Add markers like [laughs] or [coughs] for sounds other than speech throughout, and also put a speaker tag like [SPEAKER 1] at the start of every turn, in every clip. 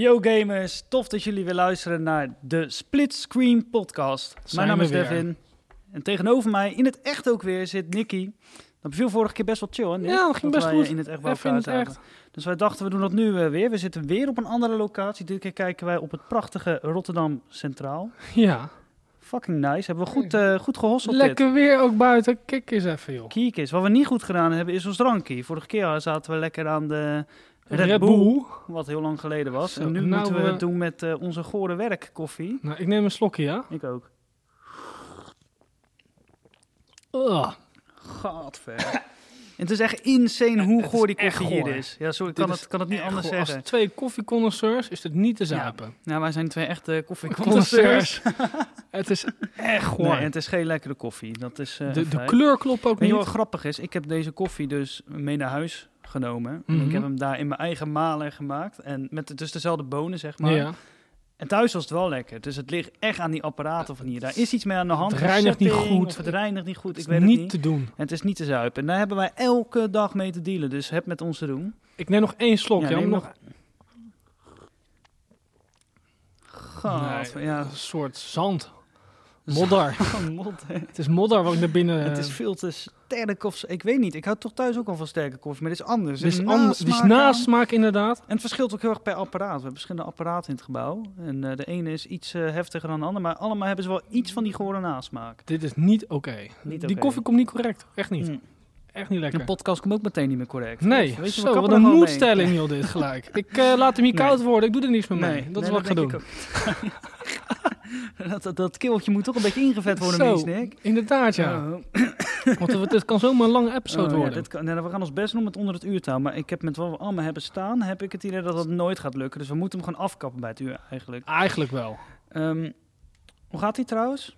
[SPEAKER 1] Yo gamers, tof dat jullie weer luisteren naar de Split Screen podcast.
[SPEAKER 2] Zijn
[SPEAKER 1] Mijn naam
[SPEAKER 2] we
[SPEAKER 1] is
[SPEAKER 2] weer.
[SPEAKER 1] Devin. En tegenover mij, in het echt ook weer, zit Nicky. Dat beviel vorige keer best wel chill, hè Nick?
[SPEAKER 2] Ja, dat ging best
[SPEAKER 1] wij, eh,
[SPEAKER 2] goed.
[SPEAKER 1] in het echt bij
[SPEAKER 2] Even in
[SPEAKER 1] elkaar
[SPEAKER 2] het
[SPEAKER 1] zaten.
[SPEAKER 2] echt.
[SPEAKER 1] Dus wij dachten, we doen dat nu eh, weer. We zitten weer op een andere locatie. Dit keer kijken wij op het prachtige Rotterdam Centraal.
[SPEAKER 2] Ja.
[SPEAKER 1] Fucking nice. Hebben we goed, eh goed gehosseld dit.
[SPEAKER 2] Lekker weer ook buiten. Kijk eens even, joh.
[SPEAKER 1] Kiek is. Wat we niet goed gedaan hebben, is ons drankje. Vorige keer zaten we lekker aan de Red,
[SPEAKER 2] Red
[SPEAKER 1] Bull,
[SPEAKER 2] Bull.
[SPEAKER 1] wat heel lang geleden was.
[SPEAKER 2] Zo,
[SPEAKER 1] en nu
[SPEAKER 2] nou,
[SPEAKER 1] moeten we
[SPEAKER 2] eh,
[SPEAKER 1] het doen met eh, onze gore werkkoffie.
[SPEAKER 2] Nou, ik neem een slokje, ja.
[SPEAKER 1] Ik ook.
[SPEAKER 2] Ugh.
[SPEAKER 1] Gadver. En [laughs] het is echt insane hoe
[SPEAKER 2] is
[SPEAKER 1] goor die
[SPEAKER 2] echt
[SPEAKER 1] koffie hier
[SPEAKER 2] goor.
[SPEAKER 1] is. Ja, sorry, ik
[SPEAKER 2] Dit
[SPEAKER 1] kan,
[SPEAKER 2] is
[SPEAKER 1] het, kan het niet
[SPEAKER 2] echt
[SPEAKER 1] anders
[SPEAKER 2] goor.
[SPEAKER 1] zeggen.
[SPEAKER 2] Als twee koffieconnoisseurs is het niet te zuipen.
[SPEAKER 1] Nou, wij zijn twee echte [laughs] koffieconnoisseurs.
[SPEAKER 2] Connoisseurs. [laughs] het is
[SPEAKER 1] Eh,
[SPEAKER 2] echt
[SPEAKER 1] Nee,
[SPEAKER 2] goor.
[SPEAKER 1] en het is geen lekkere koffie. Dat is, eh, een
[SPEAKER 2] de, de
[SPEAKER 1] feit.
[SPEAKER 2] kleur klopt ook
[SPEAKER 1] Weet
[SPEAKER 2] niet.
[SPEAKER 1] je wat grappig is? Ik heb deze koffie dus mee naar huis genomen. En
[SPEAKER 2] Mhm.
[SPEAKER 1] Ik heb hem daar in mijn eigen maler gemaakt. En met dus dezelfde bonen, zeg maar.
[SPEAKER 2] ja.
[SPEAKER 1] En thuis was het wel lekker. Dus het ligt echt aan die apparaten van hier. Daar is iets mee aan de hand.
[SPEAKER 2] Het
[SPEAKER 1] De
[SPEAKER 2] reinigt niet
[SPEAKER 1] setting,
[SPEAKER 2] goed.
[SPEAKER 1] Of het reinigt niet goed.
[SPEAKER 2] Het
[SPEAKER 1] Ik
[SPEAKER 2] is
[SPEAKER 1] weet
[SPEAKER 2] niet
[SPEAKER 1] het niet.
[SPEAKER 2] te doen.
[SPEAKER 1] En het is niet te zuipen. En daar hebben wij elke dag mee te dealen. Dus heb met ons te doen.
[SPEAKER 2] Ik neem nog één slok, ja.
[SPEAKER 1] neem
[SPEAKER 2] om
[SPEAKER 1] nog-
[SPEAKER 2] nog
[SPEAKER 1] God,
[SPEAKER 2] Nee,
[SPEAKER 1] ja.
[SPEAKER 2] een soort zand. Modder.
[SPEAKER 1] [laughs] Mot, hè.
[SPEAKER 2] het is modder wat ik naar binnen...
[SPEAKER 1] het is veel te sterk of zo. Ik weet niet. Ik hou toch thuis ook al van sterke koffie, maar dit is anders.
[SPEAKER 2] het is
[SPEAKER 1] Er
[SPEAKER 2] an- het is
[SPEAKER 1] nasmaak aan.
[SPEAKER 2] nasmaak, inderdaad.
[SPEAKER 1] En het verschilt ook heel erg per apparaat. We hebben verschillende apparaten in het gebouw. En eh, de ene is iets eh, heftiger dan de ander, maar allemaal hebben ze wel iets van die gore nasmaak.
[SPEAKER 2] Dit is niet oké.
[SPEAKER 1] Niet
[SPEAKER 2] Die
[SPEAKER 1] oké.
[SPEAKER 2] koffie komt niet correct. Echt niet.
[SPEAKER 1] Mm.
[SPEAKER 2] Echt niet lekker.
[SPEAKER 1] De podcast komt ook meteen niet meer correct.
[SPEAKER 2] Nee,
[SPEAKER 1] Weet je, we
[SPEAKER 2] zo,
[SPEAKER 1] kappen
[SPEAKER 2] wat
[SPEAKER 1] er
[SPEAKER 2] een
[SPEAKER 1] gewoon mee.
[SPEAKER 2] moedstelling joh dit
[SPEAKER 1] [laughs]
[SPEAKER 2] gelijk. Ik eh, laat hem hier
[SPEAKER 1] Nee.
[SPEAKER 2] koud worden, ik doe er niks meer
[SPEAKER 1] Nee,
[SPEAKER 2] mee.
[SPEAKER 1] nee,
[SPEAKER 2] dat is wat ik ga
[SPEAKER 1] denk
[SPEAKER 2] doen.
[SPEAKER 1] ook. [laughs] dat, dat, dat keeltje moet toch een beetje ingevet worden,
[SPEAKER 2] Zo,
[SPEAKER 1] mens, Nick.
[SPEAKER 2] Inderdaad ja,
[SPEAKER 1] Oh.
[SPEAKER 2] want het, het kan zomaar een lange episode
[SPEAKER 1] Oh, ja,
[SPEAKER 2] worden.
[SPEAKER 1] dit kan, nee, we gaan ons best doen om het onder het uur te houden. Maar ik heb met wat we allemaal hebben staan, heb ik het idee dat dat nooit gaat lukken. Dus we moeten hem gewoon afkappen bij het uur eigenlijk.
[SPEAKER 2] Eigenlijk wel.
[SPEAKER 1] Ehm, hoe gaat die trouwens?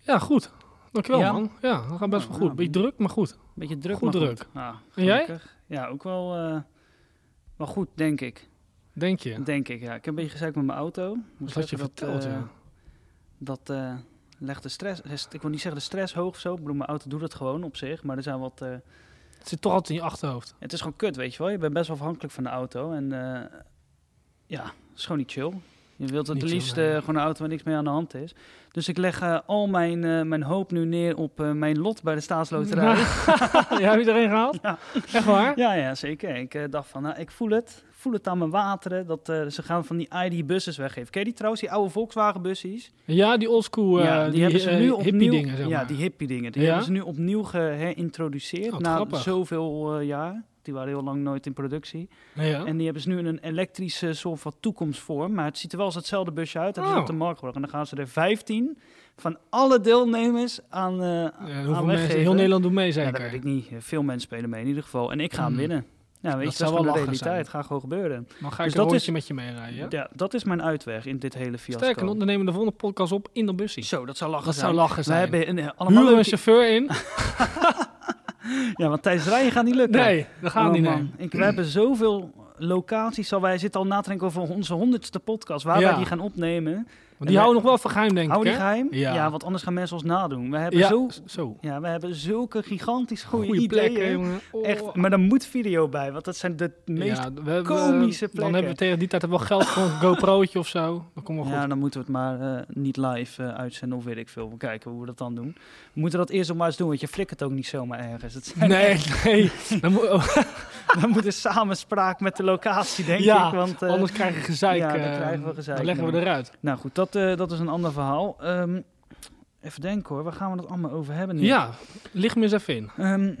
[SPEAKER 2] Ja, goed. Dankjewel
[SPEAKER 1] Ja?
[SPEAKER 2] man. Ja, dat gaat best
[SPEAKER 1] Oh,
[SPEAKER 2] wel
[SPEAKER 1] nou,
[SPEAKER 2] goed. Beetje druk, maar goed.
[SPEAKER 1] Beetje druk,
[SPEAKER 2] Goed
[SPEAKER 1] maar
[SPEAKER 2] druk.
[SPEAKER 1] Goed. Ah,
[SPEAKER 2] En jij?
[SPEAKER 1] gelukkig. Ja, ook wel, eh, wel goed, denk ik.
[SPEAKER 2] Denk je.
[SPEAKER 1] Denk ik, ja. Ik heb een beetje gezeik met mijn auto.
[SPEAKER 2] Dat
[SPEAKER 1] Moest
[SPEAKER 2] had je
[SPEAKER 1] even
[SPEAKER 2] verteld
[SPEAKER 1] eh,
[SPEAKER 2] ja.
[SPEAKER 1] Dat eh, legt de stress... rest- Ik wil niet zeggen de stress hoog of zo. Ik bedoel, mijn auto doet dat gewoon op zich. Maar er zijn wat... eh,
[SPEAKER 2] Het zit toch altijd in je achterhoofd.
[SPEAKER 1] het is gewoon kut, weet je wel. Je bent best wel afhankelijk van de auto. En eh, ja, het is gewoon niet chill. Je wilt het
[SPEAKER 2] Niet chill,
[SPEAKER 1] liefst
[SPEAKER 2] nee.
[SPEAKER 1] eh, gewoon een auto waar niks mee aan de hand is. Dus ik leg eh, al mijn, eh, mijn hoop nu neer op eh, mijn lot bij de staatsloterij.
[SPEAKER 2] [laughs] ja, heb je erin gehaald?
[SPEAKER 1] Ja.
[SPEAKER 2] Echt waar?
[SPEAKER 1] Ja, ja, zeker. Ik eh, dacht van, nou, ik voel het. Ik voel het aan mijn wateren. Dat eh, ze gaan van die ID-bussen weggeven. Ken je die trouwens, die oude Volkswagen-bussies?
[SPEAKER 2] Ja, die oldschool, eh
[SPEAKER 1] ja, die, hebben ze
[SPEAKER 2] eh,
[SPEAKER 1] nu opnieuw...
[SPEAKER 2] hippie dingen zeg maar.
[SPEAKER 1] Ja, die hippie dingen. Die
[SPEAKER 2] Ja?
[SPEAKER 1] hebben ze nu opnieuw geherintroduceerd.
[SPEAKER 2] Oh,
[SPEAKER 1] na
[SPEAKER 2] grappig.
[SPEAKER 1] zoveel eh, jaar. Die waren heel lang nooit in productie.
[SPEAKER 2] Ja.
[SPEAKER 1] En die hebben ze nu in een elektrische soort van toekomstvorm. Maar het ziet er wel als hetzelfde busje uit. Dat is
[SPEAKER 2] Oh.
[SPEAKER 1] op de markt gebracht. En dan gaan ze er 15 van alle deelnemers aan, eh
[SPEAKER 2] Ja,
[SPEAKER 1] aan
[SPEAKER 2] hoeveel mensen,
[SPEAKER 1] weggeven.
[SPEAKER 2] heel Nederland doet mee
[SPEAKER 1] Ja,
[SPEAKER 2] zeker.
[SPEAKER 1] dat weet ik niet. Veel mensen spelen mee in ieder geval. En ik ga hem
[SPEAKER 2] Hmm.
[SPEAKER 1] winnen. Ja, weet je,
[SPEAKER 2] Dat
[SPEAKER 1] dat
[SPEAKER 2] zou
[SPEAKER 1] is
[SPEAKER 2] wel
[SPEAKER 1] gewoon de realiteit.
[SPEAKER 2] lachen zijn.
[SPEAKER 1] Het gaat gewoon gebeuren.
[SPEAKER 2] Dan ga ik
[SPEAKER 1] Dus
[SPEAKER 2] een
[SPEAKER 1] dat
[SPEAKER 2] rondje
[SPEAKER 1] is-
[SPEAKER 2] met je meerijden.
[SPEAKER 1] Ja?
[SPEAKER 2] Ja?
[SPEAKER 1] dat is mijn uitweg in dit hele fiasco.
[SPEAKER 2] Sterker nog, dan nemen we de volgende podcast op in de bussie.
[SPEAKER 1] Zo, dat zou lachen
[SPEAKER 2] Dat
[SPEAKER 1] zijn.
[SPEAKER 2] zou lachen
[SPEAKER 1] We
[SPEAKER 2] zijn.
[SPEAKER 1] hebben een, eh, allemaal
[SPEAKER 2] Huren we een
[SPEAKER 1] leuke...
[SPEAKER 2] chauffeur
[SPEAKER 1] [laughs]
[SPEAKER 2] in?
[SPEAKER 1] Ja, want tijdens rijden gaat niet lukken.
[SPEAKER 2] Nee, dat gaan
[SPEAKER 1] Oh,
[SPEAKER 2] niet.
[SPEAKER 1] man. Ik, we hebben zoveel locaties. Al wij zitten al na te denken over onze honderdste podcast. Waar wij
[SPEAKER 2] Ja.
[SPEAKER 1] die gaan opnemen.
[SPEAKER 2] Want
[SPEAKER 1] En
[SPEAKER 2] die
[SPEAKER 1] wij-
[SPEAKER 2] houden nog wel van geheim, denk
[SPEAKER 1] Hou
[SPEAKER 2] ik.
[SPEAKER 1] die
[SPEAKER 2] hè?
[SPEAKER 1] geheim. Ja.
[SPEAKER 2] Ja.
[SPEAKER 1] want anders gaan mensen ons nadoen. We hebben,
[SPEAKER 2] ja,
[SPEAKER 1] zo,
[SPEAKER 2] s- zo.
[SPEAKER 1] ja, we hebben zulke gigantisch goede
[SPEAKER 2] Goeie
[SPEAKER 1] ideeën.
[SPEAKER 2] plekken, jongen. Oh.
[SPEAKER 1] Echt, maar daar moet video bij. Want dat zijn de meest
[SPEAKER 2] Ja, we hebben- eh,
[SPEAKER 1] komische
[SPEAKER 2] Dan
[SPEAKER 1] plekken.
[SPEAKER 2] hebben we tegen die tijd wel geld
[SPEAKER 1] [laughs]
[SPEAKER 2] voor een GoPro'tje of zo. Dan komen we
[SPEAKER 1] Ja,
[SPEAKER 2] goed.
[SPEAKER 1] dan moeten we het maar eh, niet live eh, uitzenden of weet ik veel. We kijken hoe we dat dan doen. We moeten dat eerst nog maar eens doen, want je flikkert ook niet zomaar ergens. Het
[SPEAKER 2] [laughs]
[SPEAKER 1] zijn,
[SPEAKER 2] Nee, nee.
[SPEAKER 1] [laughs]
[SPEAKER 2] Dan moet- oh,
[SPEAKER 1] We moeten samenspraak met de locatie, denk
[SPEAKER 2] Ja,
[SPEAKER 1] ik. Want, eh,
[SPEAKER 2] anders krijg je gezeik.
[SPEAKER 1] Ja, dan
[SPEAKER 2] eh,
[SPEAKER 1] krijgen we gezeik,
[SPEAKER 2] Dan leggen we
[SPEAKER 1] man.
[SPEAKER 2] eruit.
[SPEAKER 1] Nou goed, dat, eh, dat is een ander verhaal. Ehm, even denken hoor, waar gaan we dat allemaal over hebben nu?
[SPEAKER 2] Ja, lig me eens even in.
[SPEAKER 1] Ehm, zullen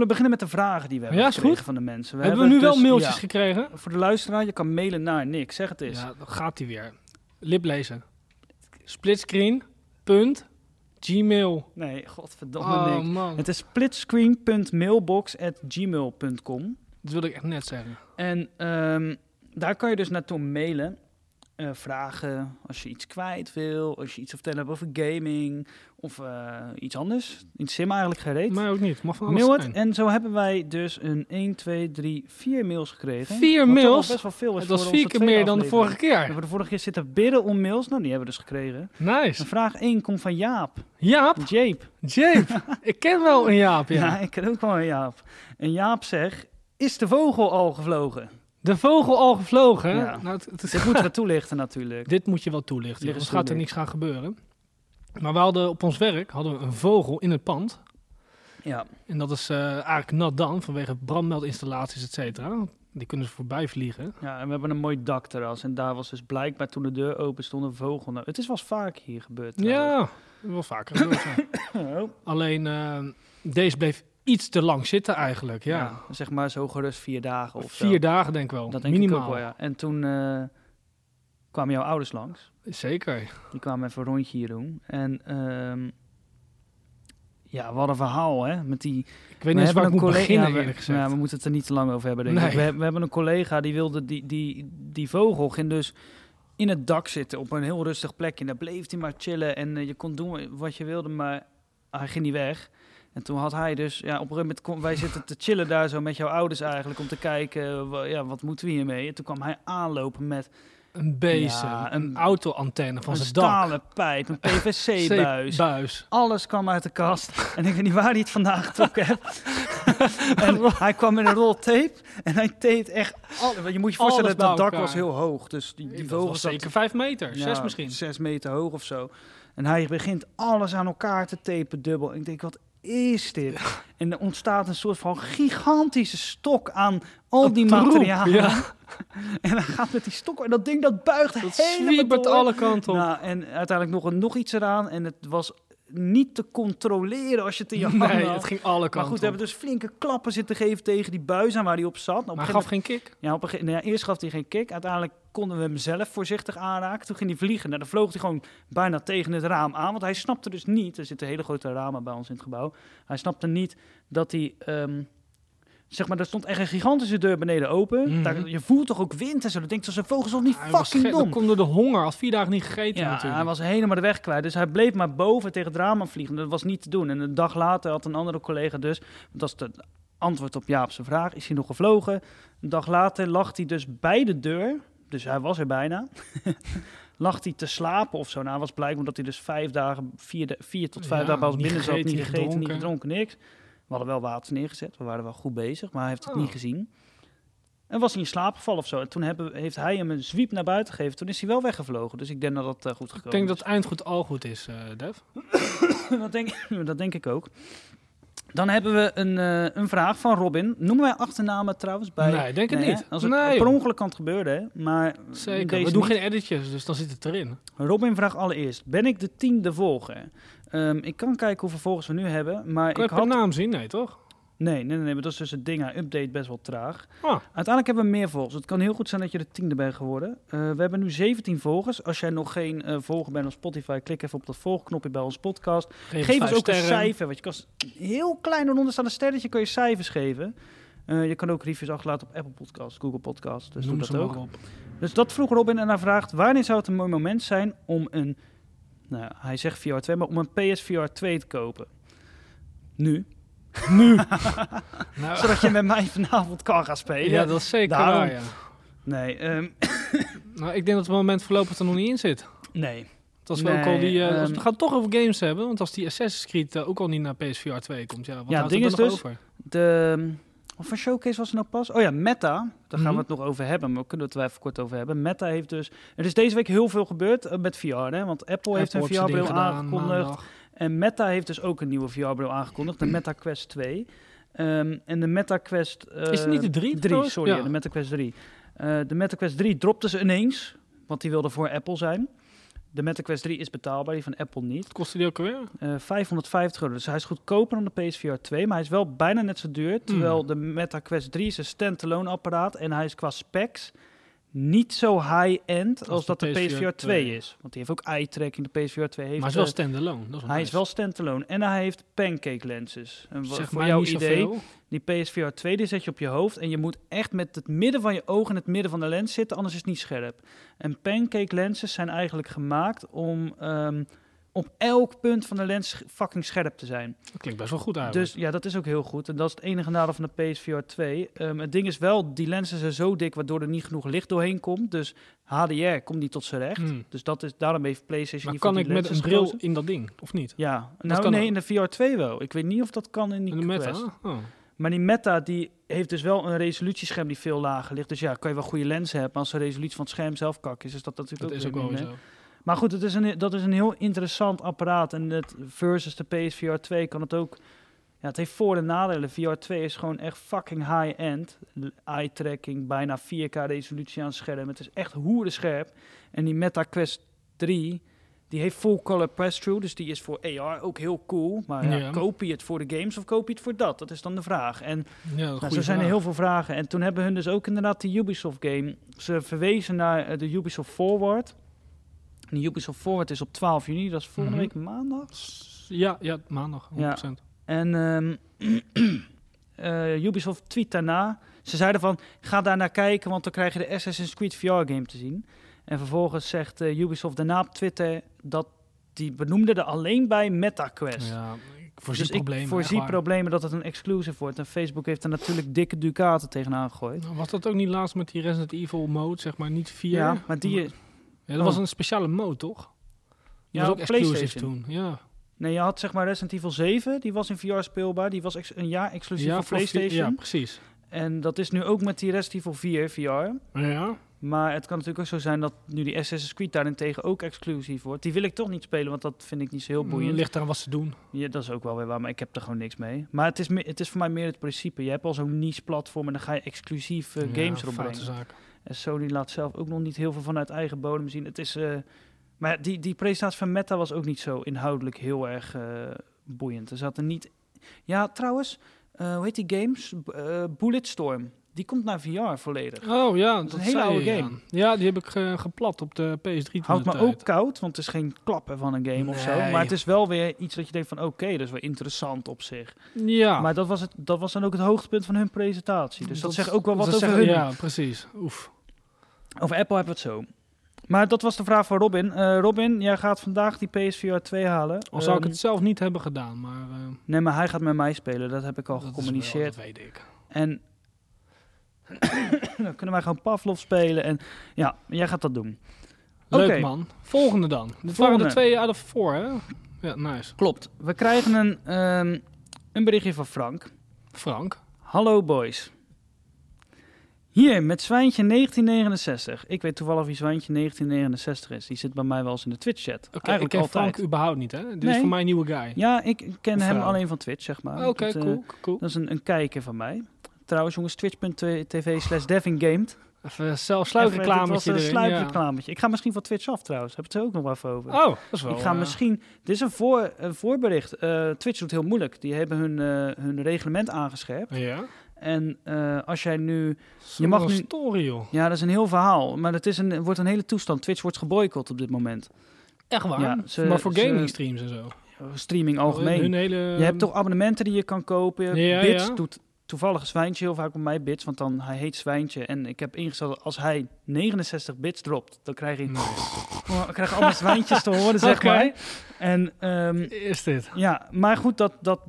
[SPEAKER 1] we beginnen met de vragen die we hebben
[SPEAKER 2] Ja, is
[SPEAKER 1] gekregen
[SPEAKER 2] goed.
[SPEAKER 1] van de mensen?
[SPEAKER 2] hebben we nu wel
[SPEAKER 1] dus-
[SPEAKER 2] mailtjes
[SPEAKER 1] ja.
[SPEAKER 2] gekregen?
[SPEAKER 1] Voor de luisteraar, je kan mailen naar Nick. Zeg het eens.
[SPEAKER 2] Ja, dan gaat hij weer. Liplezen. Splitscreen. Punt. Gmail.
[SPEAKER 1] Nee, godverdomme
[SPEAKER 2] Oh
[SPEAKER 1] Nick.
[SPEAKER 2] man,
[SPEAKER 1] Het is splitscreen.mailbox.gmail.com.
[SPEAKER 2] dat wilde ik echt net zeggen.
[SPEAKER 1] En ehm, daar kan je dus naartoe mailen. Eh, vragen als je iets kwijt wil, als je iets te vertellen hebt over gaming of eh, iets anders. In sim eigenlijk gereed.
[SPEAKER 2] Maar ook niet, mag van alles
[SPEAKER 1] Mail het.
[SPEAKER 2] zijn.
[SPEAKER 1] En zo hebben wij dus een 1, 2, 3, 4 mails gekregen.
[SPEAKER 2] Vier
[SPEAKER 1] Wat toch al
[SPEAKER 2] mails?
[SPEAKER 1] best wel veel is
[SPEAKER 2] Het was
[SPEAKER 1] voor
[SPEAKER 2] vier
[SPEAKER 1] onze
[SPEAKER 2] keer
[SPEAKER 1] tweede
[SPEAKER 2] meer dan de vorige
[SPEAKER 1] aflevering. We
[SPEAKER 2] keer.
[SPEAKER 1] hebben de vorige keer zitten bidden om mails. Nou, die hebben we dus gekregen. En
[SPEAKER 2] Nice.
[SPEAKER 1] vraag 1 komt van Jaap.
[SPEAKER 2] Jaap,
[SPEAKER 1] Jaap. [laughs]
[SPEAKER 2] Jaap. ik ken wel een Jaap,
[SPEAKER 1] Ja.
[SPEAKER 2] ja.
[SPEAKER 1] ik ken ook wel een Jaap. En Jaap zegt, is de vogel al gevlogen?
[SPEAKER 2] De vogel al gevlogen. hè?
[SPEAKER 1] Ja.
[SPEAKER 2] Nou, het- het-
[SPEAKER 1] Dit
[SPEAKER 2] [laughs]
[SPEAKER 1] moeten we toelichten natuurlijk.
[SPEAKER 2] dit moet je wel toelichten,
[SPEAKER 1] Dit is
[SPEAKER 2] anders gaat er
[SPEAKER 1] toelicht.
[SPEAKER 2] niks gaan gebeuren. Maar we hadden op ons werk hadden we een vogel in het pand.
[SPEAKER 1] Ja,
[SPEAKER 2] En dat is eh, eigenlijk nat dan, vanwege brandmeldinstallaties, et cetera. Die kunnen ze voorbij vliegen.
[SPEAKER 1] ja, en we hebben een mooi dakterras. En daar was dus blijkbaar toen de deur open stond een vogel. Nou, het is wel eens vaak hier gebeurd. trouwens.
[SPEAKER 2] Ja, wel vaker. gebeurd,
[SPEAKER 1] [laughs]
[SPEAKER 2] ja.
[SPEAKER 1] Oh.
[SPEAKER 2] Alleen eh, deze bleef iets te lang zitten eigenlijk. Ja.
[SPEAKER 1] Ja, zeg maar zo gerust vier dagen of zo.
[SPEAKER 2] Vier dagen denk ik wel.
[SPEAKER 1] Dat denk
[SPEAKER 2] Minimaal.
[SPEAKER 1] ik ook wel, ja. En toen eh, kwamen jouw ouders langs.
[SPEAKER 2] Zeker.
[SPEAKER 1] Die kwamen even een rondje hier doen. En ehm, ja, wat een verhaal, hè? Met die...
[SPEAKER 2] Ik weet niet eens waar ik moet beginnen
[SPEAKER 1] ja, we-
[SPEAKER 2] eerlijk gezegd.
[SPEAKER 1] ja, Nou, we moeten het er niet te lang over hebben, denk ik.
[SPEAKER 2] Nee.
[SPEAKER 1] We, heb- we hebben een collega die wilde... Die, die, die vogel ging dus in het dak zitten op een heel rustig plekje. En daar bleef hij maar chillen. En eh, je kon doen wat je wilde, maar hij ging niet weg. En toen had hij dus... Ja, op een gegeven moment... kon- wij zitten te chillen daar zo met jouw ouders eigenlijk... om te kijken, eh, wa- ja, wat moeten we hiermee? En toen kwam hij aanlopen met...
[SPEAKER 2] Een bezem,
[SPEAKER 1] Ja,
[SPEAKER 2] een,
[SPEAKER 1] een-
[SPEAKER 2] auto-antenne van
[SPEAKER 1] een
[SPEAKER 2] zijn dak.
[SPEAKER 1] stalen pijp,
[SPEAKER 2] [laughs]
[SPEAKER 1] een PVC-buis.
[SPEAKER 2] Buis.
[SPEAKER 1] Alles kwam uit de
[SPEAKER 2] [laughs]
[SPEAKER 1] kast. En ik weet niet waar hij het vandaan getrokken heeft. en hij kwam in een rol tape. En hij taped echt... Al, want je moet je voorstellen,
[SPEAKER 2] Alles
[SPEAKER 1] dat
[SPEAKER 2] bij
[SPEAKER 1] dak
[SPEAKER 2] elkaar.
[SPEAKER 1] was heel hoog. Dus die, die
[SPEAKER 2] Die
[SPEAKER 1] vogel
[SPEAKER 2] was
[SPEAKER 1] zat-
[SPEAKER 2] zeker vijf meter, zes
[SPEAKER 1] ja,
[SPEAKER 2] misschien.
[SPEAKER 1] Zes meter hoog of zo. En hij begint alles aan elkaar te tapen dubbel. En ik denk, wat is dit? En er ontstaat een soort van gigantische stok aan al
[SPEAKER 2] Een
[SPEAKER 1] die
[SPEAKER 2] troep,
[SPEAKER 1] materialen.
[SPEAKER 2] ja.
[SPEAKER 1] En hij gaat met die stok... En dat ding, dat buigt
[SPEAKER 2] [laughs] Dat
[SPEAKER 1] helemaal
[SPEAKER 2] zwiebert
[SPEAKER 1] door.
[SPEAKER 2] alle
[SPEAKER 1] [laughs]
[SPEAKER 2] kanten op.
[SPEAKER 1] Nou, en uiteindelijk nog, nog iets eraan. En het was niet te controleren als je het in
[SPEAKER 2] [laughs]
[SPEAKER 1] je handen
[SPEAKER 2] nee,
[SPEAKER 1] had.
[SPEAKER 2] het ging alle
[SPEAKER 1] Maar
[SPEAKER 2] kanten
[SPEAKER 1] goed, we
[SPEAKER 2] op.
[SPEAKER 1] hebben dus flinke klappen zitten geven tegen die buis aan waar hij op zat. Nou, op
[SPEAKER 2] Maar
[SPEAKER 1] een
[SPEAKER 2] hij
[SPEAKER 1] gegeven
[SPEAKER 2] gaf geen kick.
[SPEAKER 1] moment- ja, op een gege- nou ja, eerst gaf hij geen kick. Uiteindelijk konden we hem zelf voorzichtig aanraken. Toen ging hij vliegen. Nou, dan vloog hij gewoon bijna tegen het raam aan. Want hij snapte dus niet... Er zitten hele grote ramen bij ons in het gebouw. Hij snapte niet dat hij... ehm, Zeg maar, er stond echt een gigantische deur beneden open.
[SPEAKER 2] Mhm.
[SPEAKER 1] Daar, je voelt toch ook wind en zo. Dan denkt zo'n vogel is toch niet
[SPEAKER 2] Hij was
[SPEAKER 1] fucking
[SPEAKER 2] ge-
[SPEAKER 1] dom?
[SPEAKER 2] dan komt door de honger, had vier dagen niet gegeten
[SPEAKER 1] Ja,
[SPEAKER 2] natuurlijk.
[SPEAKER 1] hij was helemaal de weg kwijt. Dus hij bleef maar boven tegen het raam aan vliegen. Dat was niet te doen. En een dag later had een andere collega dus... want Dat is het antwoord op Jaap's vraag. Is hij nog gevlogen? Een dag later lag hij dus bij de deur. Dus hij was er bijna. [laughs] lag hij te slapen of zo. Nou, hij was blijkbaar omdat hij dus vijf dagen... Vier, de- vier tot vijf
[SPEAKER 2] Ja,
[SPEAKER 1] dagen bij ons
[SPEAKER 2] niet
[SPEAKER 1] binnen zat. Niet
[SPEAKER 2] gegeten,
[SPEAKER 1] gegeten,
[SPEAKER 2] niet
[SPEAKER 1] niet
[SPEAKER 2] gedronken.
[SPEAKER 1] gedronken, niks. We hadden wel water neergezet. We waren wel goed bezig. Maar hij heeft het
[SPEAKER 2] Oh.
[SPEAKER 1] niet gezien. En was hij in slaap gevallen of zo. En toen hebben, heeft hij hem een zwiep naar buiten gegeven. Toen is hij wel weggevlogen. Dus ik denk dat dat eh, goed gekomen
[SPEAKER 2] Ik denk
[SPEAKER 1] is.
[SPEAKER 2] dat het eindgoed al goed is, eh Dev.
[SPEAKER 1] [laughs] dat, denk, dat denk ik ook. Dan hebben we een, eh, een vraag van Robin. Noemen wij achternamen trouwens bij?
[SPEAKER 2] nee, ik denk het
[SPEAKER 1] Nee, hè?
[SPEAKER 2] niet.
[SPEAKER 1] Als het
[SPEAKER 2] nee,
[SPEAKER 1] per
[SPEAKER 2] joh.
[SPEAKER 1] ongeluk kan het gebeuren, hè? maar
[SPEAKER 2] Zeker.
[SPEAKER 1] deze
[SPEAKER 2] we doen
[SPEAKER 1] niet.
[SPEAKER 2] geen editjes, dus dan zit het erin.
[SPEAKER 1] Robin vraagt allereerst, ben ik de tiende volger? Ehm, ik kan kijken hoeveel volgers we nu hebben, maar
[SPEAKER 2] Kan
[SPEAKER 1] ik
[SPEAKER 2] je per
[SPEAKER 1] had...
[SPEAKER 2] naam zien? Nee, toch?
[SPEAKER 1] Nee, nee, nee, nee, maar dat is dus het ding. Hij update best wel traag.
[SPEAKER 2] Ah,
[SPEAKER 1] Uiteindelijk hebben we meer volgers. Het kan heel goed zijn dat je de tiende bent geworden. Eh, we hebben nu 17 volgers. Als jij nog geen eh, volger bent op Spotify, klik even op dat volgknopje bij ons podcast.
[SPEAKER 2] geef,
[SPEAKER 1] Geef
[SPEAKER 2] vijf
[SPEAKER 1] ons ook
[SPEAKER 2] sterren.
[SPEAKER 1] een cijfer. Want je kan s- heel klein eronder staan een sterretje, kan je cijfers geven. Eh, je kan ook reviews achterlaten op Apple Podcasts, Google Podcasts. Dus
[SPEAKER 2] Noem
[SPEAKER 1] doe
[SPEAKER 2] ze
[SPEAKER 1] dat ook.
[SPEAKER 2] maar op.
[SPEAKER 1] Dus dat vroeg Robin en hij vraagt... wanneer zou het een mooi moment zijn om een... Nou, hij zegt VR 2, maar om een PSVR 2 te kopen? Nu.
[SPEAKER 2] Nu. nou,
[SPEAKER 1] Zodat je met mij vanavond kan gaan spelen.
[SPEAKER 2] ja, dat is zeker
[SPEAKER 1] Daarom-
[SPEAKER 2] waar, ja.
[SPEAKER 1] Nee, ehm,
[SPEAKER 2] Nou, ik denk dat het moment voorlopig er nog niet in zit.
[SPEAKER 1] nee.
[SPEAKER 2] Het was wel ook al
[SPEAKER 1] Nee,
[SPEAKER 2] die, eh, als-
[SPEAKER 1] ehm,
[SPEAKER 2] we gaan het toch over games hebben, want als die Assassin's Creed eh, ook al niet naar PSVR 2 komt, ja, wat
[SPEAKER 1] Ja,
[SPEAKER 2] houdt
[SPEAKER 1] ding
[SPEAKER 2] het
[SPEAKER 1] is
[SPEAKER 2] dan nog
[SPEAKER 1] dus-
[SPEAKER 2] over?
[SPEAKER 1] De... Of een showcase was er nou pas? Oh ja, Meta. Daar gaan
[SPEAKER 2] Mhm.
[SPEAKER 1] we het nog over hebben, maar we kunnen het er wel even kort over hebben. Meta heeft dus... Er is deze week heel veel gebeurd eh, met VR, hè? Want Apple, heeft een
[SPEAKER 2] Apple zijn
[SPEAKER 1] VR-bril
[SPEAKER 2] ding gedaan nou,
[SPEAKER 1] aangekondigd.
[SPEAKER 2] maandag.
[SPEAKER 1] En Meta heeft dus ook een nieuwe VR-bril aangekondigd, de Meta Quest 2. Ehm, en de Meta Quest... eh,
[SPEAKER 2] Is het niet de 3?
[SPEAKER 1] Drie, sorry,
[SPEAKER 2] Ja.
[SPEAKER 1] de Meta Quest 3. Eh, de Meta Quest 3 dropte ze ineens, want die wilde voor Apple zijn. De Meta Quest 3 is betaalbaar, die van Apple niet.
[SPEAKER 2] Kostte die ook alweer?
[SPEAKER 1] Eh, 550 euro, dus hij is goedkoper dan de PSVR 2, maar hij is wel bijna net zo
[SPEAKER 2] Hmm.
[SPEAKER 1] duur. Terwijl de Meta Quest 3 is een standalone apparaat en hij is qua specs niet zo high-end als,
[SPEAKER 2] Als de
[SPEAKER 1] dat de PSVR 2,
[SPEAKER 2] 2
[SPEAKER 1] is. Want die heeft ook eye-tracking, de PSVR 2 heeft...
[SPEAKER 2] maar hij is wel
[SPEAKER 1] eh,
[SPEAKER 2] standalone. Dat is
[SPEAKER 1] hij is wel standalone en hij heeft pancake lenses. En wa-
[SPEAKER 2] zeg
[SPEAKER 1] voor
[SPEAKER 2] maar
[SPEAKER 1] jouw
[SPEAKER 2] niet
[SPEAKER 1] idee,
[SPEAKER 2] zoveel.
[SPEAKER 1] die PSVR 2 die zet je op je hoofd en je moet echt met het midden van je oog in het midden van de lens zitten, anders is het niet scherp. En pancake lenses zijn eigenlijk gemaakt om ehm, op elk punt van de lens sch- fucking scherp te zijn.
[SPEAKER 2] Dat klinkt best wel goed eigenlijk.
[SPEAKER 1] Dus ja, dat is ook heel goed. En dat is het enige nadeel van de PSVR 2. Ehm, het ding is wel, die lenzen zijn zo dik waardoor er niet genoeg licht doorheen komt. Dus HDR komt niet tot zijn recht.
[SPEAKER 2] Hmm.
[SPEAKER 1] Dus dat is, daarom heeft PlayStation
[SPEAKER 2] Maar
[SPEAKER 1] hiervoor
[SPEAKER 2] kan
[SPEAKER 1] die
[SPEAKER 2] ik met
[SPEAKER 1] lenzen
[SPEAKER 2] een bril
[SPEAKER 1] gekozen.
[SPEAKER 2] in dat ding, of niet?
[SPEAKER 1] Ja, nou
[SPEAKER 2] kan
[SPEAKER 1] nee,
[SPEAKER 2] ook.
[SPEAKER 1] in de VR 2 wel. Ik weet niet of dat kan in die
[SPEAKER 2] In de
[SPEAKER 1] Quest.
[SPEAKER 2] meta? Oh.
[SPEAKER 1] Maar die Meta die heeft dus wel een resolutiescherm die veel lager ligt. Dus ja, kan je wel goede lenzen hebben. Maar als de resolutie van het scherm zelf kak is, is dat natuurlijk
[SPEAKER 2] Dat is
[SPEAKER 1] weer
[SPEAKER 2] ook wel weer
[SPEAKER 1] minder.
[SPEAKER 2] zo.
[SPEAKER 1] Maar goed, het is een, dat is een heel interessant apparaat. En het versus de PSVR 2 kan het ook... Ja, het heeft voor- en nadelen. VR 2 is gewoon echt fucking high-end. Eye-tracking, bijna 4K resolutie aan het scherm. Het is echt hoerenscherp. En die Meta Quest 3, die heeft full-color pass-through. Dus die is voor AR ook heel cool. Maar ja,
[SPEAKER 2] Ja.
[SPEAKER 1] koop je het voor de games of koop je het voor dat? Dat is dan de vraag. En
[SPEAKER 2] Ja, dat
[SPEAKER 1] nou, zo zijn er heel veel vragen. En toen hebben hun dus ook inderdaad die Ubisoft game. Ze verwezen naar eh, de Ubisoft Forward. En die Ubisoft Forward is op 12 juni, dat is volgende
[SPEAKER 2] Mhm.
[SPEAKER 1] week maandag.
[SPEAKER 2] Ja, ja, maandag, 100%.
[SPEAKER 1] En ehm, [clears throat] eh, Ubisoft tweet daarna. Ze zeiden van, ga daar naar kijken, want dan krijg je de Assassin's Creed VR game te zien. En vervolgens zegt eh, Ubisoft daarna op Twitter dat die benoemde er alleen bij MetaQuest.
[SPEAKER 2] Ja, ik voorzie
[SPEAKER 1] dus
[SPEAKER 2] problemen.
[SPEAKER 1] ik
[SPEAKER 2] echt
[SPEAKER 1] voorzie
[SPEAKER 2] waar.
[SPEAKER 1] problemen dat het een exclusive wordt. En Facebook heeft er natuurlijk dikke ducaten tegenaan gegooid.
[SPEAKER 2] Was dat ook niet laatst met die Resident Evil mode, zeg maar, niet 4?
[SPEAKER 1] Ja, maar die...
[SPEAKER 2] Ja, dat was een speciale mode, toch? Die
[SPEAKER 1] Ja,
[SPEAKER 2] was
[SPEAKER 1] op
[SPEAKER 2] ook exclusive
[SPEAKER 1] PlayStation.
[SPEAKER 2] toen. Ja,
[SPEAKER 1] Nee, je had zeg maar Resident Evil 7, die was in VR speelbaar. Die was ex- een jaar exclusief
[SPEAKER 2] ja
[SPEAKER 1] voor
[SPEAKER 2] voor vi-
[SPEAKER 1] PlayStation.
[SPEAKER 2] Ja, precies.
[SPEAKER 1] En dat is nu ook met die Resident Evil 4 VR.
[SPEAKER 2] Ja,
[SPEAKER 1] Maar het kan natuurlijk ook zo zijn dat nu die Assassin's Creed daarentegen ook exclusief wordt. Die wil ik toch niet spelen, want dat vind ik niet zo heel boeiend.
[SPEAKER 2] Mm, ligt eraan wat ze doen.
[SPEAKER 1] Ja, dat is ook wel weer waar, maar ik heb er gewoon niks mee. Maar het is, me- het is voor mij meer het principe. Je hebt al zo'n niche-platform en dan ga je exclusief eh,
[SPEAKER 2] Ja,
[SPEAKER 1] games erop
[SPEAKER 2] foute
[SPEAKER 1] brengen.
[SPEAKER 2] zaak.
[SPEAKER 1] En Sony laat zelf ook nog niet heel veel vanuit eigen bodem zien. Het is, eh, maar ja, die, die presentatie van Meta was ook niet zo inhoudelijk heel erg eh, boeiend. Er zaten niet... Ja, trouwens, eh, hoe heet die games? B- eh, Bulletstorm. Die komt naar VR volledig.
[SPEAKER 2] Oh ja, dat,
[SPEAKER 1] is een hele
[SPEAKER 2] zei
[SPEAKER 1] oude
[SPEAKER 2] je,
[SPEAKER 1] game.
[SPEAKER 2] Ja. Ja, die heb ik eh, geplat op de PS3 toen
[SPEAKER 1] Houdt
[SPEAKER 2] de
[SPEAKER 1] me
[SPEAKER 2] tijd.
[SPEAKER 1] ook koud, want het is geen klappen van een game of zo.
[SPEAKER 2] Nee.
[SPEAKER 1] Maar het is wel weer iets dat je denkt van oké, dat is wel interessant op zich.
[SPEAKER 2] Ja.
[SPEAKER 1] Maar dat was, het, dat was dan ook het hoogtepunt van hun presentatie. Dus dat, zegt ook wel
[SPEAKER 2] dat
[SPEAKER 1] wat over
[SPEAKER 2] zegt-
[SPEAKER 1] hun.
[SPEAKER 2] Ja, precies. Oef.
[SPEAKER 1] Over Apple hebben we het zo. Maar dat was de vraag van Robin. Eh, Robin, jij gaat vandaag die PSVR 2 halen.
[SPEAKER 2] Al zou ik
[SPEAKER 1] Ehm,
[SPEAKER 2] het zelf niet hebben gedaan, maar... eh,
[SPEAKER 1] Nee, maar hij gaat met mij spelen. Dat heb ik al
[SPEAKER 2] dat is wel-
[SPEAKER 1] gecommuniceerd.
[SPEAKER 2] Dat weet ik.
[SPEAKER 1] En [coughs] dan kunnen wij gewoon Pavlov spelen. En ja, jij gaat dat doen.
[SPEAKER 2] Leuk
[SPEAKER 1] Oké.
[SPEAKER 2] man. Volgende dan. Dit waren
[SPEAKER 1] Volgende.
[SPEAKER 2] de twee out of four, hè? Ja, nice.
[SPEAKER 1] Klopt. We krijgen een, ehm, een berichtje van Frank.
[SPEAKER 2] Frank.
[SPEAKER 1] Hallo boys. Hier met Zwijntje 1969. Ik weet toevallig wie Zwijntje 1969 is. Die zit bij mij wel eens in de Twitch-chat.
[SPEAKER 2] Oké, ik
[SPEAKER 1] Eigenlijk
[SPEAKER 2] ken
[SPEAKER 1] altijd.
[SPEAKER 2] Frank überhaupt niet, hè? Dit is
[SPEAKER 1] Nee.
[SPEAKER 2] voor mij een nieuwe guy.
[SPEAKER 1] Ja, ik ken hem
[SPEAKER 2] vrouw. Oh,
[SPEAKER 1] alleen van Twitch, zeg maar.
[SPEAKER 2] Oké,
[SPEAKER 1] Dat, eh,
[SPEAKER 2] cool, cool.
[SPEAKER 1] Dat is een, een kijker van mij. Trouwens, jongens, twitch.tv slash
[SPEAKER 2] [laughs]
[SPEAKER 1] devingamed.
[SPEAKER 2] Even zelf
[SPEAKER 1] Even, dit was
[SPEAKER 2] sluitreclametje
[SPEAKER 1] een
[SPEAKER 2] erin.
[SPEAKER 1] sluitreclametje. Ik ga misschien van Twitch af trouwens. Heb ik het er ook nog wel even over.
[SPEAKER 2] Ja. Oh, dat is wel...
[SPEAKER 1] ik ga
[SPEAKER 2] eh,
[SPEAKER 1] misschien... Dit is een, voor, een voorbericht. Eh, Twitch doet heel moeilijk. Die hebben hun, eh, hun reglement aangescherpt.
[SPEAKER 2] Ja.
[SPEAKER 1] En eh, als jij nu...
[SPEAKER 2] Je mag
[SPEAKER 1] mag
[SPEAKER 2] een
[SPEAKER 1] nu-
[SPEAKER 2] story, joh.
[SPEAKER 1] Ja, dat is een heel verhaal. Maar het is een, wordt een hele toestand. Twitch wordt geboycott op dit moment.
[SPEAKER 2] Echt waar?
[SPEAKER 1] Ja, ze-
[SPEAKER 2] maar voor
[SPEAKER 1] ze-
[SPEAKER 2] gaming streams en zo.
[SPEAKER 1] Streaming algemeen.
[SPEAKER 2] Hun hele...
[SPEAKER 1] Je hebt toch abonnementen die je kan kopen.
[SPEAKER 2] Ehm, Ja,
[SPEAKER 1] Bits
[SPEAKER 2] ja.
[SPEAKER 1] doet toevallig Zwijntje heel vaak op mij bits, want dan hij heet Zwijntje. En ik heb ingesteld dat als hij 69 bits dropt, dan krijg
[SPEAKER 2] [laughs]
[SPEAKER 1] ik, oh, ik krijg allemaal Zwijntjes te horen, zeg
[SPEAKER 2] Oké.
[SPEAKER 1] maar. En ehm,
[SPEAKER 2] Is dit?
[SPEAKER 1] ja, maar goed, dat, dat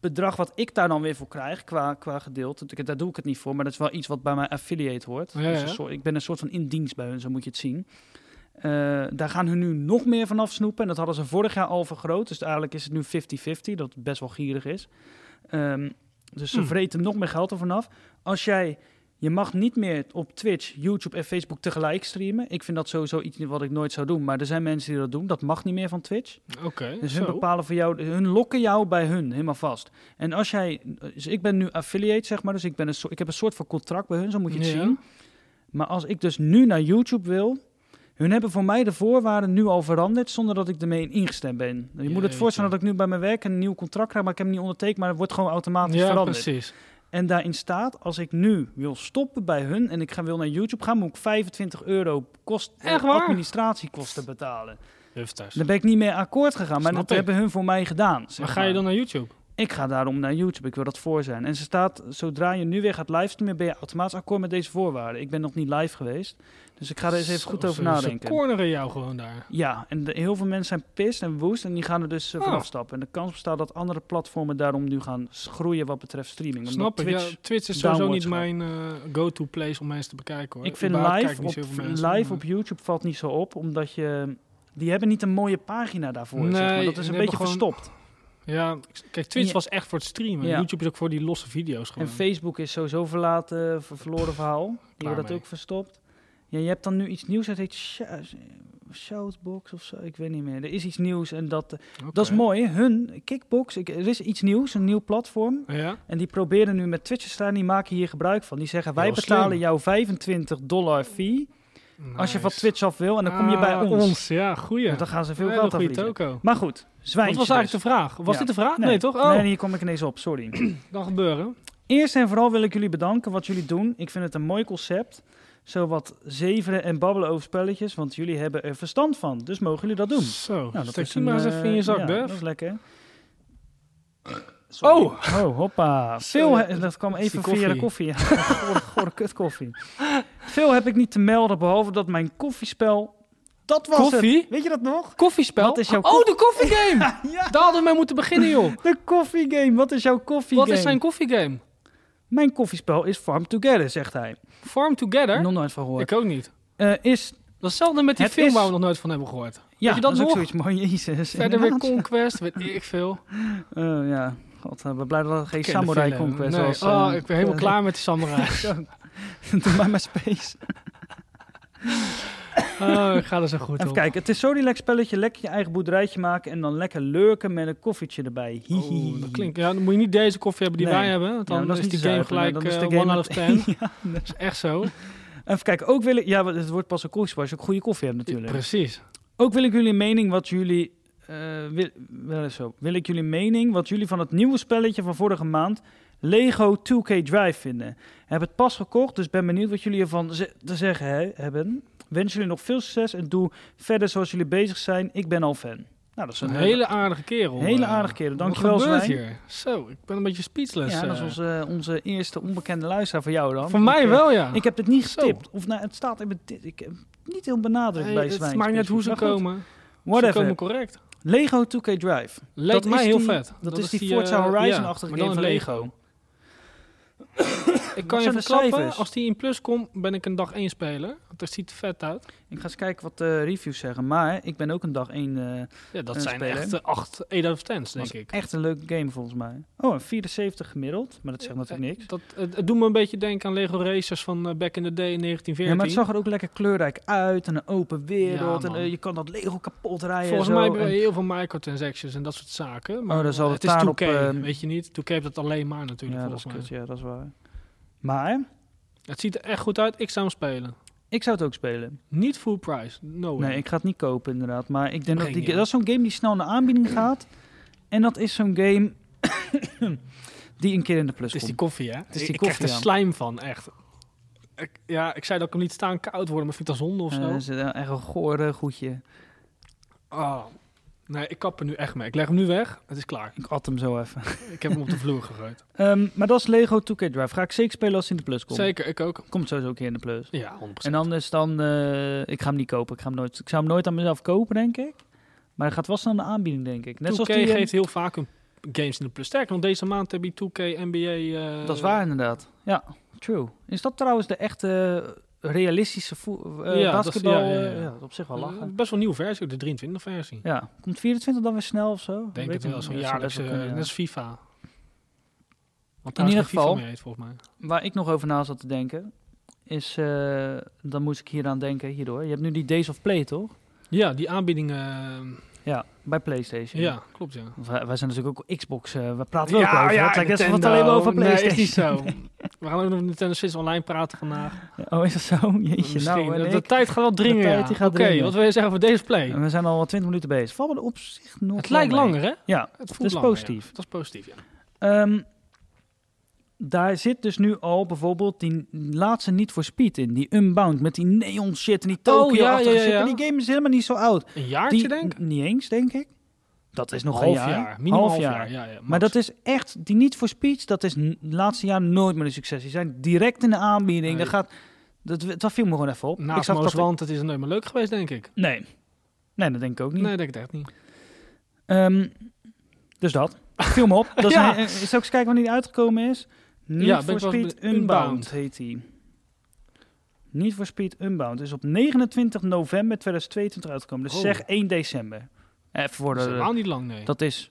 [SPEAKER 1] bedrag wat ik daar dan weer voor krijg, qua, qua gedeelte, ik- daar doe ik het niet voor, maar dat is wel iets wat bij mijn affiliate hoort.
[SPEAKER 2] Ja,
[SPEAKER 1] Dus
[SPEAKER 2] ja.
[SPEAKER 1] een soort- ik ben een soort van in dienst bij hun, zo moet je het zien. Eh, daar gaan hun nu nog meer van afsnoepen. En dat hadden ze vorig jaar al vergroot. Dus eigenlijk is het nu 50-50, dat best wel gierig is. Ehm, dus ze
[SPEAKER 2] Hmm.
[SPEAKER 1] vreten nog meer geld ervan af. Als jij, je mag niet meer op Twitch, YouTube en Facebook tegelijk streamen. Ik vind dat sowieso iets wat ik nooit zou doen. Maar er zijn mensen die dat doen. Dat mag niet meer van Twitch.
[SPEAKER 2] Oké,
[SPEAKER 1] Dus hun
[SPEAKER 2] zo.
[SPEAKER 1] bepalen voor jou, hun lokken jou bij hun helemaal vast. En als jij, dus ik ben nu affiliate zeg maar, dus ik, ben een soort, ik heb een soort van contract bij hun, zo moet je het
[SPEAKER 2] Ja.
[SPEAKER 1] zien. Maar als ik dus nu naar YouTube wil, hun hebben voor mij de voorwaarden nu al veranderd zonder dat ik ermee ingestemd ben. Je moet het
[SPEAKER 2] Jeetje.
[SPEAKER 1] voorstellen dat ik nu bij mijn werk een nieuw contract krijg, maar ik heb hem niet ondertekend, maar het wordt gewoon automatisch
[SPEAKER 2] Ja,
[SPEAKER 1] veranderd.
[SPEAKER 2] precies.
[SPEAKER 1] En daarin staat, als ik nu wil stoppen bij hun en ik ga, wil naar YouTube gaan, moet ik 25 euro kost, eh,
[SPEAKER 2] Echt waar?
[SPEAKER 1] administratiekosten betalen.
[SPEAKER 2] Hufters.
[SPEAKER 1] Daar ben ik niet mee akkoord gegaan, maar
[SPEAKER 2] Snap
[SPEAKER 1] dat
[SPEAKER 2] ik.
[SPEAKER 1] hebben hun voor mij gedaan. zeg
[SPEAKER 2] Maar ga je
[SPEAKER 1] maar.
[SPEAKER 2] dan naar YouTube?
[SPEAKER 1] Ik ga daarom naar YouTube, ik wil dat voor zijn. En ze staat, zodra je nu weer gaat livestreamen, ben je automatisch akkoord met deze voorwaarden. Ik ben nog niet live geweest, dus ik ga er eens even goed
[SPEAKER 2] Zo,
[SPEAKER 1] over
[SPEAKER 2] ze-
[SPEAKER 1] nadenken.
[SPEAKER 2] Ze corneren jou gewoon daar.
[SPEAKER 1] Ja, en de- heel veel mensen zijn pist en woest en die gaan er dus eh,
[SPEAKER 2] Ah.
[SPEAKER 1] vanaf stappen. En de kans bestaat dat andere platformen daarom nu gaan s- groeien wat betreft streaming. Omdat
[SPEAKER 2] Snap ik. Ja,
[SPEAKER 1] Twitch,
[SPEAKER 2] Twitch, is sowieso
[SPEAKER 1] downwards
[SPEAKER 2] niet mijn eh, go-to place om mensen te bekijken, hoor.
[SPEAKER 1] ik vind
[SPEAKER 2] Überhaupt kijk
[SPEAKER 1] live,
[SPEAKER 2] ik
[SPEAKER 1] op,
[SPEAKER 2] niet zoveel mensen,
[SPEAKER 1] live
[SPEAKER 2] maar-
[SPEAKER 1] op YouTube valt niet zo op, omdat je... Die hebben niet een mooie pagina daarvoor, zeg maar. Dat is
[SPEAKER 2] Nee, die
[SPEAKER 1] een
[SPEAKER 2] hebben
[SPEAKER 1] beetje
[SPEAKER 2] gewoon-
[SPEAKER 1] verstopt.
[SPEAKER 2] Ja, kijk, Twitch
[SPEAKER 1] Ja.
[SPEAKER 2] was echt voor het streamen.
[SPEAKER 1] Ja.
[SPEAKER 2] YouTube is ook voor die losse video's gewoon.
[SPEAKER 1] En Facebook is sowieso verlaten, ver- verloren verhaal. Die
[SPEAKER 2] Klaar
[SPEAKER 1] wordt dat
[SPEAKER 2] mee.
[SPEAKER 1] ook verstopt. Ja, je hebt dan nu iets nieuws, dat heet Shou- Shoutbox of zo, ik weet niet meer. Er is iets nieuws en dat, eh,
[SPEAKER 2] Oké.
[SPEAKER 1] dat is mooi. Hun, Kickbox, ik, er is iets nieuws, een nieuw platform.
[SPEAKER 2] Ja,
[SPEAKER 1] En die proberen nu met Twitch te staan, die maken hier gebruik van. Die zeggen, wij
[SPEAKER 2] Heel
[SPEAKER 1] betalen
[SPEAKER 2] slim.
[SPEAKER 1] jou 25 dollar fee als je van
[SPEAKER 2] Nice.
[SPEAKER 1] Twitch af wil. En Oh, dan kom je bij
[SPEAKER 2] Ah,
[SPEAKER 1] ons.
[SPEAKER 2] Ja, goeie.
[SPEAKER 1] Want dan gaan ze veel
[SPEAKER 2] Hele
[SPEAKER 1] geld aan
[SPEAKER 2] goeie
[SPEAKER 1] verdienen.
[SPEAKER 2] toko.
[SPEAKER 1] Maar goed,
[SPEAKER 2] Wat
[SPEAKER 1] zwijntje
[SPEAKER 2] was
[SPEAKER 1] dus.
[SPEAKER 2] eigenlijk de vraag? Was
[SPEAKER 1] Ja.
[SPEAKER 2] dit de vraag? Nee, toch? Oh,
[SPEAKER 1] Nee, hier kom ik ineens op, sorry.
[SPEAKER 2] kan gebeuren.
[SPEAKER 1] Eerst en vooral wil ik jullie bedanken wat jullie doen. Ik vind het een mooi concept. Zo wat zeveren en babbelen over spelletjes, want jullie hebben er verstand van. Dus mogen jullie dat doen.
[SPEAKER 2] Zo,
[SPEAKER 1] Nou,
[SPEAKER 2] nou,
[SPEAKER 1] dat
[SPEAKER 2] stek
[SPEAKER 1] is
[SPEAKER 2] die maar eens
[SPEAKER 1] eh,
[SPEAKER 2] even in je zak,
[SPEAKER 1] ja,
[SPEAKER 2] Durf.
[SPEAKER 1] Dat is lekker. Sorry.
[SPEAKER 2] Oh!
[SPEAKER 1] Oh, hoppa.
[SPEAKER 2] Sorry.
[SPEAKER 1] Veel he- dat kwam
[SPEAKER 2] Dat is
[SPEAKER 1] even
[SPEAKER 2] die
[SPEAKER 1] via de koffie. [laughs] Ja, gore, gore kutkoffie. Veel heb ik niet te melden, behalve dat mijn koffiespel... Dat was het.
[SPEAKER 2] Koffie?
[SPEAKER 1] Weet je dat nog?
[SPEAKER 2] Koffiespel?
[SPEAKER 1] Wat is jouw
[SPEAKER 2] oh, de koffiegame!
[SPEAKER 1] [laughs] Ja,
[SPEAKER 2] Daar hadden we mee moeten beginnen, joh.
[SPEAKER 1] de koffiegame. Wat is jouw koffiegame?
[SPEAKER 2] Wat is zijn koffiegame?
[SPEAKER 1] Mijn koffiespel is Farm Together, zegt hij.
[SPEAKER 2] Farm Together?
[SPEAKER 1] Nog nooit van gehoord.
[SPEAKER 2] Ik ook niet.
[SPEAKER 1] Eh, is
[SPEAKER 2] Dat is hetzelfde met die
[SPEAKER 1] Het
[SPEAKER 2] film
[SPEAKER 1] is-
[SPEAKER 2] waar we nog nooit van hebben gehoord.
[SPEAKER 1] Ja,
[SPEAKER 2] je dat
[SPEAKER 1] dat, is ook
[SPEAKER 2] nog?
[SPEAKER 1] zoiets mooi. [laughs] Jezus.
[SPEAKER 2] Verder weer
[SPEAKER 1] inderdaad.
[SPEAKER 2] Conquest, weet ik veel.
[SPEAKER 1] Eh, ja, god, eh, we blij dat het geen
[SPEAKER 2] Ken de
[SPEAKER 1] samurai
[SPEAKER 2] film.
[SPEAKER 1] conquest
[SPEAKER 2] Nee,
[SPEAKER 1] was.
[SPEAKER 2] Oh,
[SPEAKER 1] eh,
[SPEAKER 2] ik ben helemaal
[SPEAKER 1] eh,
[SPEAKER 2] klaar met die samurai.
[SPEAKER 1] zo. [laughs] Doe mij maar space.
[SPEAKER 2] Oh, ik ga er zo goed
[SPEAKER 1] Even
[SPEAKER 2] op.
[SPEAKER 1] kijken, het is zo relax spelletje. Lekker je eigen boerderijtje maken en dan lekker lurken met een koffietje erbij. Hihi.
[SPEAKER 2] Oh, dat klinkt. Ja, dan moet je niet deze koffie hebben die
[SPEAKER 1] Nee.
[SPEAKER 2] wij hebben. Want
[SPEAKER 1] Ja,
[SPEAKER 2] dan
[SPEAKER 1] maar dat
[SPEAKER 2] is
[SPEAKER 1] is
[SPEAKER 2] die
[SPEAKER 1] niet te
[SPEAKER 2] game
[SPEAKER 1] zuipen,
[SPEAKER 2] gelijk
[SPEAKER 1] maar dan is
[SPEAKER 2] eh,
[SPEAKER 1] de game
[SPEAKER 2] one out of ten.
[SPEAKER 1] [laughs] Ja,
[SPEAKER 2] Dat is echt zo.
[SPEAKER 1] Even kijken, ook wil ik... Ja, want het wordt pas een koffiespel als je ook goede koffie hebt natuurlijk.
[SPEAKER 2] Precies.
[SPEAKER 1] Ook wil ik jullie mening wat jullie. eh, wil, wel eens zo. Wil ik jullie mening wat jullie van het nieuwe spelletje van vorige maand, Lego 2K Drive, vinden? Heb het pas gekocht, dus ben benieuwd wat jullie ervan ze- te zeggen he- hebben. Wens jullie nog veel succes en doe verder zoals jullie bezig zijn. Ik ben al fan. Nou, dat is
[SPEAKER 2] Een
[SPEAKER 1] een
[SPEAKER 2] hele aardige kerel.
[SPEAKER 1] hele
[SPEAKER 2] eh.
[SPEAKER 1] aardige kerel.
[SPEAKER 2] Wat
[SPEAKER 1] Dankjewel,
[SPEAKER 2] gebeurt
[SPEAKER 1] Zwijn.
[SPEAKER 2] hier? Zo, ik ben een beetje speechless.
[SPEAKER 1] Ja, dat is
[SPEAKER 2] eh.
[SPEAKER 1] onze, onze eerste onbekende luisteraar voor jou dan.
[SPEAKER 2] Voor mij
[SPEAKER 1] Ik, eh,
[SPEAKER 2] wel, ja.
[SPEAKER 1] Ik heb dit niet
[SPEAKER 2] Zo.
[SPEAKER 1] getipt. Of nou, het staat in mijn dit. Ik heb niet heel benadrukt
[SPEAKER 2] Nee,
[SPEAKER 1] bij Zwijn.
[SPEAKER 2] het maakt niet uit hoe ze
[SPEAKER 1] specifiek. Maar goed,
[SPEAKER 2] komen. Ze
[SPEAKER 1] Whatever.
[SPEAKER 2] komen correct.
[SPEAKER 1] Lego 2K Drive.
[SPEAKER 2] Lijkt
[SPEAKER 1] Dat
[SPEAKER 2] mij
[SPEAKER 1] is
[SPEAKER 2] heel
[SPEAKER 1] die-
[SPEAKER 2] vet.
[SPEAKER 1] dat is die
[SPEAKER 2] eh,
[SPEAKER 1] Forza Horizon-achtige
[SPEAKER 2] maar dan
[SPEAKER 1] game van
[SPEAKER 2] in
[SPEAKER 1] Lego.
[SPEAKER 2] ik
[SPEAKER 1] Wat
[SPEAKER 2] kan je
[SPEAKER 1] zijn de
[SPEAKER 2] verklappen,
[SPEAKER 1] cijfers?
[SPEAKER 2] als die in plus komt, ben ik een dag één speler. Want dat ziet er vet uit.
[SPEAKER 1] Ik ga eens kijken wat de reviews zeggen. Maar ik ben ook een dag één. eh
[SPEAKER 2] Ja, dat
[SPEAKER 1] Een
[SPEAKER 2] zijn
[SPEAKER 1] speler.
[SPEAKER 2] echt eh, acht 8 out of 10's, denk
[SPEAKER 1] was
[SPEAKER 2] ik.
[SPEAKER 1] echt een leuke game volgens mij. Oh, een 74 gemiddeld. Maar dat zegt natuurlijk niks.
[SPEAKER 2] Dat, het, het doet me een beetje denken aan Lego Racers van eh, back in the day in 1914.
[SPEAKER 1] Ja, maar het zag er ook lekker kleurrijk uit. En een open wereld.
[SPEAKER 2] Ja,
[SPEAKER 1] en
[SPEAKER 2] man.
[SPEAKER 1] eh, je kan dat Lego kapot rijden.
[SPEAKER 2] Volgens
[SPEAKER 1] en eh, zo.
[SPEAKER 2] mij hebben we
[SPEAKER 1] En-
[SPEAKER 2] heel veel microtransactions en dat soort zaken. Maar
[SPEAKER 1] Oh, dan zal
[SPEAKER 2] eh,
[SPEAKER 1] het
[SPEAKER 2] het is 2K,
[SPEAKER 1] daarop, eh,
[SPEAKER 2] weet je niet. 2K heeft dat alleen maar natuurlijk,
[SPEAKER 1] ja, dat is
[SPEAKER 2] volgens mij.
[SPEAKER 1] kut. Ja, dat is waar. Maar
[SPEAKER 2] Het ziet er echt goed uit. Ik zou hem spelen.
[SPEAKER 1] ik zou het ook spelen.
[SPEAKER 2] Niet full price. No way.
[SPEAKER 1] Nee, ik ga het niet kopen inderdaad. Maar ik denk dat
[SPEAKER 2] Oh, Geen
[SPEAKER 1] die,
[SPEAKER 2] idee.
[SPEAKER 1] dat is zo'n game die snel naar aanbieding gaat. En dat is zo'n game [coughs] die een keer in de plus
[SPEAKER 2] het is
[SPEAKER 1] komt.
[SPEAKER 2] die koffie, hè? Het
[SPEAKER 1] is die
[SPEAKER 2] ik krijg
[SPEAKER 1] koffie,
[SPEAKER 2] er
[SPEAKER 1] ja.
[SPEAKER 2] slijm van, echt. Ik, ja, ik zei dat ik hem niet staan koud worden, maar vind ik dat zonde of
[SPEAKER 1] Eh,
[SPEAKER 2] zo?
[SPEAKER 1] dat is eh, echt een gore goedje.
[SPEAKER 2] Oh. Nee, ik kap er nu echt mee. Ik leg hem nu weg. Het is klaar.
[SPEAKER 1] Ik at hem zo even.
[SPEAKER 2] Ik heb hem op de
[SPEAKER 1] [laughs]
[SPEAKER 2] vloer gegooid.
[SPEAKER 1] Ehm, maar dat is Lego 2K Drive. Ga ik zeker spelen als hij in de plus komt.
[SPEAKER 2] Zeker, ik ook.
[SPEAKER 1] Komt sowieso een keer in de plus.
[SPEAKER 2] Ja, 100%.
[SPEAKER 1] En anders dan... eh, ik ga hem niet kopen. Ik, ga hem nooit, ik zou hem nooit aan mezelf kopen, denk ik. Maar hij gaat vast aan de aanbieding, denk ik. Net
[SPEAKER 2] 2K
[SPEAKER 1] zoals die... eh,
[SPEAKER 2] geeft heel vaak een games in de plus. Sterker nog, deze maand heb je 2K NBA... eh,
[SPEAKER 1] Dat is waar, inderdaad. Ja, true. Is dat trouwens de echte eh, realistische voe- eh,
[SPEAKER 2] Ja, dat is-
[SPEAKER 1] basketbal?
[SPEAKER 2] ja, ja, ja.
[SPEAKER 1] eh, op zich wel
[SPEAKER 2] eh,
[SPEAKER 1] lachen.
[SPEAKER 2] Best wel een nieuwe versie, ook de 23 versie. Ik
[SPEAKER 1] Ja, komt 24 dan weer snel of zo?
[SPEAKER 2] Denk
[SPEAKER 1] Weet
[SPEAKER 2] het
[SPEAKER 1] ik
[SPEAKER 2] wel,
[SPEAKER 1] niet.
[SPEAKER 2] zo'n
[SPEAKER 1] Ja, zou best
[SPEAKER 2] jaarlijkse...
[SPEAKER 1] wel kunnen,
[SPEAKER 2] eh,
[SPEAKER 1] ja.
[SPEAKER 2] Net als FIFA. Want
[SPEAKER 1] In
[SPEAKER 2] daar is
[SPEAKER 1] ieder
[SPEAKER 2] geen FIFA
[SPEAKER 1] geval-
[SPEAKER 2] meer heet, volgens mij.
[SPEAKER 1] Waar ik nog over na zat te denken, is... eh, dan moest ik hieraan denken, hierdoor. Je hebt nu die Days of Play, toch?
[SPEAKER 2] Ja, die aanbieding... eh,
[SPEAKER 1] Ja, bij PlayStation.
[SPEAKER 2] ja, klopt, ja.
[SPEAKER 1] Want Wij, wij zijn natuurlijk ook Xbox, eh, we praten wel over. het lijkt net alsof we het
[SPEAKER 2] Nintendo.
[SPEAKER 1] alleen maar over PlayStation.
[SPEAKER 2] Nee, is niet zo.
[SPEAKER 1] [laughs]
[SPEAKER 2] We gaan ook nog Nintendo Switch online praten vandaag.
[SPEAKER 1] Oh, is dat zo? Jeetje,
[SPEAKER 2] Misschien.
[SPEAKER 1] nou en
[SPEAKER 2] de,
[SPEAKER 1] ik.
[SPEAKER 2] de tijd gaat wel dringen,
[SPEAKER 1] De tijd
[SPEAKER 2] ja.
[SPEAKER 1] die
[SPEAKER 2] Oké,
[SPEAKER 1] gaat dringen.
[SPEAKER 2] wat wil je zeggen voor deze play?
[SPEAKER 1] En we zijn al 20 minuten bezig. Vallen we er op zich nog
[SPEAKER 2] het
[SPEAKER 1] wel
[SPEAKER 2] lijkt
[SPEAKER 1] mee.
[SPEAKER 2] langer, hè?
[SPEAKER 1] Ja,
[SPEAKER 2] Het voelt
[SPEAKER 1] is
[SPEAKER 2] langer,
[SPEAKER 1] positief.
[SPEAKER 2] ja. Dat is positief, ja.
[SPEAKER 1] ehm, daar zit dus nu al bijvoorbeeld die laatste Need for Speed in. Die Unbound met die neon shit en die
[SPEAKER 2] Oh, ja,
[SPEAKER 1] Tokyo
[SPEAKER 2] ja,
[SPEAKER 1] achter
[SPEAKER 2] ja,
[SPEAKER 1] zit.
[SPEAKER 2] ja.
[SPEAKER 1] En die game is helemaal niet zo oud.
[SPEAKER 2] Een jaartje,
[SPEAKER 1] Die,
[SPEAKER 2] denk ik?
[SPEAKER 1] n- Niet eens, denk ik. Dat is nog
[SPEAKER 2] half
[SPEAKER 1] een
[SPEAKER 2] jaar.
[SPEAKER 1] jaar.
[SPEAKER 2] Minimaal
[SPEAKER 1] Half
[SPEAKER 2] half jaar,
[SPEAKER 1] jaar.
[SPEAKER 2] ja. ja
[SPEAKER 1] Maar dat is echt, die niet voor speech, dat is n- de laatste jaar nooit meer een succes. Die zijn direct in de aanbieding.
[SPEAKER 2] Nee.
[SPEAKER 1] Dat, gaat, dat, dat viel me gewoon even op.
[SPEAKER 2] Naast
[SPEAKER 1] zag
[SPEAKER 2] Moos,
[SPEAKER 1] dat-
[SPEAKER 2] want het is nooit meer leuk geweest, denk ik.
[SPEAKER 1] Nee. Nee, dat denk ik ook niet.
[SPEAKER 2] Nee, denk ik echt niet.
[SPEAKER 1] Ehm, dus dat. Viel me op. Dat is
[SPEAKER 2] Ja.
[SPEAKER 1] een- eh, Zal ik eens kijken wanneer die uitgekomen is? Niet
[SPEAKER 2] Ja, ben
[SPEAKER 1] voor
[SPEAKER 2] ik wel
[SPEAKER 1] Speed
[SPEAKER 2] benieuwd.
[SPEAKER 1] Unbound,
[SPEAKER 2] Unbound.
[SPEAKER 1] heet die. Niet voor Speed Unbound. Is op 29 november 2022 uitgekomen. Dus
[SPEAKER 2] Oh.
[SPEAKER 1] zeg 1 december. Even
[SPEAKER 2] Dat is
[SPEAKER 1] worden.
[SPEAKER 2] helemaal niet lang, nee. Ah.
[SPEAKER 1] Dat is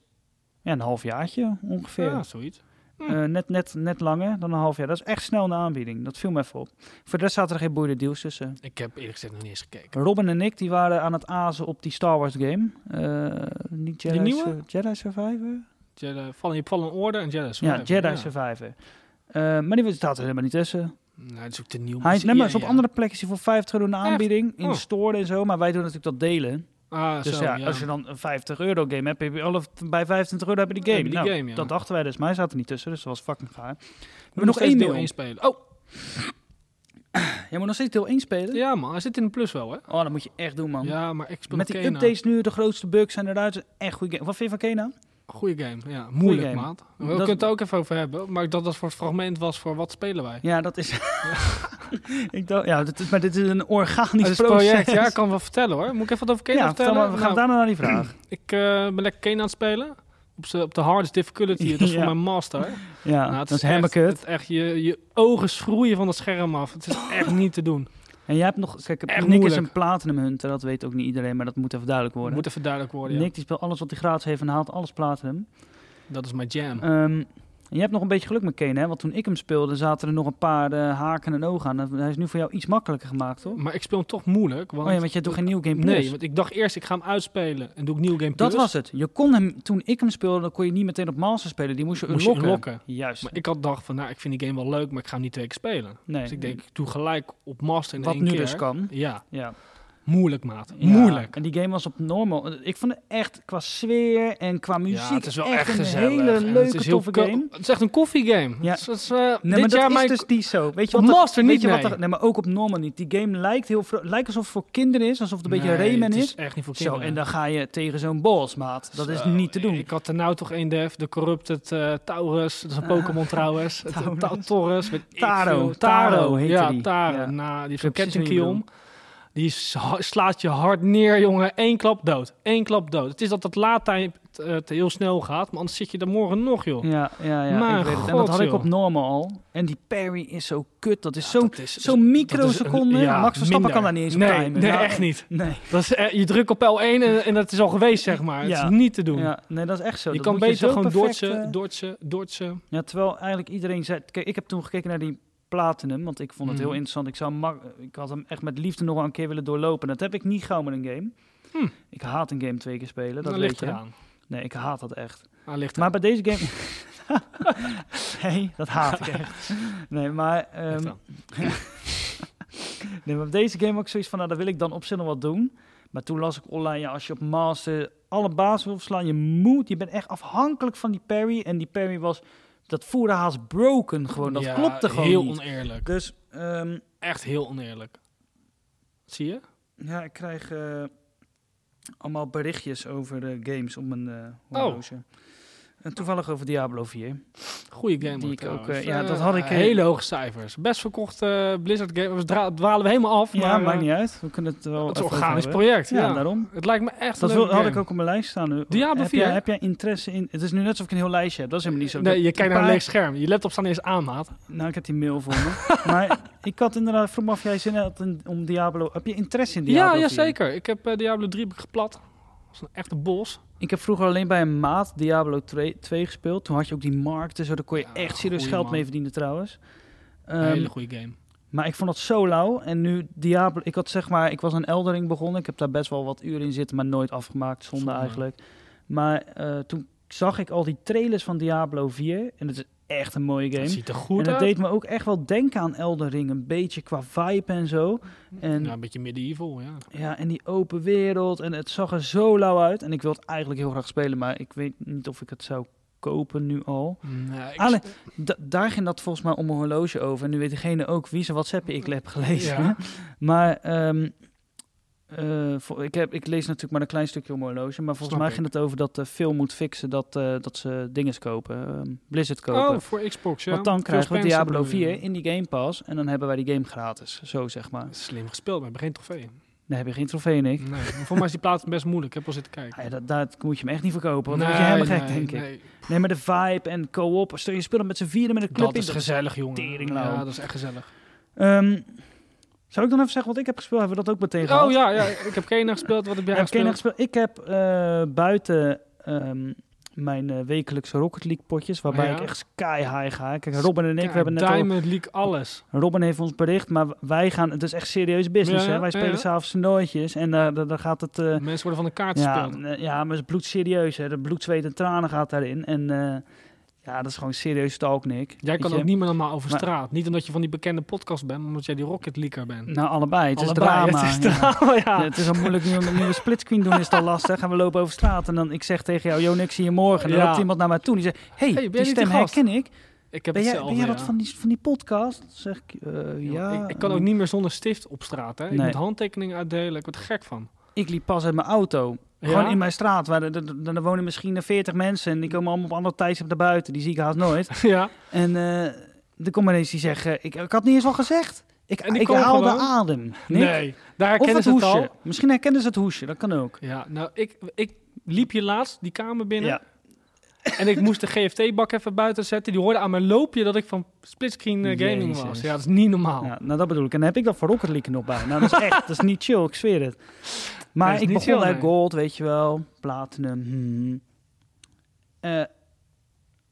[SPEAKER 1] ja, een halfjaartje ongeveer.
[SPEAKER 2] Ja, zoiets.
[SPEAKER 1] Eh, net, net, net langer dan een half jaar. Dat is echt snel een aanbieding. Dat viel me even op. Voor de rest zaten er geen boeiende deals tussen.
[SPEAKER 2] Ik heb eerlijk gezegd nog niet eens gekeken.
[SPEAKER 1] Robin en ik die waren aan het azen op die Star Wars game. Eh, niet Jedi,
[SPEAKER 2] nieuwe?
[SPEAKER 1] Sur- Jedi Survivor?
[SPEAKER 2] Jedi, Fallen, je Fallen Order en Jedi
[SPEAKER 1] Ja,
[SPEAKER 2] Survivor.
[SPEAKER 1] Jedi Survivor. Eh, maar die staat er helemaal niet tussen.
[SPEAKER 2] Nou, dat is ook te nieuw.
[SPEAKER 1] Hij,
[SPEAKER 2] Is-
[SPEAKER 1] nee, maar
[SPEAKER 2] ja,
[SPEAKER 1] is op
[SPEAKER 2] ja.
[SPEAKER 1] andere plekken is hij voor 50 euro een
[SPEAKER 2] Echt?
[SPEAKER 1] aanbieding. In
[SPEAKER 2] Oh.
[SPEAKER 1] store en zo. Maar wij doen natuurlijk dat delen.
[SPEAKER 2] Ah,
[SPEAKER 1] Dus
[SPEAKER 2] zo,
[SPEAKER 1] ja,
[SPEAKER 2] ja.
[SPEAKER 1] als je dan een 50 euro game hebt, heb je alle, bij 25 euro heb je die
[SPEAKER 2] Heb
[SPEAKER 1] game.
[SPEAKER 2] je die
[SPEAKER 1] Nou,
[SPEAKER 2] game, ja.
[SPEAKER 1] Dat dachten wij dus, maar hij zat er niet tussen. Dus dat was fucking gaar.
[SPEAKER 2] Moet
[SPEAKER 1] We nog
[SPEAKER 2] steeds
[SPEAKER 1] één
[SPEAKER 2] deel
[SPEAKER 1] deel.
[SPEAKER 2] één spelen. Oh,
[SPEAKER 1] Jij moet nog steeds deel 1 spelen?
[SPEAKER 2] ja man, hij zit in de plus wel, hè?
[SPEAKER 1] Oh, dat moet je echt doen, man.
[SPEAKER 2] Ja, maar nou, ik speel
[SPEAKER 1] Met die
[SPEAKER 2] Kena.
[SPEAKER 1] updates nu, de grootste bugs zijn eruit. Het is Echt goede game. Wat vind je van Kena?
[SPEAKER 2] Goeie game, ja. Moeilijk,
[SPEAKER 1] game.
[SPEAKER 2] maat. We
[SPEAKER 1] Dat-
[SPEAKER 2] kunnen het er ook even over hebben. Maar dat dat voor het fragment was voor wat spelen wij.
[SPEAKER 1] Ja, dat is... [laughs] ik dacht, ja, dit is, maar dit is een organisch
[SPEAKER 2] Het is een
[SPEAKER 1] proces.
[SPEAKER 2] project, ja, ik kan wel vertellen hoor. Moet ik even wat over Kena
[SPEAKER 1] Ja, vertel
[SPEAKER 2] vertellen?
[SPEAKER 1] maar, we gaan
[SPEAKER 2] Nou,
[SPEAKER 1] daarna naar die
[SPEAKER 2] [clears throat]
[SPEAKER 1] vraag.
[SPEAKER 2] Ik eh, ben lekker Kena aan het spelen. Op, z'n- op de hardest difficulty. Dat is voor
[SPEAKER 1] Ja.
[SPEAKER 2] mijn master.
[SPEAKER 1] Ja,
[SPEAKER 2] Nou, het
[SPEAKER 1] dat is
[SPEAKER 2] echt-
[SPEAKER 1] helemaal kut.
[SPEAKER 2] het Echt, je, je ogen schroeien van het scherm af. Het is echt niet te doen.
[SPEAKER 1] En jij hebt nog... Kijk,
[SPEAKER 2] Echt
[SPEAKER 1] Nick is
[SPEAKER 2] moeilijk.
[SPEAKER 1] een platinum hunter. Dat weet ook niet iedereen, maar dat moet even duidelijk worden.
[SPEAKER 2] Moet even duidelijk worden. ja.
[SPEAKER 1] Nick die speelt alles wat hij gratis heeft en haalt alles platinum.
[SPEAKER 2] Dat is mijn jam.
[SPEAKER 1] Ehm, en je hebt nog een beetje geluk met Kane, hè? Want toen ik hem speelde, zaten er nog een paar eh, haken en ogen aan. Dat- Hij is nu voor jou iets makkelijker gemaakt, hoor.
[SPEAKER 2] Maar ik speel hem toch moeilijk. Want,
[SPEAKER 1] oh ja, want jij doet geen nieuw game plus.
[SPEAKER 2] Nee, want ik dacht eerst ik ga hem uitspelen en doe ik nieuw game plus.
[SPEAKER 1] dat was het. Je kon hem, toen ik hem speelde, dan kon je niet meteen op master spelen. Die moest je
[SPEAKER 2] Moest je
[SPEAKER 1] unlocken.
[SPEAKER 2] unlocken.
[SPEAKER 1] Juist.
[SPEAKER 2] Maar ik had dacht van, nou, ik vind die game wel leuk, maar ik ga hem niet twee keer spelen.
[SPEAKER 1] nee.
[SPEAKER 2] Dus ik denk, ik doe gelijk op master in
[SPEAKER 1] wat
[SPEAKER 2] één
[SPEAKER 1] nu
[SPEAKER 2] keer.
[SPEAKER 1] dus kan.
[SPEAKER 2] Ja,
[SPEAKER 1] Ja.
[SPEAKER 2] moeilijk maat.
[SPEAKER 1] Ja.
[SPEAKER 2] Moeilijk.
[SPEAKER 1] En die game was op normal. Ik vond het echt qua sfeer en qua muziek
[SPEAKER 2] ja, het is wel
[SPEAKER 1] echt,
[SPEAKER 2] echt,
[SPEAKER 1] een
[SPEAKER 2] gezellig. En
[SPEAKER 1] hele
[SPEAKER 2] het
[SPEAKER 1] leuke,
[SPEAKER 2] is heel
[SPEAKER 1] toffe
[SPEAKER 2] ko-
[SPEAKER 1] game.
[SPEAKER 2] Het is echt een koffiegame.
[SPEAKER 1] Ja.
[SPEAKER 2] Ja. Dat is, eh,
[SPEAKER 1] Nee, maar
[SPEAKER 2] dit
[SPEAKER 1] dat
[SPEAKER 2] jaar
[SPEAKER 1] is
[SPEAKER 2] mijn...
[SPEAKER 1] dus niet zo. Weet je
[SPEAKER 2] Op
[SPEAKER 1] wat er-
[SPEAKER 2] master
[SPEAKER 1] weet
[SPEAKER 2] niet,
[SPEAKER 1] je wat
[SPEAKER 2] nee.
[SPEAKER 1] er- nee, maar ook op normal niet. Die game lijkt heel vro- lijkt alsof het voor kinderen is, alsof het een beetje
[SPEAKER 2] Nee,
[SPEAKER 1] Rayman
[SPEAKER 2] het
[SPEAKER 1] is.
[SPEAKER 2] echt niet voor
[SPEAKER 1] Zo,
[SPEAKER 2] kinderen.
[SPEAKER 1] en dan ga je tegen zo'n boss, maat. Dat is
[SPEAKER 2] Zo,
[SPEAKER 1] niet te doen.
[SPEAKER 2] Ik had er nou toch één def, de Corrupted eh Taurus, dat is een
[SPEAKER 1] [laughs]
[SPEAKER 2] Pokémon trouwens. Het-
[SPEAKER 1] Taurus.
[SPEAKER 2] Ta- Taurus, weet ik
[SPEAKER 1] Taro,
[SPEAKER 2] veel.
[SPEAKER 1] Taro heette
[SPEAKER 2] ja,
[SPEAKER 1] die.
[SPEAKER 2] Taro.
[SPEAKER 1] Ja.
[SPEAKER 2] Nou, die
[SPEAKER 1] weet
[SPEAKER 2] van
[SPEAKER 1] precies
[SPEAKER 2] Ketchum
[SPEAKER 1] wie je
[SPEAKER 2] Kiom. Die is- slaat je hard neer, jongen. Eén klap dood. Eén klap dood. Het is dat dat laadtijd eh, te heel snel gaat, maar anders zit je er morgen nog, joh.
[SPEAKER 1] ja, ja, ja.
[SPEAKER 2] Mijn
[SPEAKER 1] ik weet het. En
[SPEAKER 2] god,
[SPEAKER 1] dat had ik
[SPEAKER 2] joh.
[SPEAKER 1] op normal al. En die parry is zo kut. Dat is
[SPEAKER 2] Ja,
[SPEAKER 1] zo'n
[SPEAKER 2] dat is-
[SPEAKER 1] zo'n microseconde.
[SPEAKER 2] dat is een- ja,
[SPEAKER 1] Max Verstappen
[SPEAKER 2] minder.
[SPEAKER 1] kan daar niet eens op
[SPEAKER 2] nee,
[SPEAKER 1] timen. Nou, eh,
[SPEAKER 2] Nee,
[SPEAKER 1] Ja,
[SPEAKER 2] echt niet.
[SPEAKER 1] Nee.
[SPEAKER 2] Dat is, eh, je drukt op L1 en, en dat is al geweest, zeg maar.
[SPEAKER 1] Ja.
[SPEAKER 2] Het is niet te doen.
[SPEAKER 1] [laughs] Ja, nee, dat is echt zo.
[SPEAKER 2] Je
[SPEAKER 1] Dat
[SPEAKER 2] kan
[SPEAKER 1] moet
[SPEAKER 2] beter
[SPEAKER 1] zo
[SPEAKER 2] gewoon
[SPEAKER 1] perfect,
[SPEAKER 2] dortsen,
[SPEAKER 1] eh,
[SPEAKER 2] dortsen, dortsen.
[SPEAKER 1] Ja, terwijl eigenlijk iedereen zei... Kijk, ik heb toen gekeken naar die Platinum, want ik vond het
[SPEAKER 2] Mhm.
[SPEAKER 1] heel interessant. Ik, zou mak- ik had hem echt met liefde nog wel een keer willen doorlopen. Dat heb ik niet gauw met een game.
[SPEAKER 2] Hm.
[SPEAKER 1] Ik haat een game twee keer spelen, Hmm. dat
[SPEAKER 2] Dat
[SPEAKER 1] weet
[SPEAKER 2] ligt
[SPEAKER 1] je.
[SPEAKER 2] eraan.
[SPEAKER 1] Nee, ik haat dat echt.
[SPEAKER 2] Ah, ligt
[SPEAKER 1] Maar bij deze game...
[SPEAKER 2] [laughs]
[SPEAKER 1] nee, dat haat ik echt. Nee, maar... ehm,
[SPEAKER 2] Ligt eraan.
[SPEAKER 1] nee, maar bij deze game had ik zoiets van... Nou, daar wil ik dan op zich nog wat doen. Maar toen las ik online... Ja, als je op Master alle baas wil verslaan... Je moet... Je bent echt afhankelijk van die parry. En die parry was... Dat voerde haast broken gewoon. Dat
[SPEAKER 2] Ja,
[SPEAKER 1] klopte gewoon
[SPEAKER 2] heel
[SPEAKER 1] niet.
[SPEAKER 2] oneerlijk.
[SPEAKER 1] Dus... ehm,
[SPEAKER 2] Echt heel oneerlijk. Zie je?
[SPEAKER 1] ja, ik krijg... eh, allemaal berichtjes over eh, games op mijn eh horloge.
[SPEAKER 2] Oh.
[SPEAKER 1] En toevallig over Diablo 4.
[SPEAKER 2] Goeie game.
[SPEAKER 1] Die
[SPEAKER 2] hoor,
[SPEAKER 1] ik ook,
[SPEAKER 2] trouwens.
[SPEAKER 1] eh, ja,
[SPEAKER 2] Eh,
[SPEAKER 1] dat had ik, eh,
[SPEAKER 2] hele hoge cijfers. Best verkocht eh, Blizzard game. We dra- dwalen we helemaal af.
[SPEAKER 1] Ja,
[SPEAKER 2] maar, eh,
[SPEAKER 1] maakt niet uit. We kunnen het wel.
[SPEAKER 2] Het is een
[SPEAKER 1] even
[SPEAKER 2] organisch
[SPEAKER 1] over hebben.
[SPEAKER 2] project. Ja,
[SPEAKER 1] Ja, daarom.
[SPEAKER 2] Het lijkt me echt
[SPEAKER 1] Dat
[SPEAKER 2] een
[SPEAKER 1] wil-
[SPEAKER 2] leuke
[SPEAKER 1] had
[SPEAKER 2] game.
[SPEAKER 1] ik ook op mijn lijst staan. Eh,
[SPEAKER 2] Diablo
[SPEAKER 1] heb
[SPEAKER 2] 4,
[SPEAKER 1] Jij,
[SPEAKER 2] hè?
[SPEAKER 1] heb jij interesse in? Het is nu net alsof ik een heel lijstje heb. Dat is helemaal niet zo.
[SPEAKER 2] Nee,
[SPEAKER 1] Ik
[SPEAKER 2] je
[SPEAKER 1] heb
[SPEAKER 2] kijkt
[SPEAKER 1] een
[SPEAKER 2] naar een
[SPEAKER 1] paar-
[SPEAKER 2] leeg scherm. Je laptop staat niet eens aan, maat.
[SPEAKER 1] Nou, ik heb die mail voor [laughs] me. maar ik had inderdaad vroeg me af of jij zin had in, om Diablo. Heb je interesse in Diablo?
[SPEAKER 2] Ja, ja,
[SPEAKER 1] 4?
[SPEAKER 2] zeker. Ik heb eh, Diablo 3 heb ik geplat. Dat is een echte bos.
[SPEAKER 1] Ik heb vroeger alleen bij een maat Diablo 2, 2 gespeeld. Toen had je ook die markten, zo daar kon je
[SPEAKER 2] Ja,
[SPEAKER 1] echt serieus
[SPEAKER 2] goeie
[SPEAKER 1] geld
[SPEAKER 2] man.
[SPEAKER 1] mee verdienen trouwens. Ehm,
[SPEAKER 2] Hele goede game.
[SPEAKER 1] Maar ik vond dat zo lauw. En nu Diablo... Ik had zeg maar... Ik was aan Eldering begonnen. Ik heb daar best wel wat uren in zitten, maar nooit afgemaakt. Zonde,
[SPEAKER 2] Zonde.
[SPEAKER 1] eigenlijk. Maar eh, toen zag ik al die trailers van Diablo 4. En het is echt een mooie game.
[SPEAKER 2] Het ziet er goed
[SPEAKER 1] en het
[SPEAKER 2] uit.
[SPEAKER 1] deed me ook echt wel denken aan Eldering. Een beetje qua vibe en zo. En
[SPEAKER 2] Ja,
[SPEAKER 1] ja.
[SPEAKER 2] een beetje medieval, ja.
[SPEAKER 1] en die open wereld. En het zag er zo lauw uit. En ik wil het eigenlijk heel graag spelen. Maar ik weet niet of ik het zou kopen nu al.
[SPEAKER 2] Nee, ik-
[SPEAKER 1] Alle- Da- daar ging dat volgens mij om een horloge over. En nu weet degene ook wie zijn WhatsAppje ik heb gelezen.
[SPEAKER 2] Ja.
[SPEAKER 1] [laughs] Maar ehm, eh, voor- ik, heb, ik lees natuurlijk maar een klein stukje om horloge. Maar volgens
[SPEAKER 2] Snap
[SPEAKER 1] mij
[SPEAKER 2] ik.
[SPEAKER 1] ging het over dat eh Phil moet fixen dat, eh, dat ze dingen kopen. ehm, Blizzard kopen.
[SPEAKER 2] Oh, voor Xbox, ja.
[SPEAKER 1] Want dan
[SPEAKER 2] Phil
[SPEAKER 1] krijgen we
[SPEAKER 2] Spencer
[SPEAKER 1] Diablo
[SPEAKER 2] bedoel je.
[SPEAKER 1] 4 in die Game Pass. En dan hebben wij die game gratis. Zo zeg maar.
[SPEAKER 2] Slim gespeeld, maar ik heb geen trofee.
[SPEAKER 1] Dan heb je geen trofee, Nick. Ah
[SPEAKER 2] Nee, voor mij is die plaat best moeilijk. Ik heb al zitten kijken.
[SPEAKER 1] Ja, dat, daar moet je hem echt niet verkopen. Want dan word je helemaal gek, denk ik.
[SPEAKER 2] nee.
[SPEAKER 1] Nee, maar de vibe en co-op. Stel, je speelt hem met z'n vieren met een club
[SPEAKER 2] Dat is
[SPEAKER 1] in.
[SPEAKER 2] gezellig, jongen.
[SPEAKER 1] teringlauw.
[SPEAKER 2] ja, dat is echt gezellig.
[SPEAKER 1] Ehm, zou ik dan even zeggen wat ik heb gespeeld? Hebben we dat ook meteen gehad? nou,
[SPEAKER 2] Oh ja, ja, ik heb Kena gespeeld. Wat heb jij
[SPEAKER 1] Ik heb,
[SPEAKER 2] gespeeld?
[SPEAKER 1] Kena gespeeld. Ik heb eh, buiten ehm, mijn eh, wekelijkse Rocket League potjes, waarbij
[SPEAKER 2] Oh, Ja.
[SPEAKER 1] ik echt sky high ga. Kijk, Robin en ik, we hebben net al-
[SPEAKER 2] Diamond League alles.
[SPEAKER 1] Robin heeft ons bericht, maar wij gaan, het is echt serieus business,
[SPEAKER 2] Ja, ja,
[SPEAKER 1] hè? Wij
[SPEAKER 2] ja,
[SPEAKER 1] spelen
[SPEAKER 2] ja.
[SPEAKER 1] s'avonds toernooitjes en eh, dan dan gaat het... eh,
[SPEAKER 2] Mensen worden van de kaart
[SPEAKER 1] ja,
[SPEAKER 2] gespeeld.
[SPEAKER 1] eh, ja, maar het is bloedserieus, hè? De bloed, zweet en tranen gaat daarin en... eh, ja, dat is gewoon serieus stalk, Nick.
[SPEAKER 2] Jij
[SPEAKER 1] Weet
[SPEAKER 2] kan
[SPEAKER 1] je?
[SPEAKER 2] ook niet meer normaal over
[SPEAKER 1] Maar-
[SPEAKER 2] straat. Niet omdat je van die bekende podcast bent, maar omdat jij die Rocket Leaguer bent.
[SPEAKER 1] Nou, allebei. Het
[SPEAKER 2] Allebei, [laughs]
[SPEAKER 1] is drama.
[SPEAKER 2] Het is
[SPEAKER 1] ja.
[SPEAKER 2] drama, ja.
[SPEAKER 1] Ja, het is al moeilijk nu, nu we splitscreen doen, is het al lastig. En we lopen over straat en dan ik zeg tegen jou, yo, ik zie je morgen. En dan
[SPEAKER 2] Ja.
[SPEAKER 1] loopt iemand naar mij toe en die zegt, hey,
[SPEAKER 2] ben je
[SPEAKER 1] die
[SPEAKER 2] niet die
[SPEAKER 1] stem
[SPEAKER 2] gast?
[SPEAKER 1] herken ik.
[SPEAKER 2] Ik heb
[SPEAKER 1] Ben jij,
[SPEAKER 2] hetzelfde,
[SPEAKER 1] ben jij dat
[SPEAKER 2] ja.
[SPEAKER 1] van die, van die podcast? Dan zeg ik, eh, ja.
[SPEAKER 2] Ik, ik kan
[SPEAKER 1] eh,
[SPEAKER 2] ook niet meer zonder stift op straat, hè. Ik
[SPEAKER 1] Nee.
[SPEAKER 2] moet handtekeningen uitdelen, ik word er gek van.
[SPEAKER 1] ik liep pas uit mijn auto.
[SPEAKER 2] Ja?
[SPEAKER 1] Gewoon in mijn straat. Waar de- de- de- dan wonen misschien 40 mensen en die komen allemaal op andere tijdstip naar buiten. Die zie ik haast nooit.
[SPEAKER 2] [laughs] [laughs] ja.
[SPEAKER 1] En eh er komt ineens die zeggen, ik, ik had niet eens al gezegd. Ik,
[SPEAKER 2] En die
[SPEAKER 1] ik
[SPEAKER 2] komen
[SPEAKER 1] haalde
[SPEAKER 2] gewoon?
[SPEAKER 1] adem. Nick.
[SPEAKER 2] Nee, daar
[SPEAKER 1] Of
[SPEAKER 2] herkennen
[SPEAKER 1] het
[SPEAKER 2] ze het al.
[SPEAKER 1] hoesje. Misschien herkennen ze het hoesje, dat kan ook.
[SPEAKER 2] Ja, nou, ik, ik liep hier laatst die kamer binnen.
[SPEAKER 1] Ja.
[SPEAKER 2] En ik moest de GFT-bak even buiten zetten. Die hoorde aan mijn loopje dat ik van splitscreen eh, gaming
[SPEAKER 1] Jezus.
[SPEAKER 2] was. Ja, dat is niet normaal.
[SPEAKER 1] Ja, nou, dat bedoel ik. En dan heb ik dat voor Rocket League er nog bij. Nou, dat is echt, dat is niet chill, ik zweer het. Maar
[SPEAKER 2] Dat is
[SPEAKER 1] ik
[SPEAKER 2] niet
[SPEAKER 1] begon
[SPEAKER 2] chill,
[SPEAKER 1] uit
[SPEAKER 2] nee.
[SPEAKER 1] gold, weet je wel, platinum. hmm. Eh,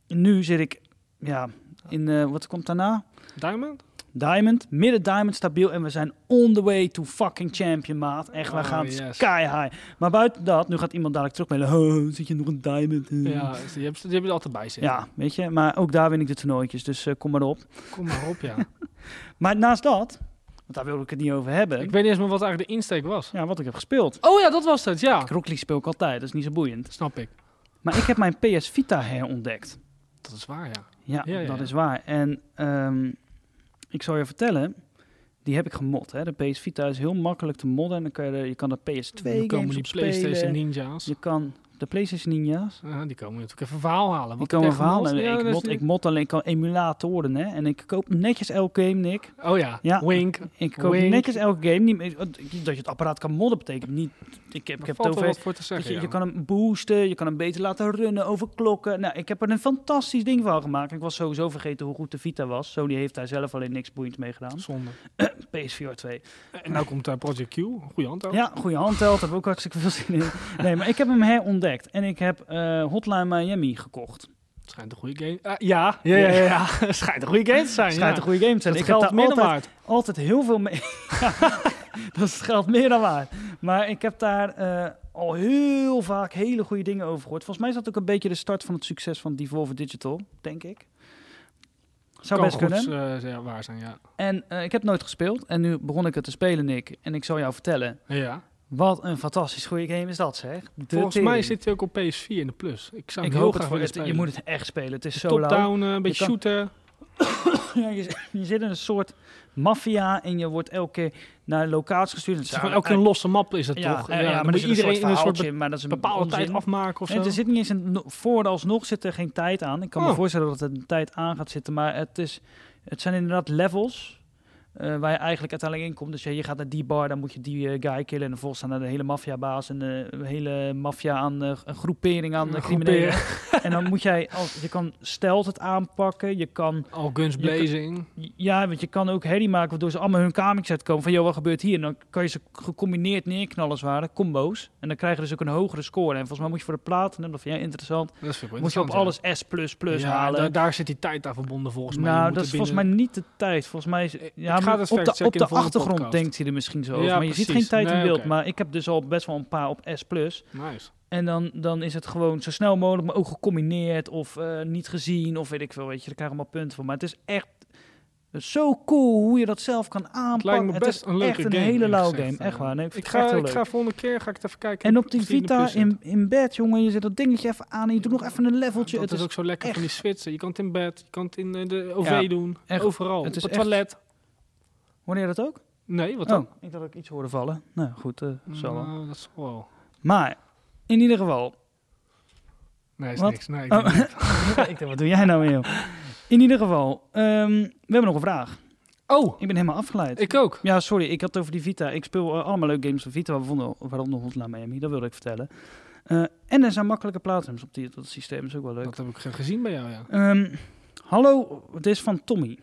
[SPEAKER 1] nu zit ik, ja, in, eh, wat komt daarna?
[SPEAKER 2] Diamond?
[SPEAKER 1] Diamond, midden diamond stabiel en we zijn on the way to fucking champion, maat. Echt, wij
[SPEAKER 2] Oh,
[SPEAKER 1] gaan
[SPEAKER 2] yes.
[SPEAKER 1] sky high. Maar buiten dat, nu gaat iemand dadelijk terugmelen. Oh, zit je nog een diamond? Hmm.
[SPEAKER 2] Ja, dus die hebben ze- die hebben er altijd bij zitten.
[SPEAKER 1] Ja, weet je, maar ook daar win ik de toernooitjes, dus eh, kom maar op.
[SPEAKER 2] Kom maar
[SPEAKER 1] [laughs]
[SPEAKER 2] op, ja.
[SPEAKER 1] Maar naast dat, want daar wilde ik het niet over hebben,
[SPEAKER 2] ik weet niet eens meer wat eigenlijk de insteek was.
[SPEAKER 1] ja, wat ik heb gespeeld.
[SPEAKER 2] Oh ja, dat was het, ja.
[SPEAKER 1] Ik Rocket League speel ik altijd, dat is niet zo boeiend.
[SPEAKER 2] Snap ik.
[SPEAKER 1] Maar ik heb mijn PS Vita herontdekt.
[SPEAKER 2] Dat is waar, ja.
[SPEAKER 1] Ja,
[SPEAKER 2] Ja, ja,
[SPEAKER 1] dat
[SPEAKER 2] ja.
[SPEAKER 1] is waar. En ehm, ik zal je vertellen, die heb ik gemod. Hè. De PS Vita is heel makkelijk te modden. En dan kan je, de- je kan de PS2
[SPEAKER 2] Dan komen
[SPEAKER 1] games
[SPEAKER 2] die
[SPEAKER 1] op PlayStation
[SPEAKER 2] PlayStation
[SPEAKER 1] spelen.
[SPEAKER 2] Ninja's.
[SPEAKER 1] Je kan de PlayStation Ninja's.
[SPEAKER 2] Ja, Eh, die komen natuurlijk even een verhaal halen.
[SPEAKER 1] Die
[SPEAKER 2] Wat
[SPEAKER 1] komen
[SPEAKER 2] heb jij
[SPEAKER 1] verhalen.
[SPEAKER 2] gemolst? Ja, dus
[SPEAKER 1] ik,
[SPEAKER 2] dat is
[SPEAKER 1] mod, ik
[SPEAKER 2] niet-
[SPEAKER 1] mod alleen, ik kan emulatoren. Hè. En ik koop netjes elke game, Nick.
[SPEAKER 2] Oh ja.
[SPEAKER 1] Ja.
[SPEAKER 2] Wink.
[SPEAKER 1] Ik koop
[SPEAKER 2] Wink.
[SPEAKER 1] netjes elke game. Niet, meer- dat je het apparaat kan modden betekent niet... Ik heb, ik
[SPEAKER 2] Daar
[SPEAKER 1] heb
[SPEAKER 2] valt
[SPEAKER 1] het
[SPEAKER 2] wel
[SPEAKER 1] over
[SPEAKER 2] wat voor te
[SPEAKER 1] Dat
[SPEAKER 2] zeggen,
[SPEAKER 1] Dus je, je
[SPEAKER 2] ja.
[SPEAKER 1] kan hem boosten, je kan hem beter laten runnen, overklokken. Nou, ik heb er een fantastisch ding van gemaakt. Ik was sowieso vergeten hoe goed de Vita was. Sony heeft daar zelf alleen niks boeiends mee gedaan.
[SPEAKER 2] Zonde.
[SPEAKER 1] PSVR 2.
[SPEAKER 2] En nou komt eh, Project Q. Goeie hand ook.
[SPEAKER 1] Ja, goede handheld, daar heb ik ook hartstikke veel zin in. Nee, maar ik heb hem herontdekt. En ik heb eh, Hotline Miami gekocht.
[SPEAKER 2] Schijnt een goede game. Ah, ja. Ja, ja, ja, ja. [laughs] Schijnt een goede game te zijn.
[SPEAKER 1] Schijnt
[SPEAKER 2] Ah, ja.
[SPEAKER 1] een goede game te zijn.
[SPEAKER 2] Dat
[SPEAKER 1] ik heb
[SPEAKER 2] geld
[SPEAKER 1] daar
[SPEAKER 2] meer dan
[SPEAKER 1] altijd,
[SPEAKER 2] waard.
[SPEAKER 1] altijd heel veel mee... [laughs] Ja, dat is geld meer dan waar. Maar ik heb daar eh, al heel vaak hele goede dingen over gehoord. Volgens mij is dat ook een beetje de start van het succes van Devolver Digital, denk ik. Zou
[SPEAKER 2] Kan
[SPEAKER 1] best kunnen.
[SPEAKER 2] goed, eh, ja, waar zijn, ja.
[SPEAKER 1] En eh, ik heb nooit gespeeld. En nu begon ik het te spelen, Nick. En ik zal jou vertellen.
[SPEAKER 2] ja.
[SPEAKER 1] Wat een fantastisch goede game is dat, zeg. De
[SPEAKER 2] Volgens
[SPEAKER 1] tering.
[SPEAKER 2] mij zit hij ook op PS4 in de plus. Ik zou
[SPEAKER 1] Ik
[SPEAKER 2] hem heel
[SPEAKER 1] hoop het
[SPEAKER 2] graag
[SPEAKER 1] voor
[SPEAKER 2] willen
[SPEAKER 1] het. Je
[SPEAKER 2] spelen.
[SPEAKER 1] moet het echt spelen. Het is zo lauw.
[SPEAKER 2] Top-down, eh, een beetje
[SPEAKER 1] kan-
[SPEAKER 2] shooten.
[SPEAKER 1] Ja, je, z- [laughs] je zit in een soort maffia. En je wordt elke keer naar locaties gestuurd. Het
[SPEAKER 2] Het is gewoon elke keer een losse map is dat
[SPEAKER 1] ja,
[SPEAKER 2] toch?
[SPEAKER 1] Ja, ja, maar
[SPEAKER 2] dan
[SPEAKER 1] er
[SPEAKER 2] moet
[SPEAKER 1] zit
[SPEAKER 2] iedereen
[SPEAKER 1] een
[SPEAKER 2] in een
[SPEAKER 1] soort
[SPEAKER 2] soort
[SPEAKER 1] verhaaltje, maar dat is een
[SPEAKER 2] bepaalde
[SPEAKER 1] onzin.
[SPEAKER 2] tijd afmaken of zo.
[SPEAKER 1] En er zit niet eens een no- vooralsnog zit er geen tijd aan. Ik kan me
[SPEAKER 2] Oh.
[SPEAKER 1] voorstellen dat het een tijd aan gaat zitten, maar het, is, het zijn inderdaad levels eh, waar je eigenlijk uiteindelijk in komt. Dus ja, je gaat naar die bar, dan moet je die eh, guy killen en dan volgens staan naar de hele maffiabaas en de hele maffia aan eh, een groepering aan de
[SPEAKER 2] Een
[SPEAKER 1] criminelen. [laughs] en dan moet jij als je kan stelt het aanpakken, je kan
[SPEAKER 2] Al guns
[SPEAKER 1] Je kan-
[SPEAKER 2] blazing.
[SPEAKER 1] ja, want je kan ook herrie maken waardoor ze allemaal hun kamer uitkomen van joh, wat gebeurt hier? En dan kan je ze gecombineerd neerknallen als het ware, combo's. En dan krijg je dus ook een hogere score. En volgens mij moet je voor de platinum, dat vind jij interessant.
[SPEAKER 2] Dat vind ik wel
[SPEAKER 1] Moet je op
[SPEAKER 2] interessant,
[SPEAKER 1] alles S++
[SPEAKER 2] ja. Ja,
[SPEAKER 1] halen.
[SPEAKER 2] daar- daar zit die tijd aan verbonden volgens mij. Je
[SPEAKER 1] nou,
[SPEAKER 2] moet
[SPEAKER 1] dat
[SPEAKER 2] er
[SPEAKER 1] is volgens mij
[SPEAKER 2] binnen-
[SPEAKER 1] niet de tijd. Volgens mij is, ja,
[SPEAKER 2] ga
[SPEAKER 1] maar
[SPEAKER 2] dat
[SPEAKER 1] op de,
[SPEAKER 2] factchecken
[SPEAKER 1] op
[SPEAKER 2] in
[SPEAKER 1] de
[SPEAKER 2] de volgende
[SPEAKER 1] achtergrond
[SPEAKER 2] podcast.
[SPEAKER 1] denkt hij er misschien zo
[SPEAKER 2] Ja,
[SPEAKER 1] over. maar je ziet
[SPEAKER 2] precies.
[SPEAKER 1] geen tijd in
[SPEAKER 2] Nee,
[SPEAKER 1] beeld.
[SPEAKER 2] oké.
[SPEAKER 1] Maar ik heb dus al best wel een paar op S+.
[SPEAKER 2] Nice.
[SPEAKER 1] En dan, dan is het gewoon zo snel mogelijk, maar ook gecombineerd of eh, niet gezien of weet ik veel. Weet je, daar krijg je allemaal punten voor. Maar het is echt het is zo cool hoe je dat zelf kan aanpakken.
[SPEAKER 2] Het lijkt me best
[SPEAKER 1] is
[SPEAKER 2] een leuke
[SPEAKER 1] echt een
[SPEAKER 2] game,
[SPEAKER 1] hele
[SPEAKER 2] eerlijk
[SPEAKER 1] lauw
[SPEAKER 2] gezegd.
[SPEAKER 1] game. Echt waar. Nee, ik, vind
[SPEAKER 2] Ik
[SPEAKER 1] het echt
[SPEAKER 2] ga,
[SPEAKER 1] heel
[SPEAKER 2] ik
[SPEAKER 1] leuk.
[SPEAKER 2] ga volgende keer ga ik het even kijken.
[SPEAKER 1] En op die
[SPEAKER 2] of in de
[SPEAKER 1] Vita
[SPEAKER 2] plus zit.
[SPEAKER 1] in, in bed, jongen, je zet dat dingetje even aan en je doet nog even een leveltje.
[SPEAKER 2] Dat
[SPEAKER 1] het
[SPEAKER 2] is
[SPEAKER 1] is
[SPEAKER 2] ook zo lekker van die switchen. Je kan het in bed, je kan het in eh, de OV
[SPEAKER 1] Ja,
[SPEAKER 2] doen.
[SPEAKER 1] echt.
[SPEAKER 2] Overal.
[SPEAKER 1] Het is
[SPEAKER 2] Het is op het
[SPEAKER 1] echt-
[SPEAKER 2] toilet.
[SPEAKER 1] Wanneer dat ook?
[SPEAKER 2] Nee, wat
[SPEAKER 1] Oh,
[SPEAKER 2] dan?
[SPEAKER 1] ik had ook iets horen vallen. Nou goed, eh, zal wel.
[SPEAKER 2] Nou, dat is wel.
[SPEAKER 1] Maar, in ieder geval.
[SPEAKER 2] Nee, is
[SPEAKER 1] Wat?
[SPEAKER 2] niks. Nee, ik
[SPEAKER 1] Oh.
[SPEAKER 2] denk niet.
[SPEAKER 1] [laughs] ik dacht, wat doe jij nou weer? joh? In ieder geval, ehm, we hebben nog een vraag.
[SPEAKER 2] oh,
[SPEAKER 1] Ik ben helemaal afgeleid.
[SPEAKER 2] ik ook.
[SPEAKER 1] Ja, sorry, ik had het over die Vita. Ik speel eh, allemaal leuke games van Vita, waaronder, waaronder Hotline Miami, dat wilde ik vertellen. Eh, en er zijn makkelijke platinums op die, dat systeem, is ook wel leuk.
[SPEAKER 2] Dat heb ik ge- gezien bij jou, ja.
[SPEAKER 1] Ehm, hallo, het is van Tommy.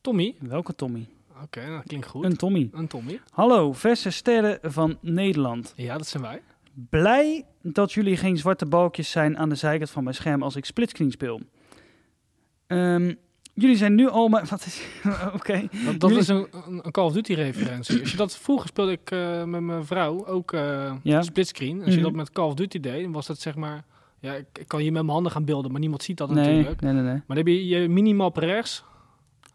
[SPEAKER 2] Tommy.
[SPEAKER 1] Welke Tommy?
[SPEAKER 2] Oké, nou, dat klinkt goed.
[SPEAKER 1] Een Tommy.
[SPEAKER 2] Een Tommy.
[SPEAKER 1] Hallo, verse sterren van Nederland.
[SPEAKER 2] Ja, dat zijn wij.
[SPEAKER 1] Blij dat jullie geen zwarte balkjes zijn aan de zijkant van mijn scherm als ik splitscreen speel. Ehm, jullie zijn nu al maar... [laughs] Wat is... Oké.
[SPEAKER 2] Dat, dat
[SPEAKER 1] Jullie-
[SPEAKER 2] is een, een een Call of Duty referentie. Als je dat vroeger speelde ik eh, met mijn vrouw ook eh
[SPEAKER 1] Ja.
[SPEAKER 2] splitscreen. Als je
[SPEAKER 1] Mhm.
[SPEAKER 2] dat met Call of Duty deed, dan was dat zeg maar. Ja, ik, ik kan hier met mijn handen gaan beelden, maar niemand ziet dat
[SPEAKER 1] Nee,
[SPEAKER 2] natuurlijk.
[SPEAKER 1] nee, nee, nee.
[SPEAKER 2] Maar dan heb je je minimap rechts.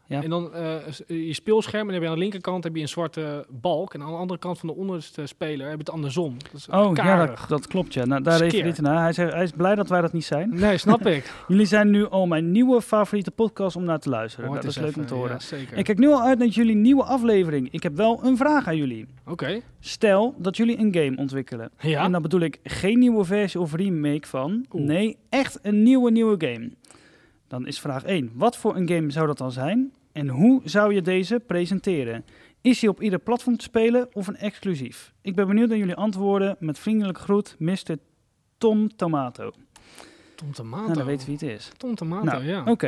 [SPEAKER 1] Ja.
[SPEAKER 2] En dan eh, s- je speelscherm. En dan heb je aan de linkerkant heb je een zwarte balk. En aan de andere kant van de onderste speler heb je het andersom. Dat is
[SPEAKER 1] Oh, ja,
[SPEAKER 2] karig.
[SPEAKER 1] dat, dat klopt, ja. Nou, daar
[SPEAKER 2] Skeer.
[SPEAKER 1] refereert hij naar. Hij, zegt, hij is blij dat wij dat niet zijn.
[SPEAKER 2] Nee,
[SPEAKER 1] [laughs]
[SPEAKER 2] snap ik.
[SPEAKER 1] Jullie zijn nu al mijn nieuwe favoriete podcast om naar te luisteren. Nou,
[SPEAKER 2] Hoort
[SPEAKER 1] dat
[SPEAKER 2] eens
[SPEAKER 1] is leuk om
[SPEAKER 2] even.
[SPEAKER 1] te horen.
[SPEAKER 2] Ja, zeker.
[SPEAKER 1] Ik kijk nu al uit naar jullie nieuwe aflevering. Ik heb wel een vraag aan jullie.
[SPEAKER 2] Oké.
[SPEAKER 1] Stel dat jullie een game ontwikkelen.
[SPEAKER 2] Ja.
[SPEAKER 1] En dan bedoel ik geen nieuwe versie of remake van.
[SPEAKER 2] Oeh.
[SPEAKER 1] Nee, echt een nieuwe, nieuwe game. Dan is vraag 1. Wat voor een game zou dat dan zijn? En hoe zou je deze presenteren? Is die op ieder platform te spelen of een exclusief? Ik ben benieuwd naar jullie antwoorden. Met vriendelijke groet, Mr. Tom Tomato.
[SPEAKER 2] Tom Tomato.
[SPEAKER 1] Nou, dan weten we wie het is.
[SPEAKER 2] Tom Tomato,
[SPEAKER 1] Nou,
[SPEAKER 2] ja.
[SPEAKER 1] Oké,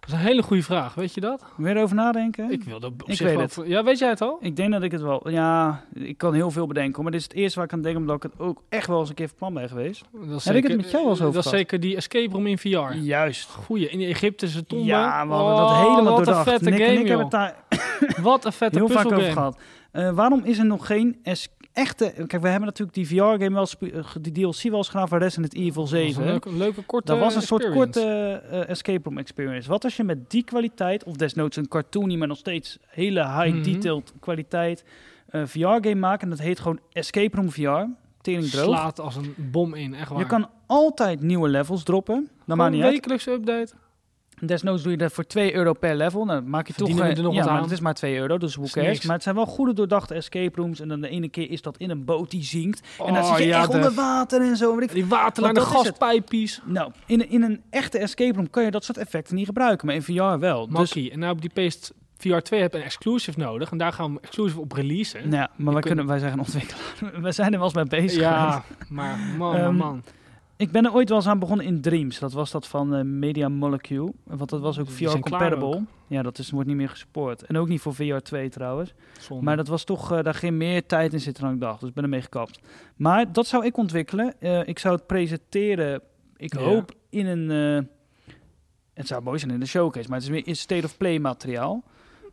[SPEAKER 2] Dat is een hele goede vraag, weet je dat?
[SPEAKER 1] weer over nadenken.
[SPEAKER 2] Ik wil dat op
[SPEAKER 1] Hmm. Ik
[SPEAKER 2] zich
[SPEAKER 1] weet
[SPEAKER 2] wel...
[SPEAKER 1] het.
[SPEAKER 2] voor- Ja, weet jij het al?
[SPEAKER 1] Ik denk dat ik het wel... Ja, ik kan heel veel bedenken. hoor, Maar dit is het eerste waar ik aan denk... omdat ik het ook echt wel eens een keer van plan ben geweest.
[SPEAKER 2] Dat is
[SPEAKER 1] Heb ik het
[SPEAKER 2] zeker-
[SPEAKER 1] met jou wel eens over
[SPEAKER 2] Dat is
[SPEAKER 1] gehad?
[SPEAKER 2] zeker die escape room in VR.
[SPEAKER 1] Juist.
[SPEAKER 2] Goeie, in die Egyptische tombe.
[SPEAKER 1] Ja, we hadden
[SPEAKER 2] Oh,
[SPEAKER 1] dat helemaal
[SPEAKER 2] wat
[SPEAKER 1] doordacht.
[SPEAKER 2] Een vette
[SPEAKER 1] Nick en
[SPEAKER 2] game,
[SPEAKER 1] ik hebben het daar
[SPEAKER 2] joh. Wat een vette
[SPEAKER 1] heel vaak
[SPEAKER 2] puzzelgame.
[SPEAKER 1] over gehad. Eh, waarom is er nog geen es- echte... Kijk, we hebben natuurlijk die VR-game wel... eens gespe- eh, ge- Die DLC wel eens gedaan voor Resident Evil
[SPEAKER 2] Dat was
[SPEAKER 1] 7.
[SPEAKER 2] een leuke, een leuke korte
[SPEAKER 1] dat was een soort
[SPEAKER 2] experience.
[SPEAKER 1] korte eh, escape room experience. Wat als je met die kwaliteit, of desnoods een cartoony, maar nog steeds hele
[SPEAKER 2] Mhm.
[SPEAKER 1] high-detailed kwaliteit, een VR-game maakt en dat heet gewoon Escape Room VR, tering droog.
[SPEAKER 2] Slaat als een bom in, echt waar.
[SPEAKER 1] Je kan altijd nieuwe levels droppen, dat maakt niet
[SPEAKER 2] een
[SPEAKER 1] uit.
[SPEAKER 2] wekelijkse update.
[SPEAKER 1] Desnoods doe je dat voor 2 euro per level. Nou, dan maak je toch
[SPEAKER 2] Verdienen we er nog
[SPEAKER 1] ja,
[SPEAKER 2] wat
[SPEAKER 1] maar
[SPEAKER 2] aan?
[SPEAKER 1] het is maar 2 euro, dus hoe
[SPEAKER 2] Is
[SPEAKER 1] cares.
[SPEAKER 2] niks.
[SPEAKER 1] Maar het zijn wel goede doordachte escape rooms. En dan de ene keer is dat in een boot die zinkt. en dan
[SPEAKER 2] Oh,
[SPEAKER 1] zit je
[SPEAKER 2] ja,
[SPEAKER 1] echt
[SPEAKER 2] de-
[SPEAKER 1] onder water en zo. weet ik-
[SPEAKER 2] Die waterlijn, de
[SPEAKER 1] Want dat is het.
[SPEAKER 2] gaspijpjes.
[SPEAKER 1] Nou, in, in een echte escape room kan je dat soort effecten niet gebruiken. Maar in VR wel. Dus,
[SPEAKER 2] Makkie. En nou op die Paste VR 2 heb je een exclusive nodig. En daar gaan we exclusive op releasen.
[SPEAKER 1] nou, ja, maar wij,
[SPEAKER 2] kunt-
[SPEAKER 1] kunnen, wij zijn een ontwikkelaar. [laughs] wij zijn er wel eens mee bezig. geweest.
[SPEAKER 2] Ja, maar man, man,
[SPEAKER 1] Ehm,
[SPEAKER 2] man.
[SPEAKER 1] Ik ben er ooit wel eens aan begonnen in Dreams. Dat was dat van eh, Media Molecule. Want dat was ook
[SPEAKER 2] Die zijn klaar
[SPEAKER 1] VR-compatible. Ja, dat is, wordt niet meer gesupport. En ook niet voor VR2 trouwens.
[SPEAKER 2] Zonde.
[SPEAKER 1] Maar dat was toch, eh, daar ging meer tijd in zitten dan ik dacht. Dus ik ben ermee gekapt. Maar dat zou ik ontwikkelen. Eh, ik zou het presenteren, ik
[SPEAKER 2] Ja.
[SPEAKER 1] hoop, in een... eh, het zou mooi zijn in de showcase, maar het is meer in state-of-play materiaal.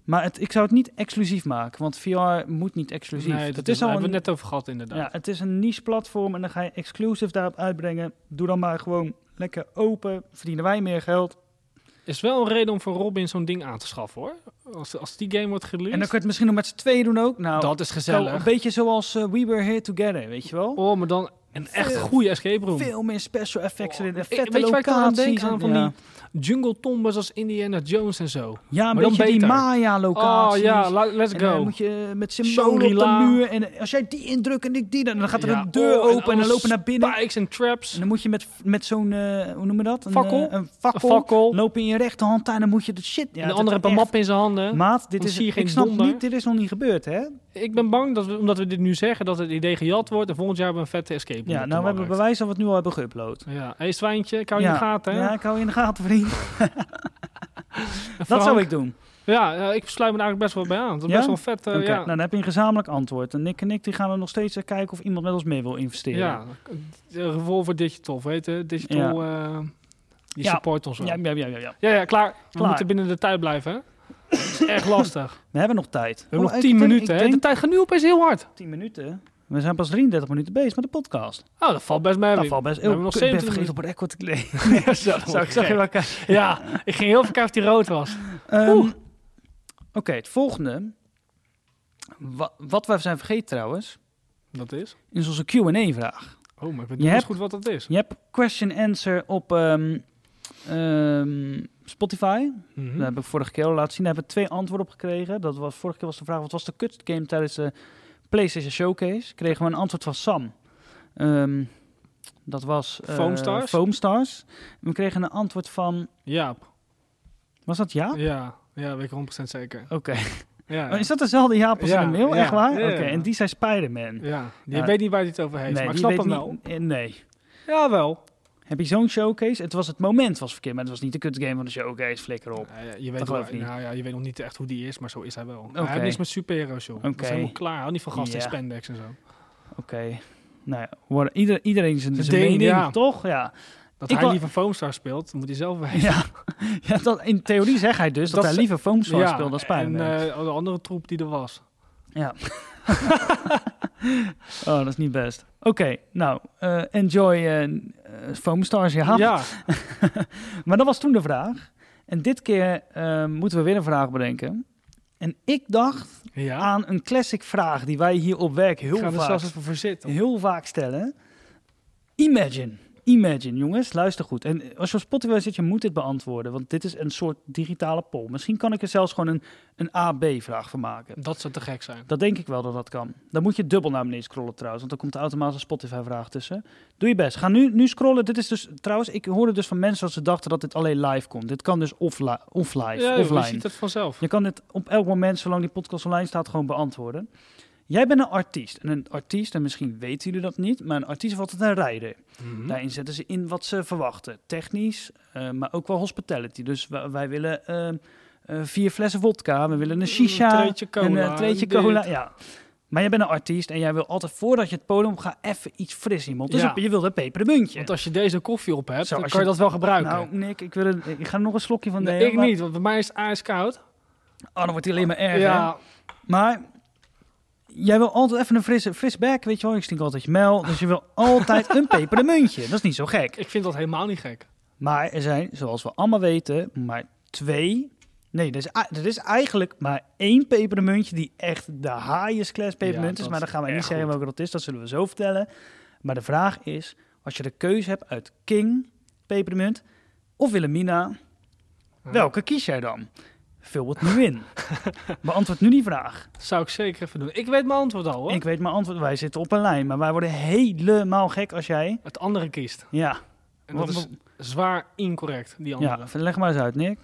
[SPEAKER 1] Maar het, ik zou het niet exclusief maken, want VR moet niet exclusief.
[SPEAKER 2] Nee, dat,
[SPEAKER 1] het
[SPEAKER 2] is
[SPEAKER 1] is
[SPEAKER 2] daar
[SPEAKER 1] al
[SPEAKER 2] hebben we
[SPEAKER 1] een,
[SPEAKER 2] het net over gehad inderdaad.
[SPEAKER 1] ja, het is een niche-platform en dan ga je exclusief daarop uitbrengen. Doe dan maar gewoon lekker open, verdienen wij meer geld.
[SPEAKER 2] Is wel een reden om voor Robin zo'n ding aan te schaffen hoor. Als, als die game wordt geleased,
[SPEAKER 1] En dan kun je het misschien nog met z'n tweeën doen ook. Nou,
[SPEAKER 2] dat is
[SPEAKER 1] zo-
[SPEAKER 2] gezellig.
[SPEAKER 1] een beetje zoals eh, We Were Here Together, weet je wel?
[SPEAKER 2] Oh, maar dan een echt
[SPEAKER 1] Veel-
[SPEAKER 2] goede escape room.
[SPEAKER 1] veel meer special effects
[SPEAKER 2] Oh,
[SPEAKER 1] erin. En
[SPEAKER 2] weet-
[SPEAKER 1] vette
[SPEAKER 2] weet je waar ik dan aan
[SPEAKER 1] locaties
[SPEAKER 2] denk?
[SPEAKER 1] en-
[SPEAKER 2] Aan van
[SPEAKER 1] ja.
[SPEAKER 2] die- Jungle tombes als Indiana Jones en zo.
[SPEAKER 1] Ja, een
[SPEAKER 2] maar dan
[SPEAKER 1] beetje die
[SPEAKER 2] beter.
[SPEAKER 1] Maya-locaties.
[SPEAKER 2] Oh ja, la- let's
[SPEAKER 1] En
[SPEAKER 2] go.
[SPEAKER 1] dan moet je eh, met symbolen op de
[SPEAKER 2] Shangri-La.
[SPEAKER 1] muur. En eh, als jij die indrukt en ik die, dan, dan gaat er
[SPEAKER 2] Ja,
[SPEAKER 1] een deur
[SPEAKER 2] oh, en
[SPEAKER 1] open en, dan
[SPEAKER 2] allemaal
[SPEAKER 1] lopen we naar binnen.
[SPEAKER 2] Spikes en traps.
[SPEAKER 1] En dan moet je met, met zo'n, eh, hoe noem je dat? Een
[SPEAKER 2] Fakkel?
[SPEAKER 1] eh, een
[SPEAKER 2] Een
[SPEAKER 1] fakkel.
[SPEAKER 2] fakkel.
[SPEAKER 1] Lopen in je rechterhand daar en dan moet je dat shit. Ja,
[SPEAKER 2] en de
[SPEAKER 1] dat
[SPEAKER 2] andere
[SPEAKER 1] is
[SPEAKER 2] heeft een
[SPEAKER 1] echt-
[SPEAKER 2] map in zijn handen.
[SPEAKER 1] Maat, dit
[SPEAKER 2] Dan
[SPEAKER 1] is,
[SPEAKER 2] zie je
[SPEAKER 1] ik
[SPEAKER 2] geen
[SPEAKER 1] snap
[SPEAKER 2] donder.
[SPEAKER 1] niet, dit is nog niet gebeurd, hè?
[SPEAKER 2] ik ben bang dat we, omdat we dit nu zeggen, dat het idee gejat wordt. En volgend jaar hebben we een vette escape room.
[SPEAKER 1] Ja,
[SPEAKER 2] op
[SPEAKER 1] nou,
[SPEAKER 2] de
[SPEAKER 1] we hebben
[SPEAKER 2] markt.
[SPEAKER 1] bewijs dat we het nu al hebben geüpload.
[SPEAKER 2] Ja, hey Zwijntje, ik hou je
[SPEAKER 1] Ja.
[SPEAKER 2] in de gaten. Hè?
[SPEAKER 1] Ja, ik hou je in de gaten,
[SPEAKER 2] [laughs]
[SPEAKER 1] vriend. Dat
[SPEAKER 2] Frank.
[SPEAKER 1] zou ik doen.
[SPEAKER 2] Ja, ja, eh, ik sluit me daar eigenlijk best wel bij aan. Dat is
[SPEAKER 1] Ja?
[SPEAKER 2] best wel een vet. eh,
[SPEAKER 1] Oké,
[SPEAKER 2] ja.
[SPEAKER 1] nou, dan heb je een gezamenlijk antwoord. En Nick en ik die gaan er nog steeds eh, kijken of iemand met ons mee wil investeren.
[SPEAKER 2] Ja, eh, Revolver Digital, weet je, Digital, eh, die
[SPEAKER 1] Ja.
[SPEAKER 2] support ons wel.
[SPEAKER 1] Ja, ja, ja, ja, ja.
[SPEAKER 2] Ja, ja, klaar. We
[SPEAKER 1] Klaar.
[SPEAKER 2] moeten binnen de tijd blijven. hè. Dat is echt
[SPEAKER 1] [laughs]
[SPEAKER 2] lastig. We
[SPEAKER 1] We hebben nog tijd.
[SPEAKER 2] hebben
[SPEAKER 1] Oh,
[SPEAKER 2] nog
[SPEAKER 1] ik
[SPEAKER 2] 10
[SPEAKER 1] denk-
[SPEAKER 2] minuten.
[SPEAKER 1] ik
[SPEAKER 2] Hè?
[SPEAKER 1] denk
[SPEAKER 2] De tijd gaat nu opeens heel hard.
[SPEAKER 1] 10 minuten. We zijn pas 33 minuten bezig met de podcast.
[SPEAKER 2] Oh, dat valt best mee.
[SPEAKER 1] Dat valt best.
[SPEAKER 2] we hebben
[SPEAKER 1] Oh,
[SPEAKER 2] nog
[SPEAKER 1] ik ben
[SPEAKER 2] 17
[SPEAKER 1] vergeten op record te kleden.
[SPEAKER 2] [laughs]
[SPEAKER 1] Zou ik
[SPEAKER 2] minuten.
[SPEAKER 1] zeggen
[SPEAKER 2] Ja,
[SPEAKER 1] wel kijken.
[SPEAKER 2] [laughs] ja, ik ging heel veel kijken of die rood was.
[SPEAKER 1] Ehm, Oké, het volgende. Wa- wat we zijn vergeten trouwens,
[SPEAKER 2] Dat is?
[SPEAKER 1] is onze Q&A-vraag.
[SPEAKER 2] Oh, maar ik weet
[SPEAKER 1] Je
[SPEAKER 2] niet eens
[SPEAKER 1] hebt-
[SPEAKER 2] goed wat dat is.
[SPEAKER 1] Je hebt question answer op ehm, ehm, Spotify.
[SPEAKER 2] Mhm.
[SPEAKER 1] Daar heb ik vorige keer al laten zien. Daar hebben we twee antwoorden op gekregen. Dat was, vorige keer was de vraag, wat was de kutste game tijdens de PlayStation Showcase? Kregen we een antwoord van Sam. Ehm, dat was... eh,
[SPEAKER 2] Foamstars?
[SPEAKER 1] Foamstars. We kregen een antwoord van...
[SPEAKER 2] Jaap.
[SPEAKER 1] Was dat Jaap?
[SPEAKER 2] Ja, ja, weet ik 100% zeker.
[SPEAKER 1] Oké.
[SPEAKER 2] Ja,
[SPEAKER 1] [laughs] Oh, is dat dezelfde Jaap als
[SPEAKER 2] Ja,
[SPEAKER 1] in de mail?
[SPEAKER 2] ja,
[SPEAKER 1] Echt waar?
[SPEAKER 2] ja,
[SPEAKER 1] Oké,
[SPEAKER 2] ja.
[SPEAKER 1] en die zei Spider-Man.
[SPEAKER 2] ja. die
[SPEAKER 1] Ja.
[SPEAKER 2] weet niet waar hij het over heeft, maar ik
[SPEAKER 1] die
[SPEAKER 2] snap
[SPEAKER 1] weet
[SPEAKER 2] hem
[SPEAKER 1] niet-
[SPEAKER 2] wel.
[SPEAKER 1] eh, Nee.
[SPEAKER 2] Jawel.
[SPEAKER 1] Heb je zo'n showcase? Het was het moment was verkeerd, maar het was niet de kutgame van de showcase. Flikker op.
[SPEAKER 2] Nou ja, je, weet
[SPEAKER 1] Dat
[SPEAKER 2] wel,
[SPEAKER 1] geloof ik niet.
[SPEAKER 2] nou ja, je weet nog niet echt hoe die is, maar zo is hij wel. Hij
[SPEAKER 1] Oké.
[SPEAKER 2] heeft niks met superhero's, joh. Dat
[SPEAKER 1] Oké.
[SPEAKER 2] is helemaal klaar. Hou niet van gasten in
[SPEAKER 1] Ja.
[SPEAKER 2] spandex en zo.
[SPEAKER 1] Oké. Nou ja, worden- ieder, iedereen zijn,
[SPEAKER 2] Zijn
[SPEAKER 1] zijn
[SPEAKER 2] ding,
[SPEAKER 1] mening,
[SPEAKER 2] ja.
[SPEAKER 1] toch? Ja.
[SPEAKER 2] Dat
[SPEAKER 1] Ik
[SPEAKER 2] hij
[SPEAKER 1] wou-
[SPEAKER 2] liever Foamstar speelt, moet hij zelf weten.
[SPEAKER 1] Ja. ja dat, in theorie zegt hij dus dat,
[SPEAKER 2] Dat
[SPEAKER 1] hij
[SPEAKER 2] ze-
[SPEAKER 1] liever [laughs] Foamstar
[SPEAKER 2] Ja,
[SPEAKER 1] speelt dan
[SPEAKER 2] En
[SPEAKER 1] Spider-Man.
[SPEAKER 2] eh, de andere troep die er was.
[SPEAKER 1] Ja. oh, dat is niet best. Oké, nou, eh, enjoy eh, eh, Foam Stars, ja.
[SPEAKER 2] ja.
[SPEAKER 1] Maar dat was toen de vraag. En dit keer eh, moeten we weer een vraag bedenken. En ik dacht
[SPEAKER 2] Ja.
[SPEAKER 1] aan een classic vraag die wij hier op werk Ah, heel
[SPEAKER 2] Ik ga er
[SPEAKER 1] vaak
[SPEAKER 2] zelfs even voor zitten.
[SPEAKER 1] heel vaak stellen. Imagine. Imagine, jongens. Luister goed. En als je op Spotify zit, je moet dit beantwoorden. Want dit is een soort digitale poll. Misschien kan ik er zelfs gewoon een, een A-B-vraag van maken.
[SPEAKER 2] Dat zou te gek zijn.
[SPEAKER 1] Dat denk ik wel dat dat kan. Dan moet je dubbel naar beneden scrollen trouwens. Want dan komt er automatisch een Spotify-vraag tussen. Doe je best. Ga nu, nu scrollen. Dit is dus... Trouwens, ik hoorde dus van mensen dat ze dachten dat dit alleen live komt. Dit kan dus offli- offline.
[SPEAKER 2] ja, joh, je
[SPEAKER 1] offline.
[SPEAKER 2] ziet het vanzelf.
[SPEAKER 1] Je kan dit op elk moment, zolang die podcast online staat, gewoon beantwoorden. Jij bent een artiest. En een artiest, en misschien weten jullie dat niet, maar een artiest valt altijd een rijder.
[SPEAKER 2] Mhm.
[SPEAKER 1] Daarin zetten ze in wat ze verwachten. Technisch, eh, maar ook wel hospitality. Dus wa- wij willen eh, eh, vier flessen vodka, we willen een shisha,
[SPEAKER 2] Een treetje cola,
[SPEAKER 1] een eh, treetje
[SPEAKER 2] en dit.
[SPEAKER 1] cola. Ja. Maar jij bent een artiest en jij wil altijd, voordat je het podium gaat, even iets fris in. Dus
[SPEAKER 2] Ja.
[SPEAKER 1] je wil een pepermuntje.
[SPEAKER 2] Want als je deze koffie op hebt,
[SPEAKER 1] Zo,
[SPEAKER 2] dan
[SPEAKER 1] als
[SPEAKER 2] kan je
[SPEAKER 1] je-
[SPEAKER 2] dat wel gebruiken.
[SPEAKER 1] Nou, Nick, ik, wil een, ik ga er nog een slokje van
[SPEAKER 2] Nee,
[SPEAKER 1] nemen.
[SPEAKER 2] ik
[SPEAKER 1] maar-
[SPEAKER 2] niet, want bij mij is het ijskoud.
[SPEAKER 1] Oh, dan wordt hij alleen maar erger. hè?
[SPEAKER 2] ja,
[SPEAKER 1] Maar jij wil altijd even een frisse, fris bek, weet je wel. Ik stink altijd mel, dus je wil altijd
[SPEAKER 2] [laughs]
[SPEAKER 1] een pepermuntje. Dat is niet zo gek.
[SPEAKER 2] ik vind dat helemaal niet gek.
[SPEAKER 1] Maar er zijn, zoals we allemaal weten, maar twee... Nee, er is, ei- er is eigenlijk maar één pepermuntje die echt de highest class pepermunt
[SPEAKER 2] Ja,
[SPEAKER 1] is.
[SPEAKER 2] dat
[SPEAKER 1] Maar dan gaan wij
[SPEAKER 2] is
[SPEAKER 1] niet
[SPEAKER 2] erg
[SPEAKER 1] zeggen
[SPEAKER 2] goed.
[SPEAKER 1] welke dat is, dat zullen we zo vertellen. Maar de vraag is, als je de keuze hebt uit King pepermunt of Willemina,
[SPEAKER 2] Ja.
[SPEAKER 1] welke kies jij dan? Vul het nu
[SPEAKER 2] [laughs]
[SPEAKER 1] in. Beantwoord nu die vraag.
[SPEAKER 2] Dat zou ik zeker even doen. Ik weet mijn antwoord al hoor.
[SPEAKER 1] Ik weet mijn antwoord. Wij zitten op een lijn, maar wij worden helemaal gek als jij.
[SPEAKER 2] Het andere kiest.
[SPEAKER 1] Ja,
[SPEAKER 2] En dat is
[SPEAKER 1] Wat-
[SPEAKER 2] zwaar incorrect, die andere.
[SPEAKER 1] ja leg maar eens uit, Nick.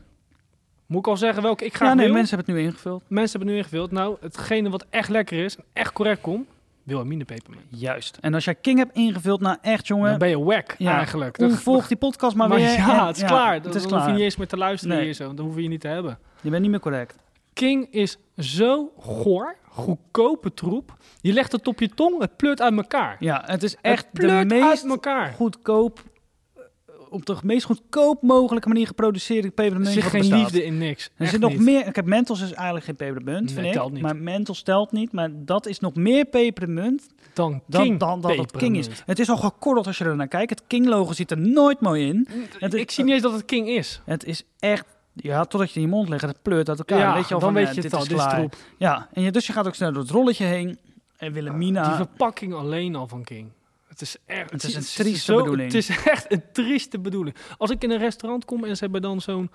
[SPEAKER 2] Moet ik al zeggen welke ik ga
[SPEAKER 1] Ja, nee,
[SPEAKER 2] wil?
[SPEAKER 1] mensen hebben het nu ingevuld.
[SPEAKER 2] Mensen hebben nu ingevuld. Nou, hetgene wat echt lekker is en echt correct komt, Wilhelmine pepermunt.
[SPEAKER 1] Juist. En als jij King hebt ingevuld, nou echt,
[SPEAKER 2] Dan
[SPEAKER 1] jongen.
[SPEAKER 2] ben je whack
[SPEAKER 1] Ja,
[SPEAKER 2] eigenlijk. Dan- [laughs]
[SPEAKER 1] Onvolg die podcast maar,
[SPEAKER 2] maar
[SPEAKER 1] weer.
[SPEAKER 2] ja,
[SPEAKER 1] En-
[SPEAKER 2] het is klaar. Dan,
[SPEAKER 1] Het is
[SPEAKER 2] dan hoef je
[SPEAKER 1] klaar.
[SPEAKER 2] niet eens meer te luisteren
[SPEAKER 1] Nee.
[SPEAKER 2] hier zo. Dan hoef je je niet te hebben.
[SPEAKER 1] Je bent niet meer correct.
[SPEAKER 2] King is zo goor, goedkope troep. Je legt het op je tong, het pleurt uit elkaar.
[SPEAKER 1] Ja, het is echt
[SPEAKER 2] het
[SPEAKER 1] de
[SPEAKER 2] pleurt uit
[SPEAKER 1] meest
[SPEAKER 2] elkaar.
[SPEAKER 1] goedkoop, eh, op de meest goedkoop mogelijke manier geproduceerde
[SPEAKER 2] Er
[SPEAKER 1] pepermuntje
[SPEAKER 2] zit
[SPEAKER 1] wat
[SPEAKER 2] geen
[SPEAKER 1] bestaat.
[SPEAKER 2] liefde in niks.
[SPEAKER 1] Er
[SPEAKER 2] Echt
[SPEAKER 1] zit nog
[SPEAKER 2] niet.
[SPEAKER 1] meer. Ik heb Mentos is eigenlijk geen pepermunt,
[SPEAKER 2] Nee,
[SPEAKER 1] vind ik.
[SPEAKER 2] telt niet.
[SPEAKER 1] Maar Mentos telt niet. Maar dat is nog meer pepermunt
[SPEAKER 2] dan
[SPEAKER 1] dan,
[SPEAKER 2] King.
[SPEAKER 1] dan dat het King is.
[SPEAKER 2] pepermunt.
[SPEAKER 1] Het is al gekorreld als je er naar kijkt. Het King-logo zit er nooit mooi in. Het is-
[SPEAKER 2] ik zie niet eens dat het King is.
[SPEAKER 1] Het is echt, ja, totdat je in je mond legt, het pleurt uit elkaar.
[SPEAKER 2] Ja,
[SPEAKER 1] Dan weet je al
[SPEAKER 2] dan
[SPEAKER 1] van,
[SPEAKER 2] weet
[SPEAKER 1] eh,
[SPEAKER 2] je
[SPEAKER 1] dit
[SPEAKER 2] het al.
[SPEAKER 1] is
[SPEAKER 2] Dit is
[SPEAKER 1] klaar.
[SPEAKER 2] troep.
[SPEAKER 1] Ja, en je, dus je gaat ook snel door het rolletje heen. En Willemina,
[SPEAKER 2] Ah, Die verpakking alleen al van King. Het is echt
[SPEAKER 1] Nou, Het is een
[SPEAKER 2] het
[SPEAKER 1] trieste
[SPEAKER 2] zo-
[SPEAKER 1] bedoeling.
[SPEAKER 2] Het is [laughs] echt een trieste bedoeling. Als ik in een restaurant kom en ze hebben dan zo'n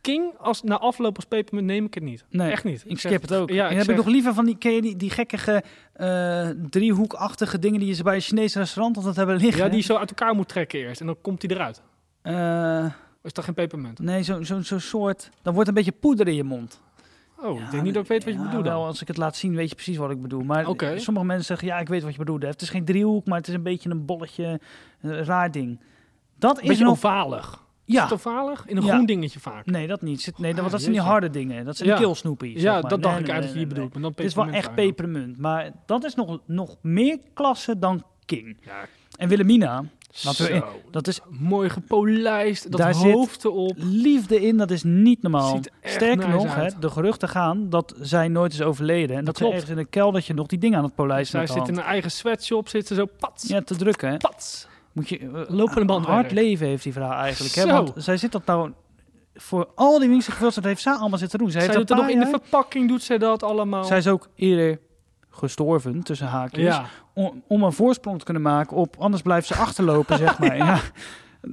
[SPEAKER 2] King, als na afloop als pepermunt neem ik het niet.
[SPEAKER 1] Nee,
[SPEAKER 2] echt niet.
[SPEAKER 1] ik
[SPEAKER 2] zeg-
[SPEAKER 1] skip het ook.
[SPEAKER 2] Ja,
[SPEAKER 1] en
[SPEAKER 2] ik
[SPEAKER 1] heb
[SPEAKER 2] zeg-
[SPEAKER 1] ik nog liever van die, ken je die, die gekkige eh, driehoekachtige dingen die je ze bij een Chinees restaurant altijd hebben liggen.
[SPEAKER 2] ja, die je zo uit elkaar moet trekken eerst en dan komt hij eruit.
[SPEAKER 1] Eh,
[SPEAKER 2] Is dat geen pepermunt?
[SPEAKER 1] nee, zo'n zo, zo'n soort, dan wordt een beetje poeder in je mond.
[SPEAKER 2] Oh,
[SPEAKER 1] Ja,
[SPEAKER 2] ik denk niet dat ik weet wat je
[SPEAKER 1] ja,
[SPEAKER 2] bedoelt. dan.
[SPEAKER 1] Wel, als ik het laat zien, weet je precies wat ik bedoel. Maar
[SPEAKER 2] Oké.
[SPEAKER 1] sommige mensen zeggen, ja, ik weet wat je bedoelt. Def. Het is geen driehoek, maar het is een beetje een bolletje, een raar ding. Dat
[SPEAKER 2] Een
[SPEAKER 1] is
[SPEAKER 2] beetje
[SPEAKER 1] nog...
[SPEAKER 2] ovalig. Is
[SPEAKER 1] Ja,
[SPEAKER 2] het ovalig? In een
[SPEAKER 1] Ja.
[SPEAKER 2] groen dingetje vaak.
[SPEAKER 1] nee, dat niet. Zit- Nee, dat,
[SPEAKER 2] Ah,
[SPEAKER 1] dat zijn die
[SPEAKER 2] jeetje.
[SPEAKER 1] harde dingen. Dat zijn die
[SPEAKER 2] Ja.
[SPEAKER 1] keelsnoepies. zeg
[SPEAKER 2] Ja,
[SPEAKER 1] maar.
[SPEAKER 2] dat dacht
[SPEAKER 1] Nee,
[SPEAKER 2] ik
[SPEAKER 1] nee,
[SPEAKER 2] eigenlijk
[SPEAKER 1] nee, nee,
[SPEAKER 2] je
[SPEAKER 1] nee.
[SPEAKER 2] bedoelt. Maar dan
[SPEAKER 1] Het is wel echt
[SPEAKER 2] pepermunt.
[SPEAKER 1] pepermunt. Maar dat is nog, nog meer klasse dan King.
[SPEAKER 2] Ja,
[SPEAKER 1] En Willemina, Laten we-
[SPEAKER 2] zo.
[SPEAKER 1] dat is
[SPEAKER 2] Mooi gepolijst, dat
[SPEAKER 1] Daar zit-
[SPEAKER 2] hoofd erop.
[SPEAKER 1] liefde in, dat is niet normaal.
[SPEAKER 2] Ziet er echt
[SPEAKER 1] Sterker
[SPEAKER 2] nice
[SPEAKER 1] nog, hè,
[SPEAKER 2] uit.
[SPEAKER 1] de geruchten gaan dat zij nooit is overleden. En dat, ze
[SPEAKER 2] klopt.
[SPEAKER 1] ergens in een keldertje nog die dingen aan het polijsten
[SPEAKER 2] Zij
[SPEAKER 1] met de
[SPEAKER 2] zit in
[SPEAKER 1] hand.
[SPEAKER 2] een eigen sweatshop, zit ze zo pats,
[SPEAKER 1] Ja, te drukken. Hè.
[SPEAKER 2] pats.
[SPEAKER 1] Moet je, eh,
[SPEAKER 2] Lopende bandwerk.
[SPEAKER 1] Hard leven heeft die vrouw eigenlijk. Hè?
[SPEAKER 2] Zo.
[SPEAKER 1] Want zij zit dat nou... Voor al die winkels gevuld, dat heeft zij allemaal zitten doen. Zij,
[SPEAKER 2] Zij
[SPEAKER 1] heeft
[SPEAKER 2] doet
[SPEAKER 1] een
[SPEAKER 2] er nog
[SPEAKER 1] paar
[SPEAKER 2] in de
[SPEAKER 1] jaar-
[SPEAKER 2] verpakking, doet zij dat allemaal.
[SPEAKER 1] Zij is ook eerder gestorven, tussen haakjes.
[SPEAKER 2] ja,
[SPEAKER 1] Om, om een voorsprong te kunnen maken op... Anders blijft ze achterlopen, zeg
[SPEAKER 2] [laughs]
[SPEAKER 1] maar. Ja.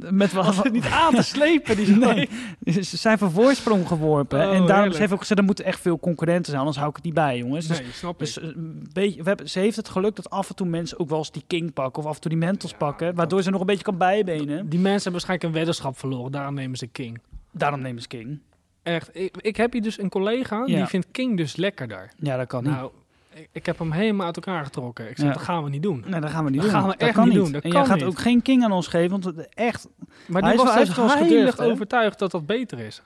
[SPEAKER 1] Met wat...
[SPEAKER 2] was het niet aan te slepen,
[SPEAKER 1] [laughs]
[SPEAKER 2] die
[SPEAKER 1] Nee,
[SPEAKER 2] nee.
[SPEAKER 1] ze zijn voor voorsprong geworpen.
[SPEAKER 2] Oh,
[SPEAKER 1] en daarom
[SPEAKER 2] heerlijk.
[SPEAKER 1] ze heeft ook gezegd, er moeten echt veel concurrenten zijn. Anders hou ik het niet bij, jongens. Dus,
[SPEAKER 2] Nee, snap
[SPEAKER 1] dus
[SPEAKER 2] ik.
[SPEAKER 1] een beetje, we hebben, ze heeft het geluk dat af en toe mensen ook wel eens die king pakken... of af en toe die mentals
[SPEAKER 2] Ja,
[SPEAKER 1] pakken,
[SPEAKER 2] dat-
[SPEAKER 1] waardoor ze nog een beetje kan bijbenen.
[SPEAKER 2] Die mensen hebben waarschijnlijk een weddenschap verloren, daarom nemen ze King.
[SPEAKER 1] Daarom nemen ze king.
[SPEAKER 2] Echt, ik, ik heb hier dus een collega,
[SPEAKER 1] Ja.
[SPEAKER 2] die vindt King dus lekkerder.
[SPEAKER 1] Ja, dat kan niet.
[SPEAKER 2] Nou, ik, ik heb hem helemaal uit elkaar getrokken. Ik zeg,
[SPEAKER 1] Ja.
[SPEAKER 2] dat gaan we niet doen.
[SPEAKER 1] Nee, dat gaan we niet
[SPEAKER 2] Dat
[SPEAKER 1] doen.
[SPEAKER 2] gaan we
[SPEAKER 1] dat
[SPEAKER 2] echt
[SPEAKER 1] kan
[SPEAKER 2] niet
[SPEAKER 1] niet
[SPEAKER 2] doen. Dat
[SPEAKER 1] en
[SPEAKER 2] kan
[SPEAKER 1] jij gaat
[SPEAKER 2] niet.
[SPEAKER 1] ook geen king aan ons geven, want het- echt...
[SPEAKER 2] Maar
[SPEAKER 1] Hij
[SPEAKER 2] die
[SPEAKER 1] is wel- hij
[SPEAKER 2] was dus
[SPEAKER 1] heeft wel eens
[SPEAKER 2] heilig
[SPEAKER 1] gedurfd, hè?
[SPEAKER 2] overtuigd dat dat beter is.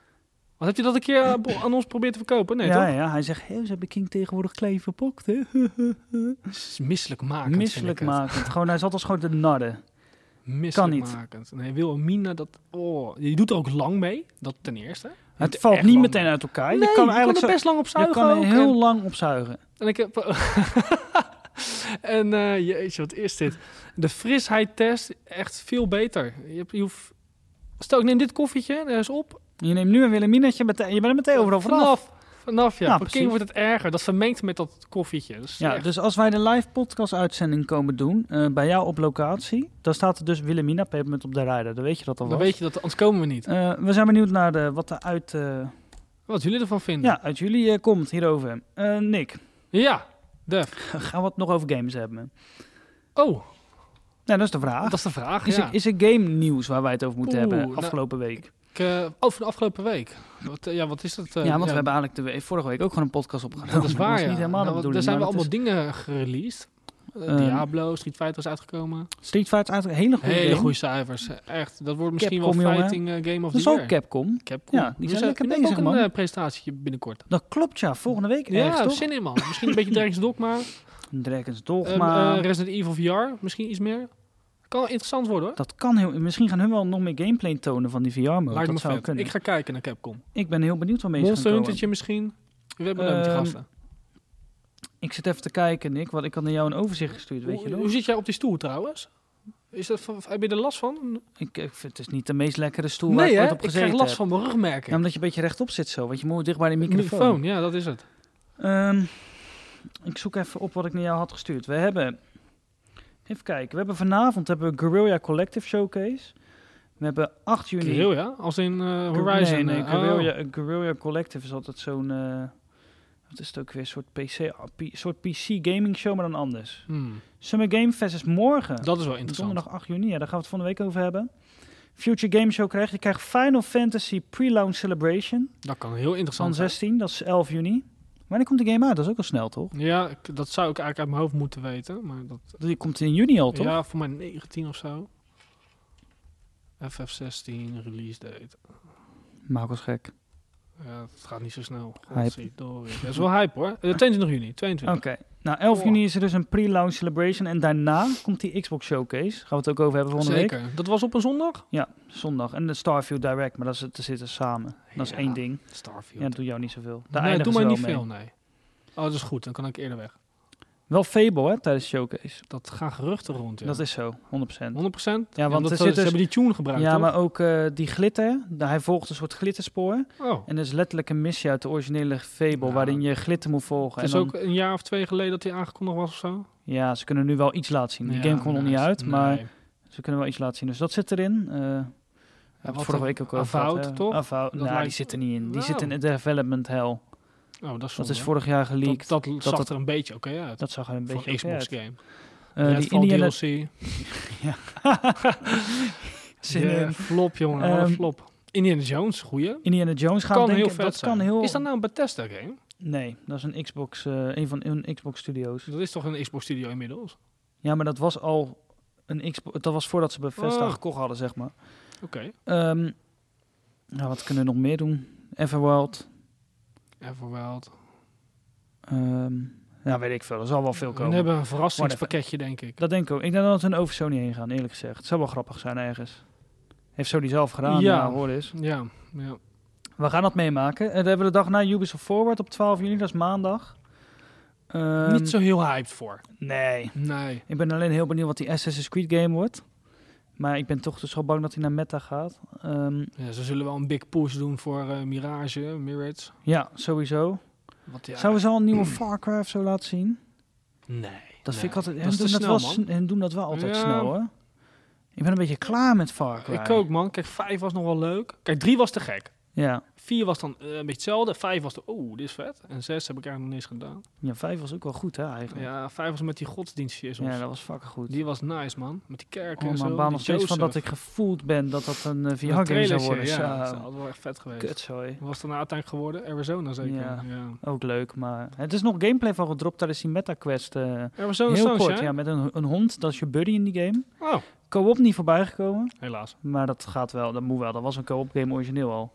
[SPEAKER 2] Wat heb je dat een keer eh, bo- aan ons probeert te verkopen? Nee,
[SPEAKER 1] ja,
[SPEAKER 2] toch?
[SPEAKER 1] ja, hij zegt, hey, ze hebben King tegenwoordig klein verpakt, hè?
[SPEAKER 2] Het is Misselijkmakend.
[SPEAKER 1] Misselijk
[SPEAKER 2] maken.
[SPEAKER 1] maken. Gewoon, hij zat als gewoon te narren.
[SPEAKER 2] Misselijkmakend. Nee, Wilhelmina, dat... Oh, je doet er ook lang mee. Dat ten eerste. Je doet
[SPEAKER 1] Het
[SPEAKER 2] er
[SPEAKER 1] valt
[SPEAKER 2] echt
[SPEAKER 1] niet
[SPEAKER 2] lang
[SPEAKER 1] meteen
[SPEAKER 2] mee.
[SPEAKER 1] uit elkaar.
[SPEAKER 2] Nee,
[SPEAKER 1] je kan eigenlijk
[SPEAKER 2] er
[SPEAKER 1] zo,
[SPEAKER 2] best lang op
[SPEAKER 1] je
[SPEAKER 2] zuigen
[SPEAKER 1] kan er
[SPEAKER 2] ook.
[SPEAKER 1] heel
[SPEAKER 2] En-
[SPEAKER 1] lang op zuigen.
[SPEAKER 2] En ik heb. [laughs] en eh jeetje, wat is dit? De frisheidtest echt veel beter. Je, hebt, je hoeft. Stel, ik neem dit koffietje, er is op.
[SPEAKER 1] Je neemt nu een Willeminetje, meteen- je bent er meteen overal vanaf.
[SPEAKER 2] Vanaf, vanaf, ja.
[SPEAKER 1] Ja,
[SPEAKER 2] Voor King
[SPEAKER 1] precies.
[SPEAKER 2] wordt het erger. Dat vermengt met dat koffietje. Dat is
[SPEAKER 1] Ja,
[SPEAKER 2] echt-
[SPEAKER 1] dus als wij de live podcast uitzending komen doen, eh, bij jou op locatie, dan staat er dus Willemina Peppermint op de rijder. Dan weet je dat al
[SPEAKER 2] dan
[SPEAKER 1] wel. Eh,
[SPEAKER 2] weet je dat, anders komen we niet.
[SPEAKER 1] we zijn benieuwd naar de, wat er uit, eh,
[SPEAKER 2] Wat jullie ervan vinden.
[SPEAKER 1] ja, uit jullie eh, komt hierover. Eh, Nick, [laughs]
[SPEAKER 2] ja Def.
[SPEAKER 1] gaan we het nog over games hebben?
[SPEAKER 2] Oh,
[SPEAKER 1] Nou, dat is de vraag.
[SPEAKER 2] dat is de vraag.
[SPEAKER 1] Is,
[SPEAKER 2] ja.
[SPEAKER 1] er, is er game nieuws waar wij het over moeten
[SPEAKER 2] Oeh,
[SPEAKER 1] hebben
[SPEAKER 2] nou,
[SPEAKER 1] afgelopen week?
[SPEAKER 2] Ik, eh, oh, van de afgelopen week. Wat, eh, ja, wat is dat? eh,
[SPEAKER 1] ja, want we hebben eigenlijk de, we- vorige week ook gewoon een podcast opgenomen.
[SPEAKER 2] Dat is waar,
[SPEAKER 1] Oh, was
[SPEAKER 2] ja.
[SPEAKER 1] niet helemaal
[SPEAKER 2] Nou,
[SPEAKER 1] de
[SPEAKER 2] er
[SPEAKER 1] bedoeling.
[SPEAKER 2] zijn wel
[SPEAKER 1] maar
[SPEAKER 2] allemaal
[SPEAKER 1] dat
[SPEAKER 2] dingen gereleased. Eh,
[SPEAKER 1] Ehm,
[SPEAKER 2] Diablo, Street Fighter is uitgekomen.
[SPEAKER 1] is- Street Fighter is eigenlijk een hele goede
[SPEAKER 2] Hele
[SPEAKER 1] game.
[SPEAKER 2] goede cijfers. Echt. Dat wordt misschien
[SPEAKER 1] Capcom,
[SPEAKER 2] wel
[SPEAKER 1] jongen.
[SPEAKER 2] fighting eh, game of
[SPEAKER 1] Dat is
[SPEAKER 2] the
[SPEAKER 1] ook
[SPEAKER 2] year. Dus
[SPEAKER 1] Capcom.
[SPEAKER 2] Capcom.
[SPEAKER 1] Ja, die
[SPEAKER 2] We
[SPEAKER 1] zijn lekker
[SPEAKER 2] we
[SPEAKER 1] bezig,
[SPEAKER 2] hebben ook
[SPEAKER 1] man.
[SPEAKER 2] een eh, presentatie binnenkort.
[SPEAKER 1] Dat klopt, ja. Volgende week
[SPEAKER 2] Ja,
[SPEAKER 1] ergens, toch?
[SPEAKER 2] zin in man. Misschien een beetje Dragon's
[SPEAKER 1] [laughs]
[SPEAKER 2] Dogma.
[SPEAKER 1] Dragon's
[SPEAKER 2] Ehm,
[SPEAKER 1] Dogma.
[SPEAKER 2] eh, Resident Evil VR. Misschien iets meer. Kan wel interessant worden hoor.
[SPEAKER 1] Dat kan heel... Misschien gaan hun wel nog meer gameplay tonen van die VR-mode.
[SPEAKER 2] Lijkt
[SPEAKER 1] Dat
[SPEAKER 2] me
[SPEAKER 1] zou
[SPEAKER 2] vet.
[SPEAKER 1] kunnen.
[SPEAKER 2] Ik
[SPEAKER 1] Ik,
[SPEAKER 2] ga kijken naar Capcom.
[SPEAKER 1] ben heel benieuwd waarmee ze gaan
[SPEAKER 2] Monster
[SPEAKER 1] komen.
[SPEAKER 2] Huntertje misschien. We hebben leuk met die
[SPEAKER 1] Ehm,
[SPEAKER 2] gasten.
[SPEAKER 1] Ik zit even te kijken, Nick. Want ik had naar jou een overzicht gestuurd, weet
[SPEAKER 2] Hoe,
[SPEAKER 1] je nog?
[SPEAKER 2] hoe zit jij op die stoel trouwens? Is dat, van- heb je er last van?
[SPEAKER 1] Ik, ik vind het is niet de meest lekkere stoel waar ik
[SPEAKER 2] Nee hè?
[SPEAKER 1] ooit
[SPEAKER 2] Ik
[SPEAKER 1] op gezeten
[SPEAKER 2] krijg
[SPEAKER 1] heb.
[SPEAKER 2] last van mijn
[SPEAKER 1] Ja,
[SPEAKER 2] rugmerken.
[SPEAKER 1] omdat je een beetje rechtop zit zo. Want je moet dicht bij de microfoon.
[SPEAKER 2] Microfoon, ja dat is het.
[SPEAKER 1] Ehm, ik zoek even op wat ik naar jou had gestuurd. We hebben... Even kijken. We hebben vanavond hebben we Guerrilla Collective Showcase. We hebben 8 juni...
[SPEAKER 2] Guerrilla, ja? Als in eh,
[SPEAKER 1] Gu-
[SPEAKER 2] Horizon.
[SPEAKER 1] Nee, nee,
[SPEAKER 2] eh,
[SPEAKER 1] Guerrilla, Guerrilla Collective is altijd zo'n... eh, wat is het ook weer? Een soort PC, ah, P- soort PC gaming show, maar dan anders.
[SPEAKER 2] oh. Hmm,
[SPEAKER 1] Summer Game Fest is morgen.
[SPEAKER 2] Dat is wel interessant.
[SPEAKER 1] Donderdag 8 juni. Ja, daar gaan we het van de week over hebben. Future Game Show krijg je. Je krijgt Final Fantasy Pre-Launch Celebration
[SPEAKER 2] Dat kan heel
[SPEAKER 1] van
[SPEAKER 2] interessant zijn.
[SPEAKER 1] 16. Dat is 11 juni. Wanneer komt die game uit? Dat is ook al snel, toch?
[SPEAKER 2] Ja, ik- dat zou ik eigenlijk uit mijn hoofd moeten weten. Maar dat,
[SPEAKER 1] Die komt in juni al, toch?
[SPEAKER 2] ja, voor mij 19 of zo. FF16 release date.
[SPEAKER 1] Marcos gek.
[SPEAKER 2] Ja, het gaat niet zo snel.
[SPEAKER 1] Hype.
[SPEAKER 2] Godverdorie. Dat is wel hype hoor. Eh, 22 juni, 22.
[SPEAKER 1] Oké. Nou, 11
[SPEAKER 2] Oh.
[SPEAKER 1] juni is er dus een pre-launch celebration. En daarna komt die Xbox Showcase. Gaan we het ook over hebben volgende week.
[SPEAKER 2] Zeker. Dat was op een zondag?
[SPEAKER 1] Zondag. En de Starfield Direct, maar dat is, dat zitten samen. Dat is
[SPEAKER 2] Ja.
[SPEAKER 1] één ding. Ja,
[SPEAKER 2] Starfield.
[SPEAKER 1] dat doet jou niet zoveel. Daar
[SPEAKER 2] nee,
[SPEAKER 1] eindigen
[SPEAKER 2] doe
[SPEAKER 1] ze
[SPEAKER 2] maar
[SPEAKER 1] wel
[SPEAKER 2] niet
[SPEAKER 1] mee.
[SPEAKER 2] veel, nee. Oh, dat is goed. Dan kan ik eerder weg.
[SPEAKER 1] Wel Fable, hè, tijdens de showcase.
[SPEAKER 2] Dat gaan geruchten rond, ja.
[SPEAKER 1] Dat is zo, 100%.
[SPEAKER 2] 100%?
[SPEAKER 1] Ja,
[SPEAKER 2] Ja,
[SPEAKER 1] want
[SPEAKER 2] want
[SPEAKER 1] er
[SPEAKER 2] dat,
[SPEAKER 1] zit
[SPEAKER 2] ze
[SPEAKER 1] dus-
[SPEAKER 2] hebben die tune gebruikt, toch?
[SPEAKER 1] maar ook eh, die glitter. Nou, hij volgt een soort glitterspoor.
[SPEAKER 2] Oh.
[SPEAKER 1] En dat is letterlijk een missie uit de originele Fable,
[SPEAKER 2] Nou,
[SPEAKER 1] waarin je glitter moet volgen.
[SPEAKER 2] Het is
[SPEAKER 1] en dan-
[SPEAKER 2] ook een jaar of twee geleden dat hij aangekondigd was of zo.
[SPEAKER 1] Ja, ze kunnen nu wel iets laten zien. Die game komt nog niet uit, maar ze kunnen wel iets laten zien. Dus dat zit erin. eh we hebben het
[SPEAKER 2] wat
[SPEAKER 1] vorige
[SPEAKER 2] dan?
[SPEAKER 1] week ook over gehad,
[SPEAKER 2] Avowed,
[SPEAKER 1] hè.
[SPEAKER 2] toch?
[SPEAKER 1] Avowed.
[SPEAKER 2] Dat
[SPEAKER 1] Nou, die
[SPEAKER 2] lijkt-
[SPEAKER 1] zit er niet in. Die
[SPEAKER 2] Nou.
[SPEAKER 1] zit in het development hell.
[SPEAKER 2] Oh, dat is,
[SPEAKER 1] Dat is
[SPEAKER 2] voor
[SPEAKER 1] vorig jaar geleakt.
[SPEAKER 2] dat,
[SPEAKER 1] Dat,
[SPEAKER 2] dat, zag
[SPEAKER 1] dat-
[SPEAKER 2] er een beetje oké uit.
[SPEAKER 1] zag er een
[SPEAKER 2] voor
[SPEAKER 1] beetje
[SPEAKER 2] een
[SPEAKER 1] oké uit.
[SPEAKER 2] Xbox game.
[SPEAKER 1] Eh, die
[SPEAKER 2] Redfall
[SPEAKER 1] Indiana [laughs]
[SPEAKER 2] DLC.
[SPEAKER 1] Zin
[SPEAKER 2] Yeah,
[SPEAKER 1] in.
[SPEAKER 2] Flop, jongen. wat een
[SPEAKER 1] eh, Ehm,
[SPEAKER 2] flop. Indiana Jones, goeie.
[SPEAKER 1] Indiana Jones gaan
[SPEAKER 2] Kan
[SPEAKER 1] denken,
[SPEAKER 2] heel vet
[SPEAKER 1] dat
[SPEAKER 2] zijn.
[SPEAKER 1] kan heel...
[SPEAKER 2] Is dat nou een Bethesda game?
[SPEAKER 1] Nee, dat is een Xbox, eh, een van hun Xbox Studios.
[SPEAKER 2] Dat is toch een Xbox Studio inmiddels?
[SPEAKER 1] Ja, maar dat was al een Xbox... Dat was voordat ze Bethesda
[SPEAKER 2] Oh.
[SPEAKER 1] gekocht hadden, zeg maar.
[SPEAKER 2] Oké.
[SPEAKER 1] Ehm, nou, wat kunnen we nog meer doen? Everwild.
[SPEAKER 2] Everwild.
[SPEAKER 1] Ehm nou, weet ik veel. Er zal wel veel
[SPEAKER 2] We
[SPEAKER 1] komen.
[SPEAKER 2] hebben een verrassingspakketje, denk ik.
[SPEAKER 1] Dat denk ik ook. Ik denk dat we over Sony heen gaan, eerlijk gezegd. Het zou wel grappig zijn ergens. Heeft Sony zelf gedaan,
[SPEAKER 2] Ja.
[SPEAKER 1] ja. hoor eens.
[SPEAKER 2] Ja, ja.
[SPEAKER 1] We gaan dat meemaken. En dan hebben we de dag na Ubisoft Forward op 12 juni, dat is maandag. Ehm,
[SPEAKER 2] Niet zo heel hyped voor.
[SPEAKER 1] Nee.
[SPEAKER 2] Nee.
[SPEAKER 1] Ik ben alleen heel benieuwd wat die Assassin's Creed game wordt. Maar ik ben toch dus wel bang dat hij naar meta gaat. Ehm,
[SPEAKER 2] Ja, ze zullen wel een big push doen voor eh, Mirage, Mirage.
[SPEAKER 1] ja, sowieso.
[SPEAKER 2] Wat ja.
[SPEAKER 1] Zouden ze al een nieuwe [clears throat] Far Cry of zo laten zien?
[SPEAKER 2] Nee.
[SPEAKER 1] Dat vind ik altijd...
[SPEAKER 2] Dat
[SPEAKER 1] hen
[SPEAKER 2] is te
[SPEAKER 1] doen,
[SPEAKER 2] snel,
[SPEAKER 1] dat wel,
[SPEAKER 2] man.
[SPEAKER 1] s- hen doen dat wel altijd
[SPEAKER 2] Ja.
[SPEAKER 1] snel, hoor. Ik ben een beetje klaar met Far Cry.
[SPEAKER 2] Ik ook, man. Kijk, 5 was nog wel leuk. Kijk, 3 was te gek.
[SPEAKER 1] Ja.
[SPEAKER 2] 4 was dan eh, een beetje hetzelfde. 5 was de, oeh, dit is vet. En 6 heb ik eigenlijk nog niks gedaan.
[SPEAKER 1] Ja, 5 was ook wel goed, hè, eigenlijk.
[SPEAKER 2] Ja, 5 was met die godsdienstjes.
[SPEAKER 1] Ja,
[SPEAKER 2] Ja,
[SPEAKER 1] dat was fucking goed.
[SPEAKER 2] Die was nice, man. Met die kerken
[SPEAKER 1] Oh,
[SPEAKER 2] en zo.
[SPEAKER 1] mijn baan
[SPEAKER 2] die
[SPEAKER 1] nog steeds van dat
[SPEAKER 2] Jozef.
[SPEAKER 1] ik gevoeld ben dat dat een eh,
[SPEAKER 2] Dat
[SPEAKER 1] VR-game zou
[SPEAKER 2] trailertje,
[SPEAKER 1] worden.
[SPEAKER 2] Ja,
[SPEAKER 1] Zo.
[SPEAKER 2] dat had wel echt vet geweest.
[SPEAKER 1] Kut, sorry.
[SPEAKER 2] Wat was het dan uiteindelijk geworden? Arizona zeker.
[SPEAKER 1] Ja.
[SPEAKER 2] Ja.
[SPEAKER 1] Ook leuk, maar... Het is nog gameplay van gedropt tijdens die meta-quest. eh.
[SPEAKER 2] Arizona
[SPEAKER 1] heel
[SPEAKER 2] Sunshine?
[SPEAKER 1] kort, ja, met een, een hond. Dat is je buddy in die game.
[SPEAKER 2] Oh,
[SPEAKER 1] Co-op niet voorbij gekomen,
[SPEAKER 2] helaas.
[SPEAKER 1] maar dat gaat wel. Dat moet wel. Dat was een co-op game origineel al.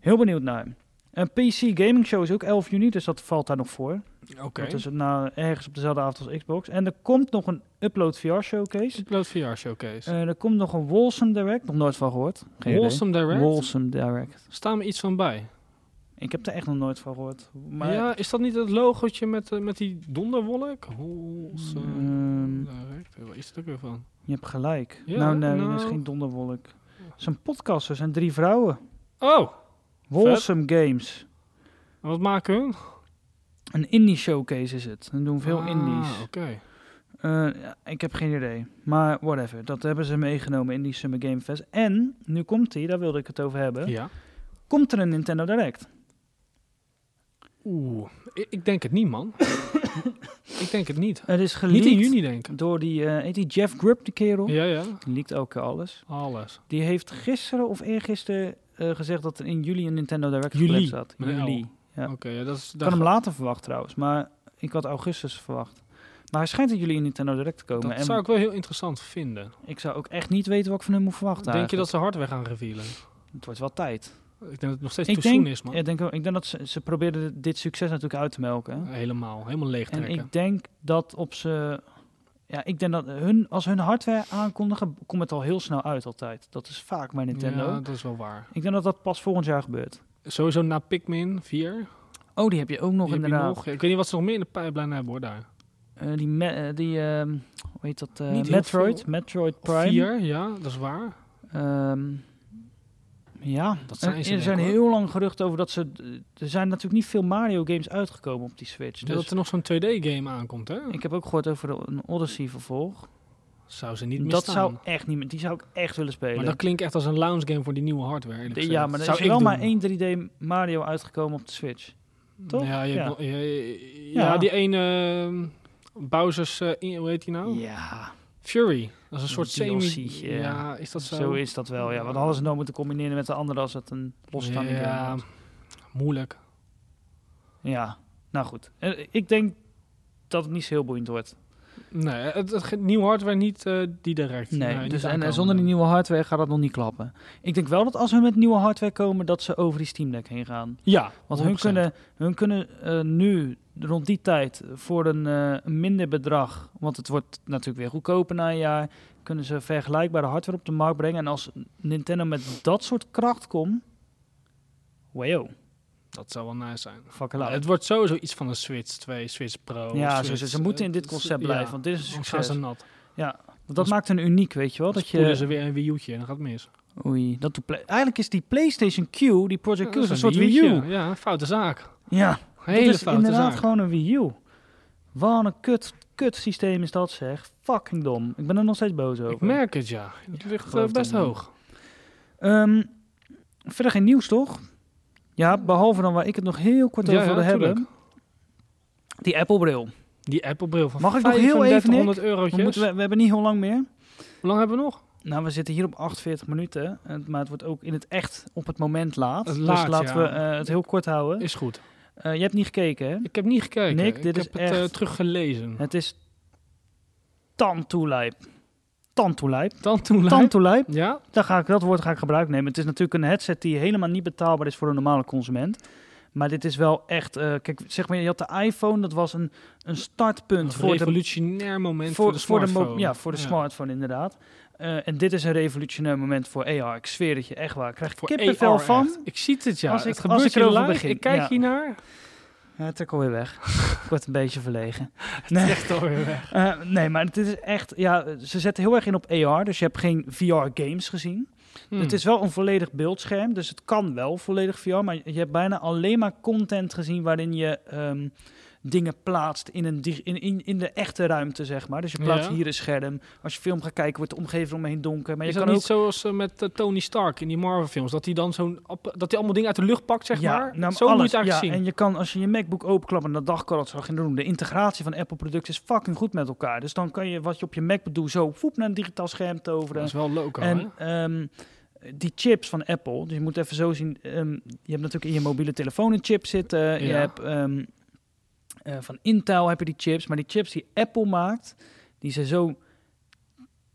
[SPEAKER 1] Heel benieuwd naar hem. Een PC Gaming Show is ook 11 juni, dus dat valt daar nog voor.
[SPEAKER 2] Oké.
[SPEAKER 1] Dat is het nou ergens op dezelfde avond als Xbox. En er komt nog een Upload VR Showcase.
[SPEAKER 2] Upload VR Showcase.
[SPEAKER 1] Eh, er komt nog een Wolsum Direct, nog nooit van gehoord. Geen idee.
[SPEAKER 2] Wholesome Direct.
[SPEAKER 1] Wolsum Direct.
[SPEAKER 2] Staan we iets van bij?
[SPEAKER 1] Ik heb er echt nog nooit van gehoord. Maar ehm,
[SPEAKER 2] ja, is dat niet het logootje met, eh, met die donderwolk? Wholesome
[SPEAKER 1] ehm,
[SPEAKER 2] Direct. Waar is het ook weer van?
[SPEAKER 1] je hebt gelijk.
[SPEAKER 2] Ja,
[SPEAKER 1] nou, nee, dat is
[SPEAKER 2] nou.
[SPEAKER 1] geen donderwolk. Het is een podcast, er zijn drie vrouwen.
[SPEAKER 2] Oh,
[SPEAKER 1] Wolsum Games.
[SPEAKER 2] wat maken hun?
[SPEAKER 1] Een indie showcase is het. Dan doen veel
[SPEAKER 2] Ah,
[SPEAKER 1] indies.
[SPEAKER 2] Oké.
[SPEAKER 1] Eh, ja, ik heb geen idee. Maar whatever. Dat hebben ze meegenomen in die Summer Game Fest. En, nu komt die, daar wilde ik het over hebben.
[SPEAKER 2] Ja.
[SPEAKER 1] Komt er een Nintendo Direct?
[SPEAKER 2] Oeh, ik, ik denk het niet,
[SPEAKER 1] [coughs]
[SPEAKER 2] man. ik denk het niet.
[SPEAKER 1] Het is geleakt
[SPEAKER 2] Niet in juni, denk ik.
[SPEAKER 1] door die, eh, heet die Jeff Grubb, die kerel.
[SPEAKER 2] Ja, ja.
[SPEAKER 1] Die leakt elke keer alles.
[SPEAKER 2] Alles.
[SPEAKER 1] Die heeft gisteren of eergisteren eh, gezegd dat er in juli een Nintendo Direct
[SPEAKER 2] Juli,
[SPEAKER 1] gepland staat.
[SPEAKER 2] met een L.
[SPEAKER 1] Juli. Ja.
[SPEAKER 2] Oké, ja, dat is...
[SPEAKER 1] Ik
[SPEAKER 2] daar
[SPEAKER 1] had hem
[SPEAKER 2] ga-
[SPEAKER 1] later verwacht trouwens, maar ik had augustus verwacht. Maar hij schijnt in juli een Nintendo Direct te komen.
[SPEAKER 2] dat
[SPEAKER 1] en
[SPEAKER 2] zou ik wel heel interessant vinden.
[SPEAKER 1] ik zou ook echt niet weten wat ik van hem moet verwachten
[SPEAKER 2] denk je dat
[SPEAKER 1] eigenlijk.
[SPEAKER 2] ze hardware gaan revealen?
[SPEAKER 1] Het wordt wel tijd.
[SPEAKER 2] Ik denk dat het nog steeds
[SPEAKER 1] Ik
[SPEAKER 2] te soon
[SPEAKER 1] denk-
[SPEAKER 2] is, man.
[SPEAKER 1] Ja, Ik denk, wel- ik denk dat ze, ze probeerden dit- dit succes natuurlijk uit te melken. hè.
[SPEAKER 2] Helemaal. Helemaal leeg
[SPEAKER 1] en
[SPEAKER 2] Eh, trekken.
[SPEAKER 1] ik denk dat op ze. Ja, ik denk dat hun, als hun hardware aankondigen, komt het al heel snel uit altijd. Dat is vaak bij Nintendo.
[SPEAKER 2] Ja, dat is wel waar.
[SPEAKER 1] Ik denk dat dat pas volgend jaar gebeurt.
[SPEAKER 2] Sowieso na Pikmin 4.
[SPEAKER 1] Oh, die heb je ook nog
[SPEAKER 2] Die heb je
[SPEAKER 1] inderdaad.
[SPEAKER 2] nog. Ik weet niet wat ze nog meer in de pijplijn hebben hoor daar.
[SPEAKER 1] Eh, die, me- eh, die ehm, hoe heet dat? eh,
[SPEAKER 2] Niet heel
[SPEAKER 1] Metroid.
[SPEAKER 2] veel.
[SPEAKER 1] Metroid Prime.
[SPEAKER 2] 4, ja, dat is waar.
[SPEAKER 1] Ehm, ja,
[SPEAKER 2] Dat zijn
[SPEAKER 1] En
[SPEAKER 2] ze
[SPEAKER 1] er
[SPEAKER 2] denk
[SPEAKER 1] zijn
[SPEAKER 2] ik, hoor.
[SPEAKER 1] heel lang geruchten over dat ze... Er zijn natuurlijk niet veel Mario games uitgekomen op die Switch. Dus
[SPEAKER 2] Dat er nog zo'n 2D-game aankomt, hè?
[SPEAKER 1] ik heb ook gehoord over een Odyssey vervolg.
[SPEAKER 2] Zou ze niet
[SPEAKER 1] dat
[SPEAKER 2] misstaan.
[SPEAKER 1] zou echt niet meer. Die zou ik echt willen spelen.
[SPEAKER 2] Maar dat klinkt echt als een lounge game voor die nieuwe hardware. eerlijk
[SPEAKER 1] De-
[SPEAKER 2] gezegd.
[SPEAKER 1] ja, maar er
[SPEAKER 2] Zou
[SPEAKER 1] is
[SPEAKER 2] ik
[SPEAKER 1] wel maar
[SPEAKER 2] doen.
[SPEAKER 1] één 3D Mario uitgekomen op de Switch. toch?
[SPEAKER 2] Ja, je hebt
[SPEAKER 1] Ja.
[SPEAKER 2] wel- je- je-
[SPEAKER 1] Ja.
[SPEAKER 2] ja, die ene eh, Bowser's, eh, in- hoe heet die nou?
[SPEAKER 1] Ja,
[SPEAKER 2] Fury. Dat is een soort semi...
[SPEAKER 1] DLC, ja.
[SPEAKER 2] Ja, is dat
[SPEAKER 1] zo?
[SPEAKER 2] zo?
[SPEAKER 1] is dat wel. Ja, want hadden ze nou moeten combineren met de andere als het een losstaande game
[SPEAKER 2] Ja,
[SPEAKER 1] was.
[SPEAKER 2] moeilijk.
[SPEAKER 1] Ja, nou goed. Eh, Ik denk dat het niet zo heel boeiend wordt.
[SPEAKER 2] Nee, het, het, het nieuwe hardware niet eh, die direct.
[SPEAKER 1] Nee,
[SPEAKER 2] niet
[SPEAKER 1] dus en, en
[SPEAKER 2] aankomen.
[SPEAKER 1] zonder die nieuwe hardware gaat dat nog niet klappen. Ik denk wel dat als hun met nieuwe hardware komen, dat ze over die Steam Deck heen gaan.
[SPEAKER 2] Ja,
[SPEAKER 1] Want hun
[SPEAKER 2] 100%.
[SPEAKER 1] kunnen, hun kunnen eh, nu, rond die tijd, voor een eh, minder bedrag, want het wordt natuurlijk weer goedkoper na een jaar, kunnen ze vergelijkbare hardware op de markt brengen. En als Nintendo met dat soort kracht komt, wow,
[SPEAKER 2] Dat zou wel nice zijn.
[SPEAKER 1] fucking
[SPEAKER 2] het wordt sowieso iets van een Switch 2, Switch Pro.
[SPEAKER 1] Ja,
[SPEAKER 2] Switch,
[SPEAKER 1] ze, ze moeten in dit
[SPEAKER 2] eh,
[SPEAKER 1] concept
[SPEAKER 2] ja,
[SPEAKER 1] blijven, want dit is een
[SPEAKER 2] anders gaan
[SPEAKER 1] succes.
[SPEAKER 2] ze nat.
[SPEAKER 1] Ja, want dat
[SPEAKER 2] Anders-
[SPEAKER 1] maakt hen uniek, weet je wel. Dat
[SPEAKER 2] Spoelen ze
[SPEAKER 1] je,
[SPEAKER 2] weer een Wii U'tje en dan gaat het mis.
[SPEAKER 1] oei, dat doet Play- eigenlijk is die PlayStation Q, die Project
[SPEAKER 2] Ja,
[SPEAKER 1] Q, is een soort
[SPEAKER 2] Wii
[SPEAKER 1] Wii U.
[SPEAKER 2] U'tje. Ja, een foute zaak.
[SPEAKER 1] Ja,
[SPEAKER 2] Hele
[SPEAKER 1] dat is
[SPEAKER 2] foute
[SPEAKER 1] inderdaad
[SPEAKER 2] zaak.
[SPEAKER 1] gewoon een Wii U. Wat een kut, kut systeem is dat zeg. Fucking dom. Ik ben er nog steeds boos over.
[SPEAKER 2] Ik merk het, ja. Het ligt eh,
[SPEAKER 1] geloof
[SPEAKER 2] best
[SPEAKER 1] dat niet.
[SPEAKER 2] hoog.
[SPEAKER 1] Ehm, verder geen nieuws toch? Ja, behalve dan waar ik het nog heel kort
[SPEAKER 2] Ja,
[SPEAKER 1] over
[SPEAKER 2] ja,
[SPEAKER 1] wilde hebben.
[SPEAKER 2] tuurlijk.
[SPEAKER 1] Die Apple-bril.
[SPEAKER 2] Die Apple-bril van
[SPEAKER 1] Mag ik nog heel even, Nick?
[SPEAKER 2] 3500
[SPEAKER 1] We,
[SPEAKER 2] eurotjes.
[SPEAKER 1] moeten- we, we hebben niet heel lang meer.
[SPEAKER 2] Hoe lang hebben we nog?
[SPEAKER 1] Nou, we zitten hier op 48 minuten. en- Maar het wordt ook in het echt op het moment laat.
[SPEAKER 2] Het
[SPEAKER 1] dus
[SPEAKER 2] laat,
[SPEAKER 1] laten
[SPEAKER 2] ja.
[SPEAKER 1] we eh, het heel kort houden.
[SPEAKER 2] Is goed.
[SPEAKER 1] Eh, je hebt niet gekeken, hè?
[SPEAKER 2] Ik heb niet gekeken.
[SPEAKER 1] Nick,
[SPEAKER 2] ik
[SPEAKER 1] dit
[SPEAKER 2] heb
[SPEAKER 1] is
[SPEAKER 2] het eh,
[SPEAKER 1] echt-
[SPEAKER 2] teruggelezen.
[SPEAKER 1] Het is tantoelijp. Tantoelijp.
[SPEAKER 2] Dan toen lijkt-
[SPEAKER 1] Tantoelijp.
[SPEAKER 2] Ja?
[SPEAKER 1] Daar ga ik, dat woord ga ik gebruik nemen. Het is natuurlijk een headset die helemaal niet betaalbaar is voor een normale consument. Maar dit is wel echt. eh, kijk, zeg maar, je had de iPhone, dat was een, een startpunt
[SPEAKER 2] Een
[SPEAKER 1] voor de,
[SPEAKER 2] revolutionair moment voor,
[SPEAKER 1] voor,
[SPEAKER 2] de
[SPEAKER 1] voor de, mo-
[SPEAKER 2] smartphone.
[SPEAKER 1] ja, voor de smartphone, inderdaad. Eh, en dit is een revolutionair moment voor AR. Ik zweer het je echt waar. Ik krijg
[SPEAKER 2] Voor
[SPEAKER 1] kippenvel
[SPEAKER 2] AR
[SPEAKER 1] van.
[SPEAKER 2] echt. Ik zie het, ja.
[SPEAKER 1] Als ik-
[SPEAKER 2] het
[SPEAKER 1] als
[SPEAKER 2] gebeurt
[SPEAKER 1] ik
[SPEAKER 2] hier
[SPEAKER 1] erover
[SPEAKER 2] live.
[SPEAKER 1] begin,
[SPEAKER 2] Ik kijk
[SPEAKER 1] ja.
[SPEAKER 2] hiernaar.
[SPEAKER 1] Ja, trek alweer weg. [laughs] ik word een beetje verlegen. [laughs]
[SPEAKER 2] Het
[SPEAKER 1] Nee.
[SPEAKER 2] is echt alweer weg.
[SPEAKER 1] Eh, nee, maar het is echt. Ja, ze zetten heel erg in op AR. Dus je hebt geen VR-games gezien.
[SPEAKER 2] Hmm.
[SPEAKER 1] Het is wel een volledig beeldscherm, dus het kan wel volledig VR, maar je hebt bijna alleen maar content gezien waarin je ehm, dingen plaatst in, een dig- in, in, in de echte ruimte, zeg maar. Dus je plaatst
[SPEAKER 2] Ja.
[SPEAKER 1] hier een scherm. Als je film gaat kijken, wordt de omgeving omheen donker. Maar
[SPEAKER 2] Maar
[SPEAKER 1] je
[SPEAKER 2] is
[SPEAKER 1] kan
[SPEAKER 2] dat
[SPEAKER 1] ook...
[SPEAKER 2] niet zoals eh, met eh, Tony Stark in die Marvel-films? Dat hij dan zo'n... app- Dat hij allemaal dingen uit de lucht pakt, zeg
[SPEAKER 1] Ja, nou,
[SPEAKER 2] maar? Zo moet je
[SPEAKER 1] alles.
[SPEAKER 2] het eigenlijk
[SPEAKER 1] ja,
[SPEAKER 2] zien.
[SPEAKER 1] En je kan, als je je MacBook openklapt en dat dagkort zo gaan doen, de integratie van Apple-producten is fucking goed met elkaar. Dus dan kan je wat je op je MacBook doet, zo voep naar een digitaal scherm toveren.
[SPEAKER 2] Dat is wel loco, hè?
[SPEAKER 1] En ehm, die chips van Apple, dus je moet even zo zien. ehm, je hebt natuurlijk in je mobiele telefoon een chip zitten. Je
[SPEAKER 2] Ja.
[SPEAKER 1] hebt ehm, eh, van Intel heb je die chips. Maar die chips die Apple maakt, die zijn zo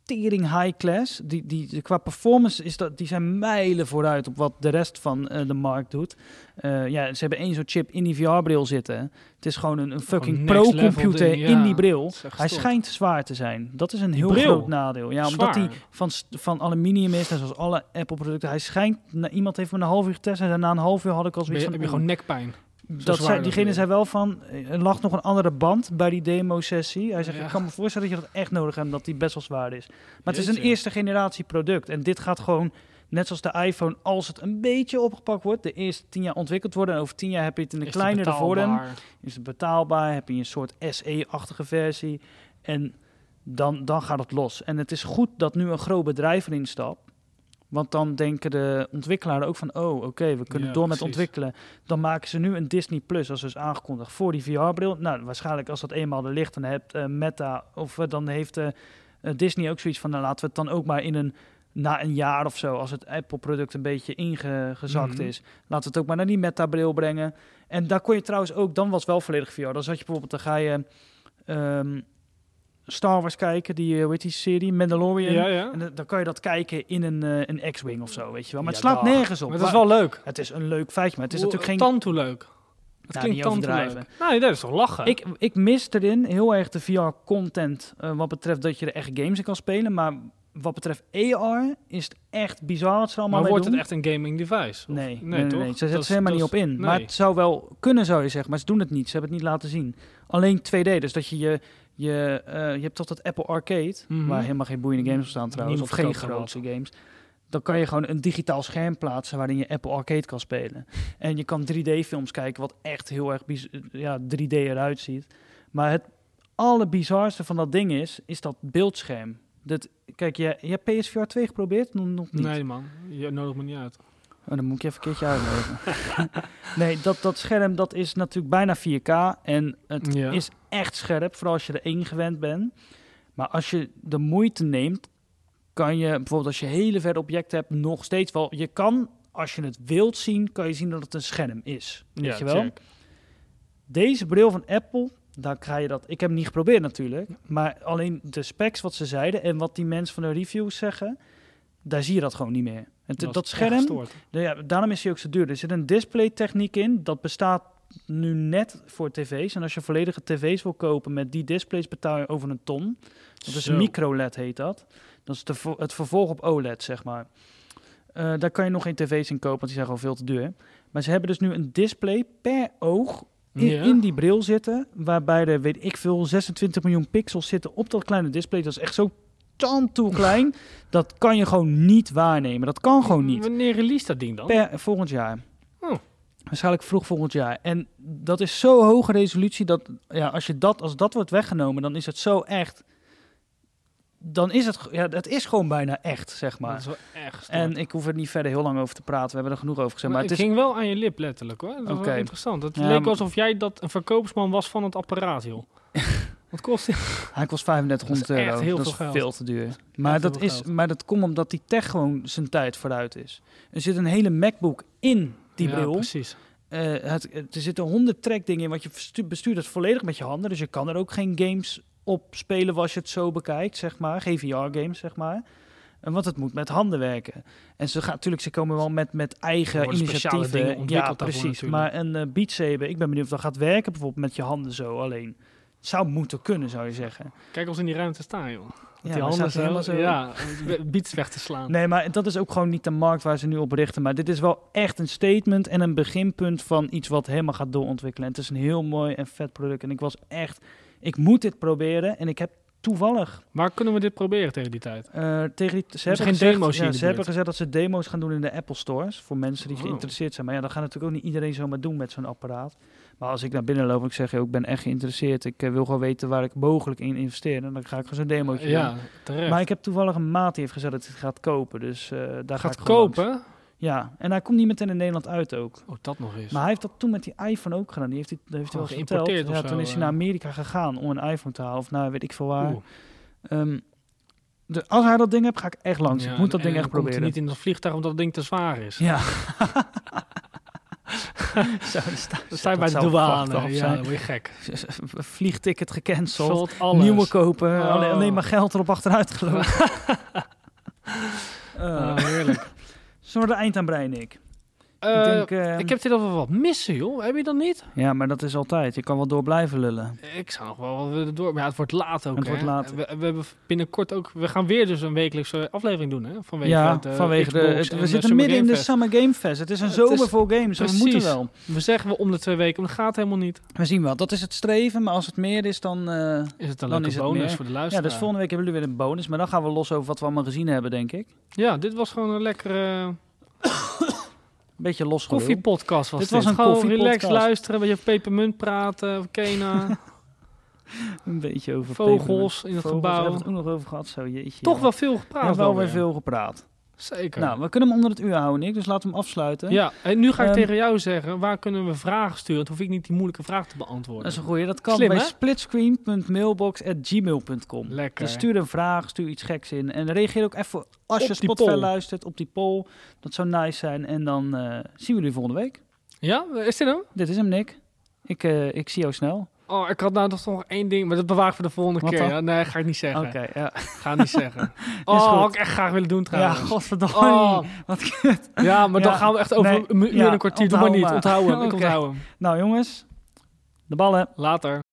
[SPEAKER 1] tering high class. Die, die, qua performance is dat, die zijn mijlen vooruit op wat de rest van eh, de markt doet. Eh, ja, ze hebben één zo'n chip in die VR-bril zitten. Het is gewoon een, een fucking
[SPEAKER 2] next level
[SPEAKER 1] pro-computer
[SPEAKER 2] ding, ja.
[SPEAKER 1] in die bril.
[SPEAKER 2] Dat is echt
[SPEAKER 1] Hij
[SPEAKER 2] stom.
[SPEAKER 1] schijnt zwaar te zijn. Dat is een heel
[SPEAKER 2] bril?
[SPEAKER 1] groot nadeel. Ja, omdat
[SPEAKER 2] Zwaar.
[SPEAKER 1] hij van, st- van aluminium is, net zoals alle Apple-producten. Hij schijnt, na, iemand heeft me een half uur getest en na een half uur had ik al
[SPEAKER 2] Ben
[SPEAKER 1] zoiets
[SPEAKER 2] je-
[SPEAKER 1] van...
[SPEAKER 2] heb je
[SPEAKER 1] oeh.
[SPEAKER 2] gewoon nekpijn.
[SPEAKER 1] Dat
[SPEAKER 2] zwaar
[SPEAKER 1] zei,
[SPEAKER 2] dat
[SPEAKER 1] diegene
[SPEAKER 2] ding.
[SPEAKER 1] zei wel van, eh, er lag nog een andere band bij die demo-sessie. Hij zegt,
[SPEAKER 2] Ja.
[SPEAKER 1] ik kan me voorstellen dat je dat echt nodig hebt, dat die best wel zwaar is. Maar het is een
[SPEAKER 2] Jeetje.
[SPEAKER 1] eerste generatie product. En dit gaat gewoon, net zoals de iPhone, als het een beetje opgepakt wordt, de eerste tien jaar ontwikkeld worden. En over tien jaar heb je het in een
[SPEAKER 2] Is die
[SPEAKER 1] kleinere vorm.
[SPEAKER 2] betaalbaar?
[SPEAKER 1] Is het betaalbaar? Heb je een soort SE-achtige versie? En dan, dan gaat het los. En het is goed dat nu een groot bedrijf erin stapt. Want dan denken de ontwikkelaars ook van... oh, oké, we kunnen
[SPEAKER 2] Ja,
[SPEAKER 1] door met
[SPEAKER 2] precies.
[SPEAKER 1] ontwikkelen. Dan maken ze nu een Disney Plus, als is aangekondigd... voor die VR-bril. Nou, waarschijnlijk als dat eenmaal er ligt... dan hebt eh, Meta of eh, dan heeft eh, eh, Disney ook zoiets van... nou, laten we het dan ook maar in een... na een jaar of zo, als het Apple-product een beetje ingezakt
[SPEAKER 2] Mhm.
[SPEAKER 1] is... laten we het ook maar naar die Meta-bril brengen. En daar kon je trouwens ook... dan was het wel volledig VR. Dan zat je bijvoorbeeld, dan ga je... ehm, Star Wars kijken, die, eh, hoe heet die serie? Mandalorian.
[SPEAKER 2] Ja, ja.
[SPEAKER 1] En dan- dan kan je dat kijken in een, eh, een X-Wing of zo, weet je wel. Maar het
[SPEAKER 2] Ja,
[SPEAKER 1] slaat
[SPEAKER 2] dag.
[SPEAKER 1] nergens op.
[SPEAKER 2] Maar dat is wel leuk.
[SPEAKER 1] Het is een leuk feitje, maar het is
[SPEAKER 2] Hoe-
[SPEAKER 1] natuurlijk geen...
[SPEAKER 2] Tand toe leuk. Het
[SPEAKER 1] Ja,
[SPEAKER 2] klinkt
[SPEAKER 1] niet
[SPEAKER 2] tand toe leuk.
[SPEAKER 1] overdrijven.
[SPEAKER 2] Nou, Nee, dat is toch lachen?
[SPEAKER 1] Ik, ik mis erin heel erg de VR-content eh, wat betreft dat je er echt games in kan spelen. Maar wat betreft AR is het echt bizar wat ze er allemaal
[SPEAKER 2] maar
[SPEAKER 1] mee
[SPEAKER 2] wordt
[SPEAKER 1] doen.
[SPEAKER 2] het echt een gaming device? Of-
[SPEAKER 1] Nee, nee, nee, nee, Ze zetten
[SPEAKER 2] Dat
[SPEAKER 1] er
[SPEAKER 2] is-
[SPEAKER 1] helemaal niet
[SPEAKER 2] dat
[SPEAKER 1] op
[SPEAKER 2] is-
[SPEAKER 1] in. Maar
[SPEAKER 2] nee.
[SPEAKER 1] het zou wel kunnen, zou je zeggen. Maar ze doen het niet. Ze hebben het niet laten zien. Alleen 2D. Dus dat je je... Je, eh, je hebt toch dat Apple Arcade,
[SPEAKER 2] Mhm.
[SPEAKER 1] waar helemaal geen boeiende games op staan trouwens.
[SPEAKER 2] Niemand
[SPEAKER 1] of geen
[SPEAKER 2] verkoopt daar
[SPEAKER 1] grootste games. Dan kan je gewoon een digitaal scherm plaatsen waarin je Apple Arcade kan spelen. En je kan 3D-films kijken, wat echt heel erg biz- ja, 3D eruit ziet. Maar het allerbizarste van dat ding is, is dat beeldscherm. Dat, kijk, je, je hebt PSVR 2 geprobeerd? Nog, nog niet.
[SPEAKER 2] Nee, man. Je nodigt me niet uit.
[SPEAKER 1] Oh, dan moet ik je even een keertje uitleggen. [laughs] nee, dat, dat scherm dat is natuurlijk bijna 4K. En het
[SPEAKER 2] Ja.
[SPEAKER 1] is echt scherp, vooral als je er één gewend bent. Maar als je de moeite neemt, kan je bijvoorbeeld als je hele verre objecten hebt, nog steeds wel. Je kan, als je het wilt zien, kan je zien dat het een scherm is. Weet
[SPEAKER 2] Ja,
[SPEAKER 1] je wel?
[SPEAKER 2] check.
[SPEAKER 1] Deze bril van Apple, daar ga je dat. Ik heb hem niet geprobeerd natuurlijk. Maar alleen de specs wat ze zeiden en wat die mensen van de reviews zeggen, daar zie je dat gewoon niet meer. Het,
[SPEAKER 2] Dat is
[SPEAKER 1] dat,
[SPEAKER 2] echt
[SPEAKER 1] scherm,
[SPEAKER 2] gestoord.
[SPEAKER 1] nou ja, daarom is hij ook zo duur. Er zit een displaytechniek in. Dat bestaat nu net voor tv's. En als je volledige tv's wil kopen met die displays betaal je over een ton. Dat is
[SPEAKER 2] Zo.
[SPEAKER 1] micro-LED heet dat. Dat is de vo- het vervolg op OLED, zeg maar. Eh, daar kan je nog geen tv's in kopen, want die zijn gewoon veel te duur. Maar ze hebben dus nu een display per oog in,
[SPEAKER 2] Ja.
[SPEAKER 1] in die bril zitten. Waarbij er, weet ik veel, 26 miljoen pixels zitten op dat kleine display. Dat is echt zo tand toe
[SPEAKER 2] [laughs]
[SPEAKER 1] klein. dat kan je gewoon niet waarnemen. Dat kan gewoon niet.
[SPEAKER 2] Wanneer release dat ding dan?
[SPEAKER 1] Per, volgend jaar.
[SPEAKER 2] Oh.
[SPEAKER 1] Waarschijnlijk vroeg volgend jaar. En dat is zo hoge resolutie dat ja, als, je dat, als dat wordt weggenomen, dan is het zo echt. Dan is het, ge- ja, het is gewoon bijna echt, zeg
[SPEAKER 2] Dat
[SPEAKER 1] maar.
[SPEAKER 2] is wel echt gestoord.
[SPEAKER 1] En ik hoef er niet verder heel lang over te praten. We hebben er genoeg over gezegd.
[SPEAKER 2] Maar
[SPEAKER 1] Maar, het
[SPEAKER 2] het
[SPEAKER 1] is,
[SPEAKER 2] ging wel aan je lip, letterlijk hoor. Dat was
[SPEAKER 1] Oké.
[SPEAKER 2] wel interessant. Het
[SPEAKER 1] Ja,
[SPEAKER 2] leek
[SPEAKER 1] maar-
[SPEAKER 2] alsof jij dat een verkoopsman was van het apparaat,
[SPEAKER 1] [laughs]
[SPEAKER 2] joh. Wat kost dit?
[SPEAKER 1] hij kost 3500
[SPEAKER 2] Dat is echt
[SPEAKER 1] euro.
[SPEAKER 2] heel
[SPEAKER 1] dat
[SPEAKER 2] veel
[SPEAKER 1] is
[SPEAKER 2] geld.
[SPEAKER 1] veel te duur. Maar dat,
[SPEAKER 2] heel veel
[SPEAKER 1] is,
[SPEAKER 2] geld.
[SPEAKER 1] maar dat komt omdat die tech gewoon zijn tijd vooruit is. Er zit een hele MacBook in die
[SPEAKER 2] ja,
[SPEAKER 1] bril.
[SPEAKER 2] precies.
[SPEAKER 1] Eh, het, het- er zitten honderd trackdingen in, want je verstu- bestuurt het volledig met je handen. Dus je kan er ook geen games op spelen als je het zo bekijkt, zeg maar. Geen VR-games, zeg maar. En Want het moet met handen werken. En ze gaan natuurlijk, ze komen wel met, met
[SPEAKER 2] Er
[SPEAKER 1] eigen
[SPEAKER 2] worden speciale
[SPEAKER 1] initiatieven.
[SPEAKER 2] dingen ontwikkeld
[SPEAKER 1] ja,
[SPEAKER 2] daarvoor
[SPEAKER 1] precies.
[SPEAKER 2] natuurlijk.
[SPEAKER 1] Maar een eh Beat Saber, ik ben benieuwd of dat gaat werken, bijvoorbeeld met je handen zo alleen. Het zou moeten kunnen, zou je zeggen.
[SPEAKER 2] Kijk ons in die ruimte staan, joh. Met
[SPEAKER 1] maar
[SPEAKER 2] die handen
[SPEAKER 1] staat
[SPEAKER 2] zo.
[SPEAKER 1] hij helemaal zo-
[SPEAKER 2] Ja, om beats weg te slaan.
[SPEAKER 1] Nee, maar dat is ook gewoon niet de markt waar ze nu op richten. Maar dit is wel echt een statement en een beginpunt van iets wat helemaal gaat doorontwikkelen. En het is een heel mooi en vet product. En ik was echt, ik moet dit proberen. En ik heb toevallig
[SPEAKER 2] Waar kunnen we dit proberen tegen die tijd?
[SPEAKER 1] eh, tegen die. Ze
[SPEAKER 2] Dus
[SPEAKER 1] hebben,
[SPEAKER 2] geen
[SPEAKER 1] gezegd,
[SPEAKER 2] demo's hier
[SPEAKER 1] ja,
[SPEAKER 2] in de
[SPEAKER 1] ze hebben
[SPEAKER 2] buurt?
[SPEAKER 1] gezegd dat ze demo's gaan doen in de Apple stores. Voor mensen die
[SPEAKER 2] Oh.
[SPEAKER 1] geïnteresseerd zijn. Maar ja, dat gaat natuurlijk ook niet iedereen zomaar doen met zo'n apparaat. Maar als ik naar binnen loop, ik zeg, joh, ik ben echt geïnteresseerd. Ik eh, wil gewoon weten waar ik mogelijk in investeer. En dan ga ik gewoon zo'n demootje doen.
[SPEAKER 2] ja, terecht.
[SPEAKER 1] Maar ik heb toevallig een maat die heeft gezegd dat hij het gaat kopen. Dus eh, daar
[SPEAKER 2] gaat
[SPEAKER 1] ga ik gewoon langs.
[SPEAKER 2] kopen.
[SPEAKER 1] Ja, en hij komt niet meteen in Nederland uit ook.
[SPEAKER 2] Oh, dat nog eens.
[SPEAKER 1] Maar hij heeft dat toen met die iPhone ook gedaan. Die heeft, die, dat heeft hij
[SPEAKER 2] Gewoon
[SPEAKER 1] wel eens verteld.
[SPEAKER 2] geïmporteerd of
[SPEAKER 1] Ja,
[SPEAKER 2] zo,
[SPEAKER 1] toen is hij
[SPEAKER 2] eh.
[SPEAKER 1] naar Amerika gegaan om een iPhone te halen. Of nou, weet ik veel waar.
[SPEAKER 2] Oeh.
[SPEAKER 1] Ehm, de, als hij dat ding hebt, ga ik echt langs.
[SPEAKER 2] Ja,
[SPEAKER 1] ik moet dat
[SPEAKER 2] en-
[SPEAKER 1] ding
[SPEAKER 2] en
[SPEAKER 1] echt
[SPEAKER 2] dan komt hij
[SPEAKER 1] proberen. [laughs]
[SPEAKER 2] [laughs] niet in dat vliegtuig omdat dat ding te zwaar is.
[SPEAKER 1] Ja. Zou die sta- [laughs]
[SPEAKER 2] Dan sta je
[SPEAKER 1] dat
[SPEAKER 2] bij de
[SPEAKER 1] zou
[SPEAKER 2] douane.
[SPEAKER 1] fucked up
[SPEAKER 2] Ja,
[SPEAKER 1] zijn.
[SPEAKER 2] dan word je gek.
[SPEAKER 1] Vliegticket gecanceld.
[SPEAKER 2] Valt alles.
[SPEAKER 1] Nieuwe kopen.
[SPEAKER 2] Oh.
[SPEAKER 1] Alleen, alleen maar geld erop achteruit
[SPEAKER 2] [laughs]
[SPEAKER 1] gelopen. Eh,
[SPEAKER 2] Oh, heerlijk.
[SPEAKER 1] Zullen we er eind aan breien, Nick?
[SPEAKER 2] Eh,
[SPEAKER 1] ik,
[SPEAKER 2] ik,
[SPEAKER 1] denk, eh,
[SPEAKER 2] heb dit over wat missen, joh. Heb je dat niet?
[SPEAKER 1] Ja, maar dat is altijd. Je kan wel door blijven lullen.
[SPEAKER 2] Ik zou nog wel wat willen door. Maar ja, het wordt laat ook.
[SPEAKER 1] Het
[SPEAKER 2] hè.
[SPEAKER 1] wordt laat.
[SPEAKER 2] We, we hebben binnenkort ook. We gaan weer dus een wekelijkse aflevering doen, hè? Vanwege
[SPEAKER 1] ja,
[SPEAKER 2] het, eh,
[SPEAKER 1] vanwege de.
[SPEAKER 2] Xbox
[SPEAKER 1] het-
[SPEAKER 2] en
[SPEAKER 1] we zitten
[SPEAKER 2] Summer
[SPEAKER 1] midden in
[SPEAKER 2] Game
[SPEAKER 1] de
[SPEAKER 2] Fest.
[SPEAKER 1] Summer Game Fest. Het is een
[SPEAKER 2] Het is-
[SPEAKER 1] zomer vol games. dus we
[SPEAKER 2] precies.
[SPEAKER 1] moeten wel.
[SPEAKER 2] We zeggen we om de twee weken, maar dat gaat helemaal niet.
[SPEAKER 1] We zien wel. Dat is het streven. Maar als het meer is, dan. eh,
[SPEAKER 2] Is het een
[SPEAKER 1] Dan is
[SPEAKER 2] leuke
[SPEAKER 1] het
[SPEAKER 2] bonus
[SPEAKER 1] meer.
[SPEAKER 2] voor de
[SPEAKER 1] ja,
[SPEAKER 2] luisteraar?
[SPEAKER 1] dus volgende week hebben jullie weer een bonus. Maar dan gaan we los over wat we allemaal gezien hebben, denk ik.
[SPEAKER 2] Ja, dit was gewoon een lekkere
[SPEAKER 1] Een beetje los
[SPEAKER 2] koffiepodcast. Was
[SPEAKER 1] Dit
[SPEAKER 2] dit,
[SPEAKER 1] was een
[SPEAKER 2] gewoon
[SPEAKER 1] koffiepodcast.
[SPEAKER 2] relax luisteren, een beetje pepermunt praten, of Kena,
[SPEAKER 1] Een beetje [laughs] over pepermunt.
[SPEAKER 2] vogels in het
[SPEAKER 1] Vogels
[SPEAKER 2] gebouw.
[SPEAKER 1] hebben we het ook nog over gehad. Zo, jeetje.
[SPEAKER 2] Toch
[SPEAKER 1] ja.
[SPEAKER 2] wel veel
[SPEAKER 1] We
[SPEAKER 2] gepraat.
[SPEAKER 1] hebben wel weer
[SPEAKER 2] alweer.
[SPEAKER 1] veel gepraat.
[SPEAKER 2] Zeker.
[SPEAKER 1] Nou, we kunnen hem onder het uur houden, Nick. Dus laten we hem afsluiten.
[SPEAKER 2] ja, en nu ga ik
[SPEAKER 1] Ehm,
[SPEAKER 2] tegen jou zeggen, waar kunnen we vragen sturen? Dan hoef ik niet die moeilijke vraag te
[SPEAKER 1] Dat
[SPEAKER 2] beantwoorden.
[SPEAKER 1] is een goeie. Dat kan
[SPEAKER 2] Slim,
[SPEAKER 1] bij
[SPEAKER 2] hè?
[SPEAKER 1] splitscreen.mailbox.gmail.com.
[SPEAKER 2] Lekker.
[SPEAKER 1] Dus stuur een vraag, stuur iets geks in. En reageer ook even als
[SPEAKER 2] Op
[SPEAKER 1] je
[SPEAKER 2] die
[SPEAKER 1] Spotify
[SPEAKER 2] poll.
[SPEAKER 1] luistert op die poll. Dat zou nice zijn. En dan eh, zien we jullie volgende week.
[SPEAKER 2] Ja, is dit hem?
[SPEAKER 1] Dit is hem, Nick. Ik, eh, ik zie jou snel.
[SPEAKER 2] Oh, ik had nou toch nog één ding, maar dat bewaar ik voor de volgende
[SPEAKER 1] Wat
[SPEAKER 2] keer.
[SPEAKER 1] dan?
[SPEAKER 2] ja. Nee, ga ik niet zeggen.
[SPEAKER 1] Oké, ja.
[SPEAKER 2] Ga ik niet zeggen.
[SPEAKER 1] [laughs] Is goed.
[SPEAKER 2] Oh, had ik echt graag willen doen
[SPEAKER 1] Ja,
[SPEAKER 2] trouwens.
[SPEAKER 1] godverdomme.
[SPEAKER 2] Oh.
[SPEAKER 1] Wat
[SPEAKER 2] Ja, maar
[SPEAKER 1] Ja,
[SPEAKER 2] dan gaan we echt over
[SPEAKER 1] nee,
[SPEAKER 2] een uur en
[SPEAKER 1] ja,
[SPEAKER 2] een kwartier. Doe maar
[SPEAKER 1] [laughs] onthouden
[SPEAKER 2] niet.
[SPEAKER 1] maar. Oké.
[SPEAKER 2] Onthouden. Ik onthouden.
[SPEAKER 1] Nou jongens, Nou, de ballen.
[SPEAKER 2] Later.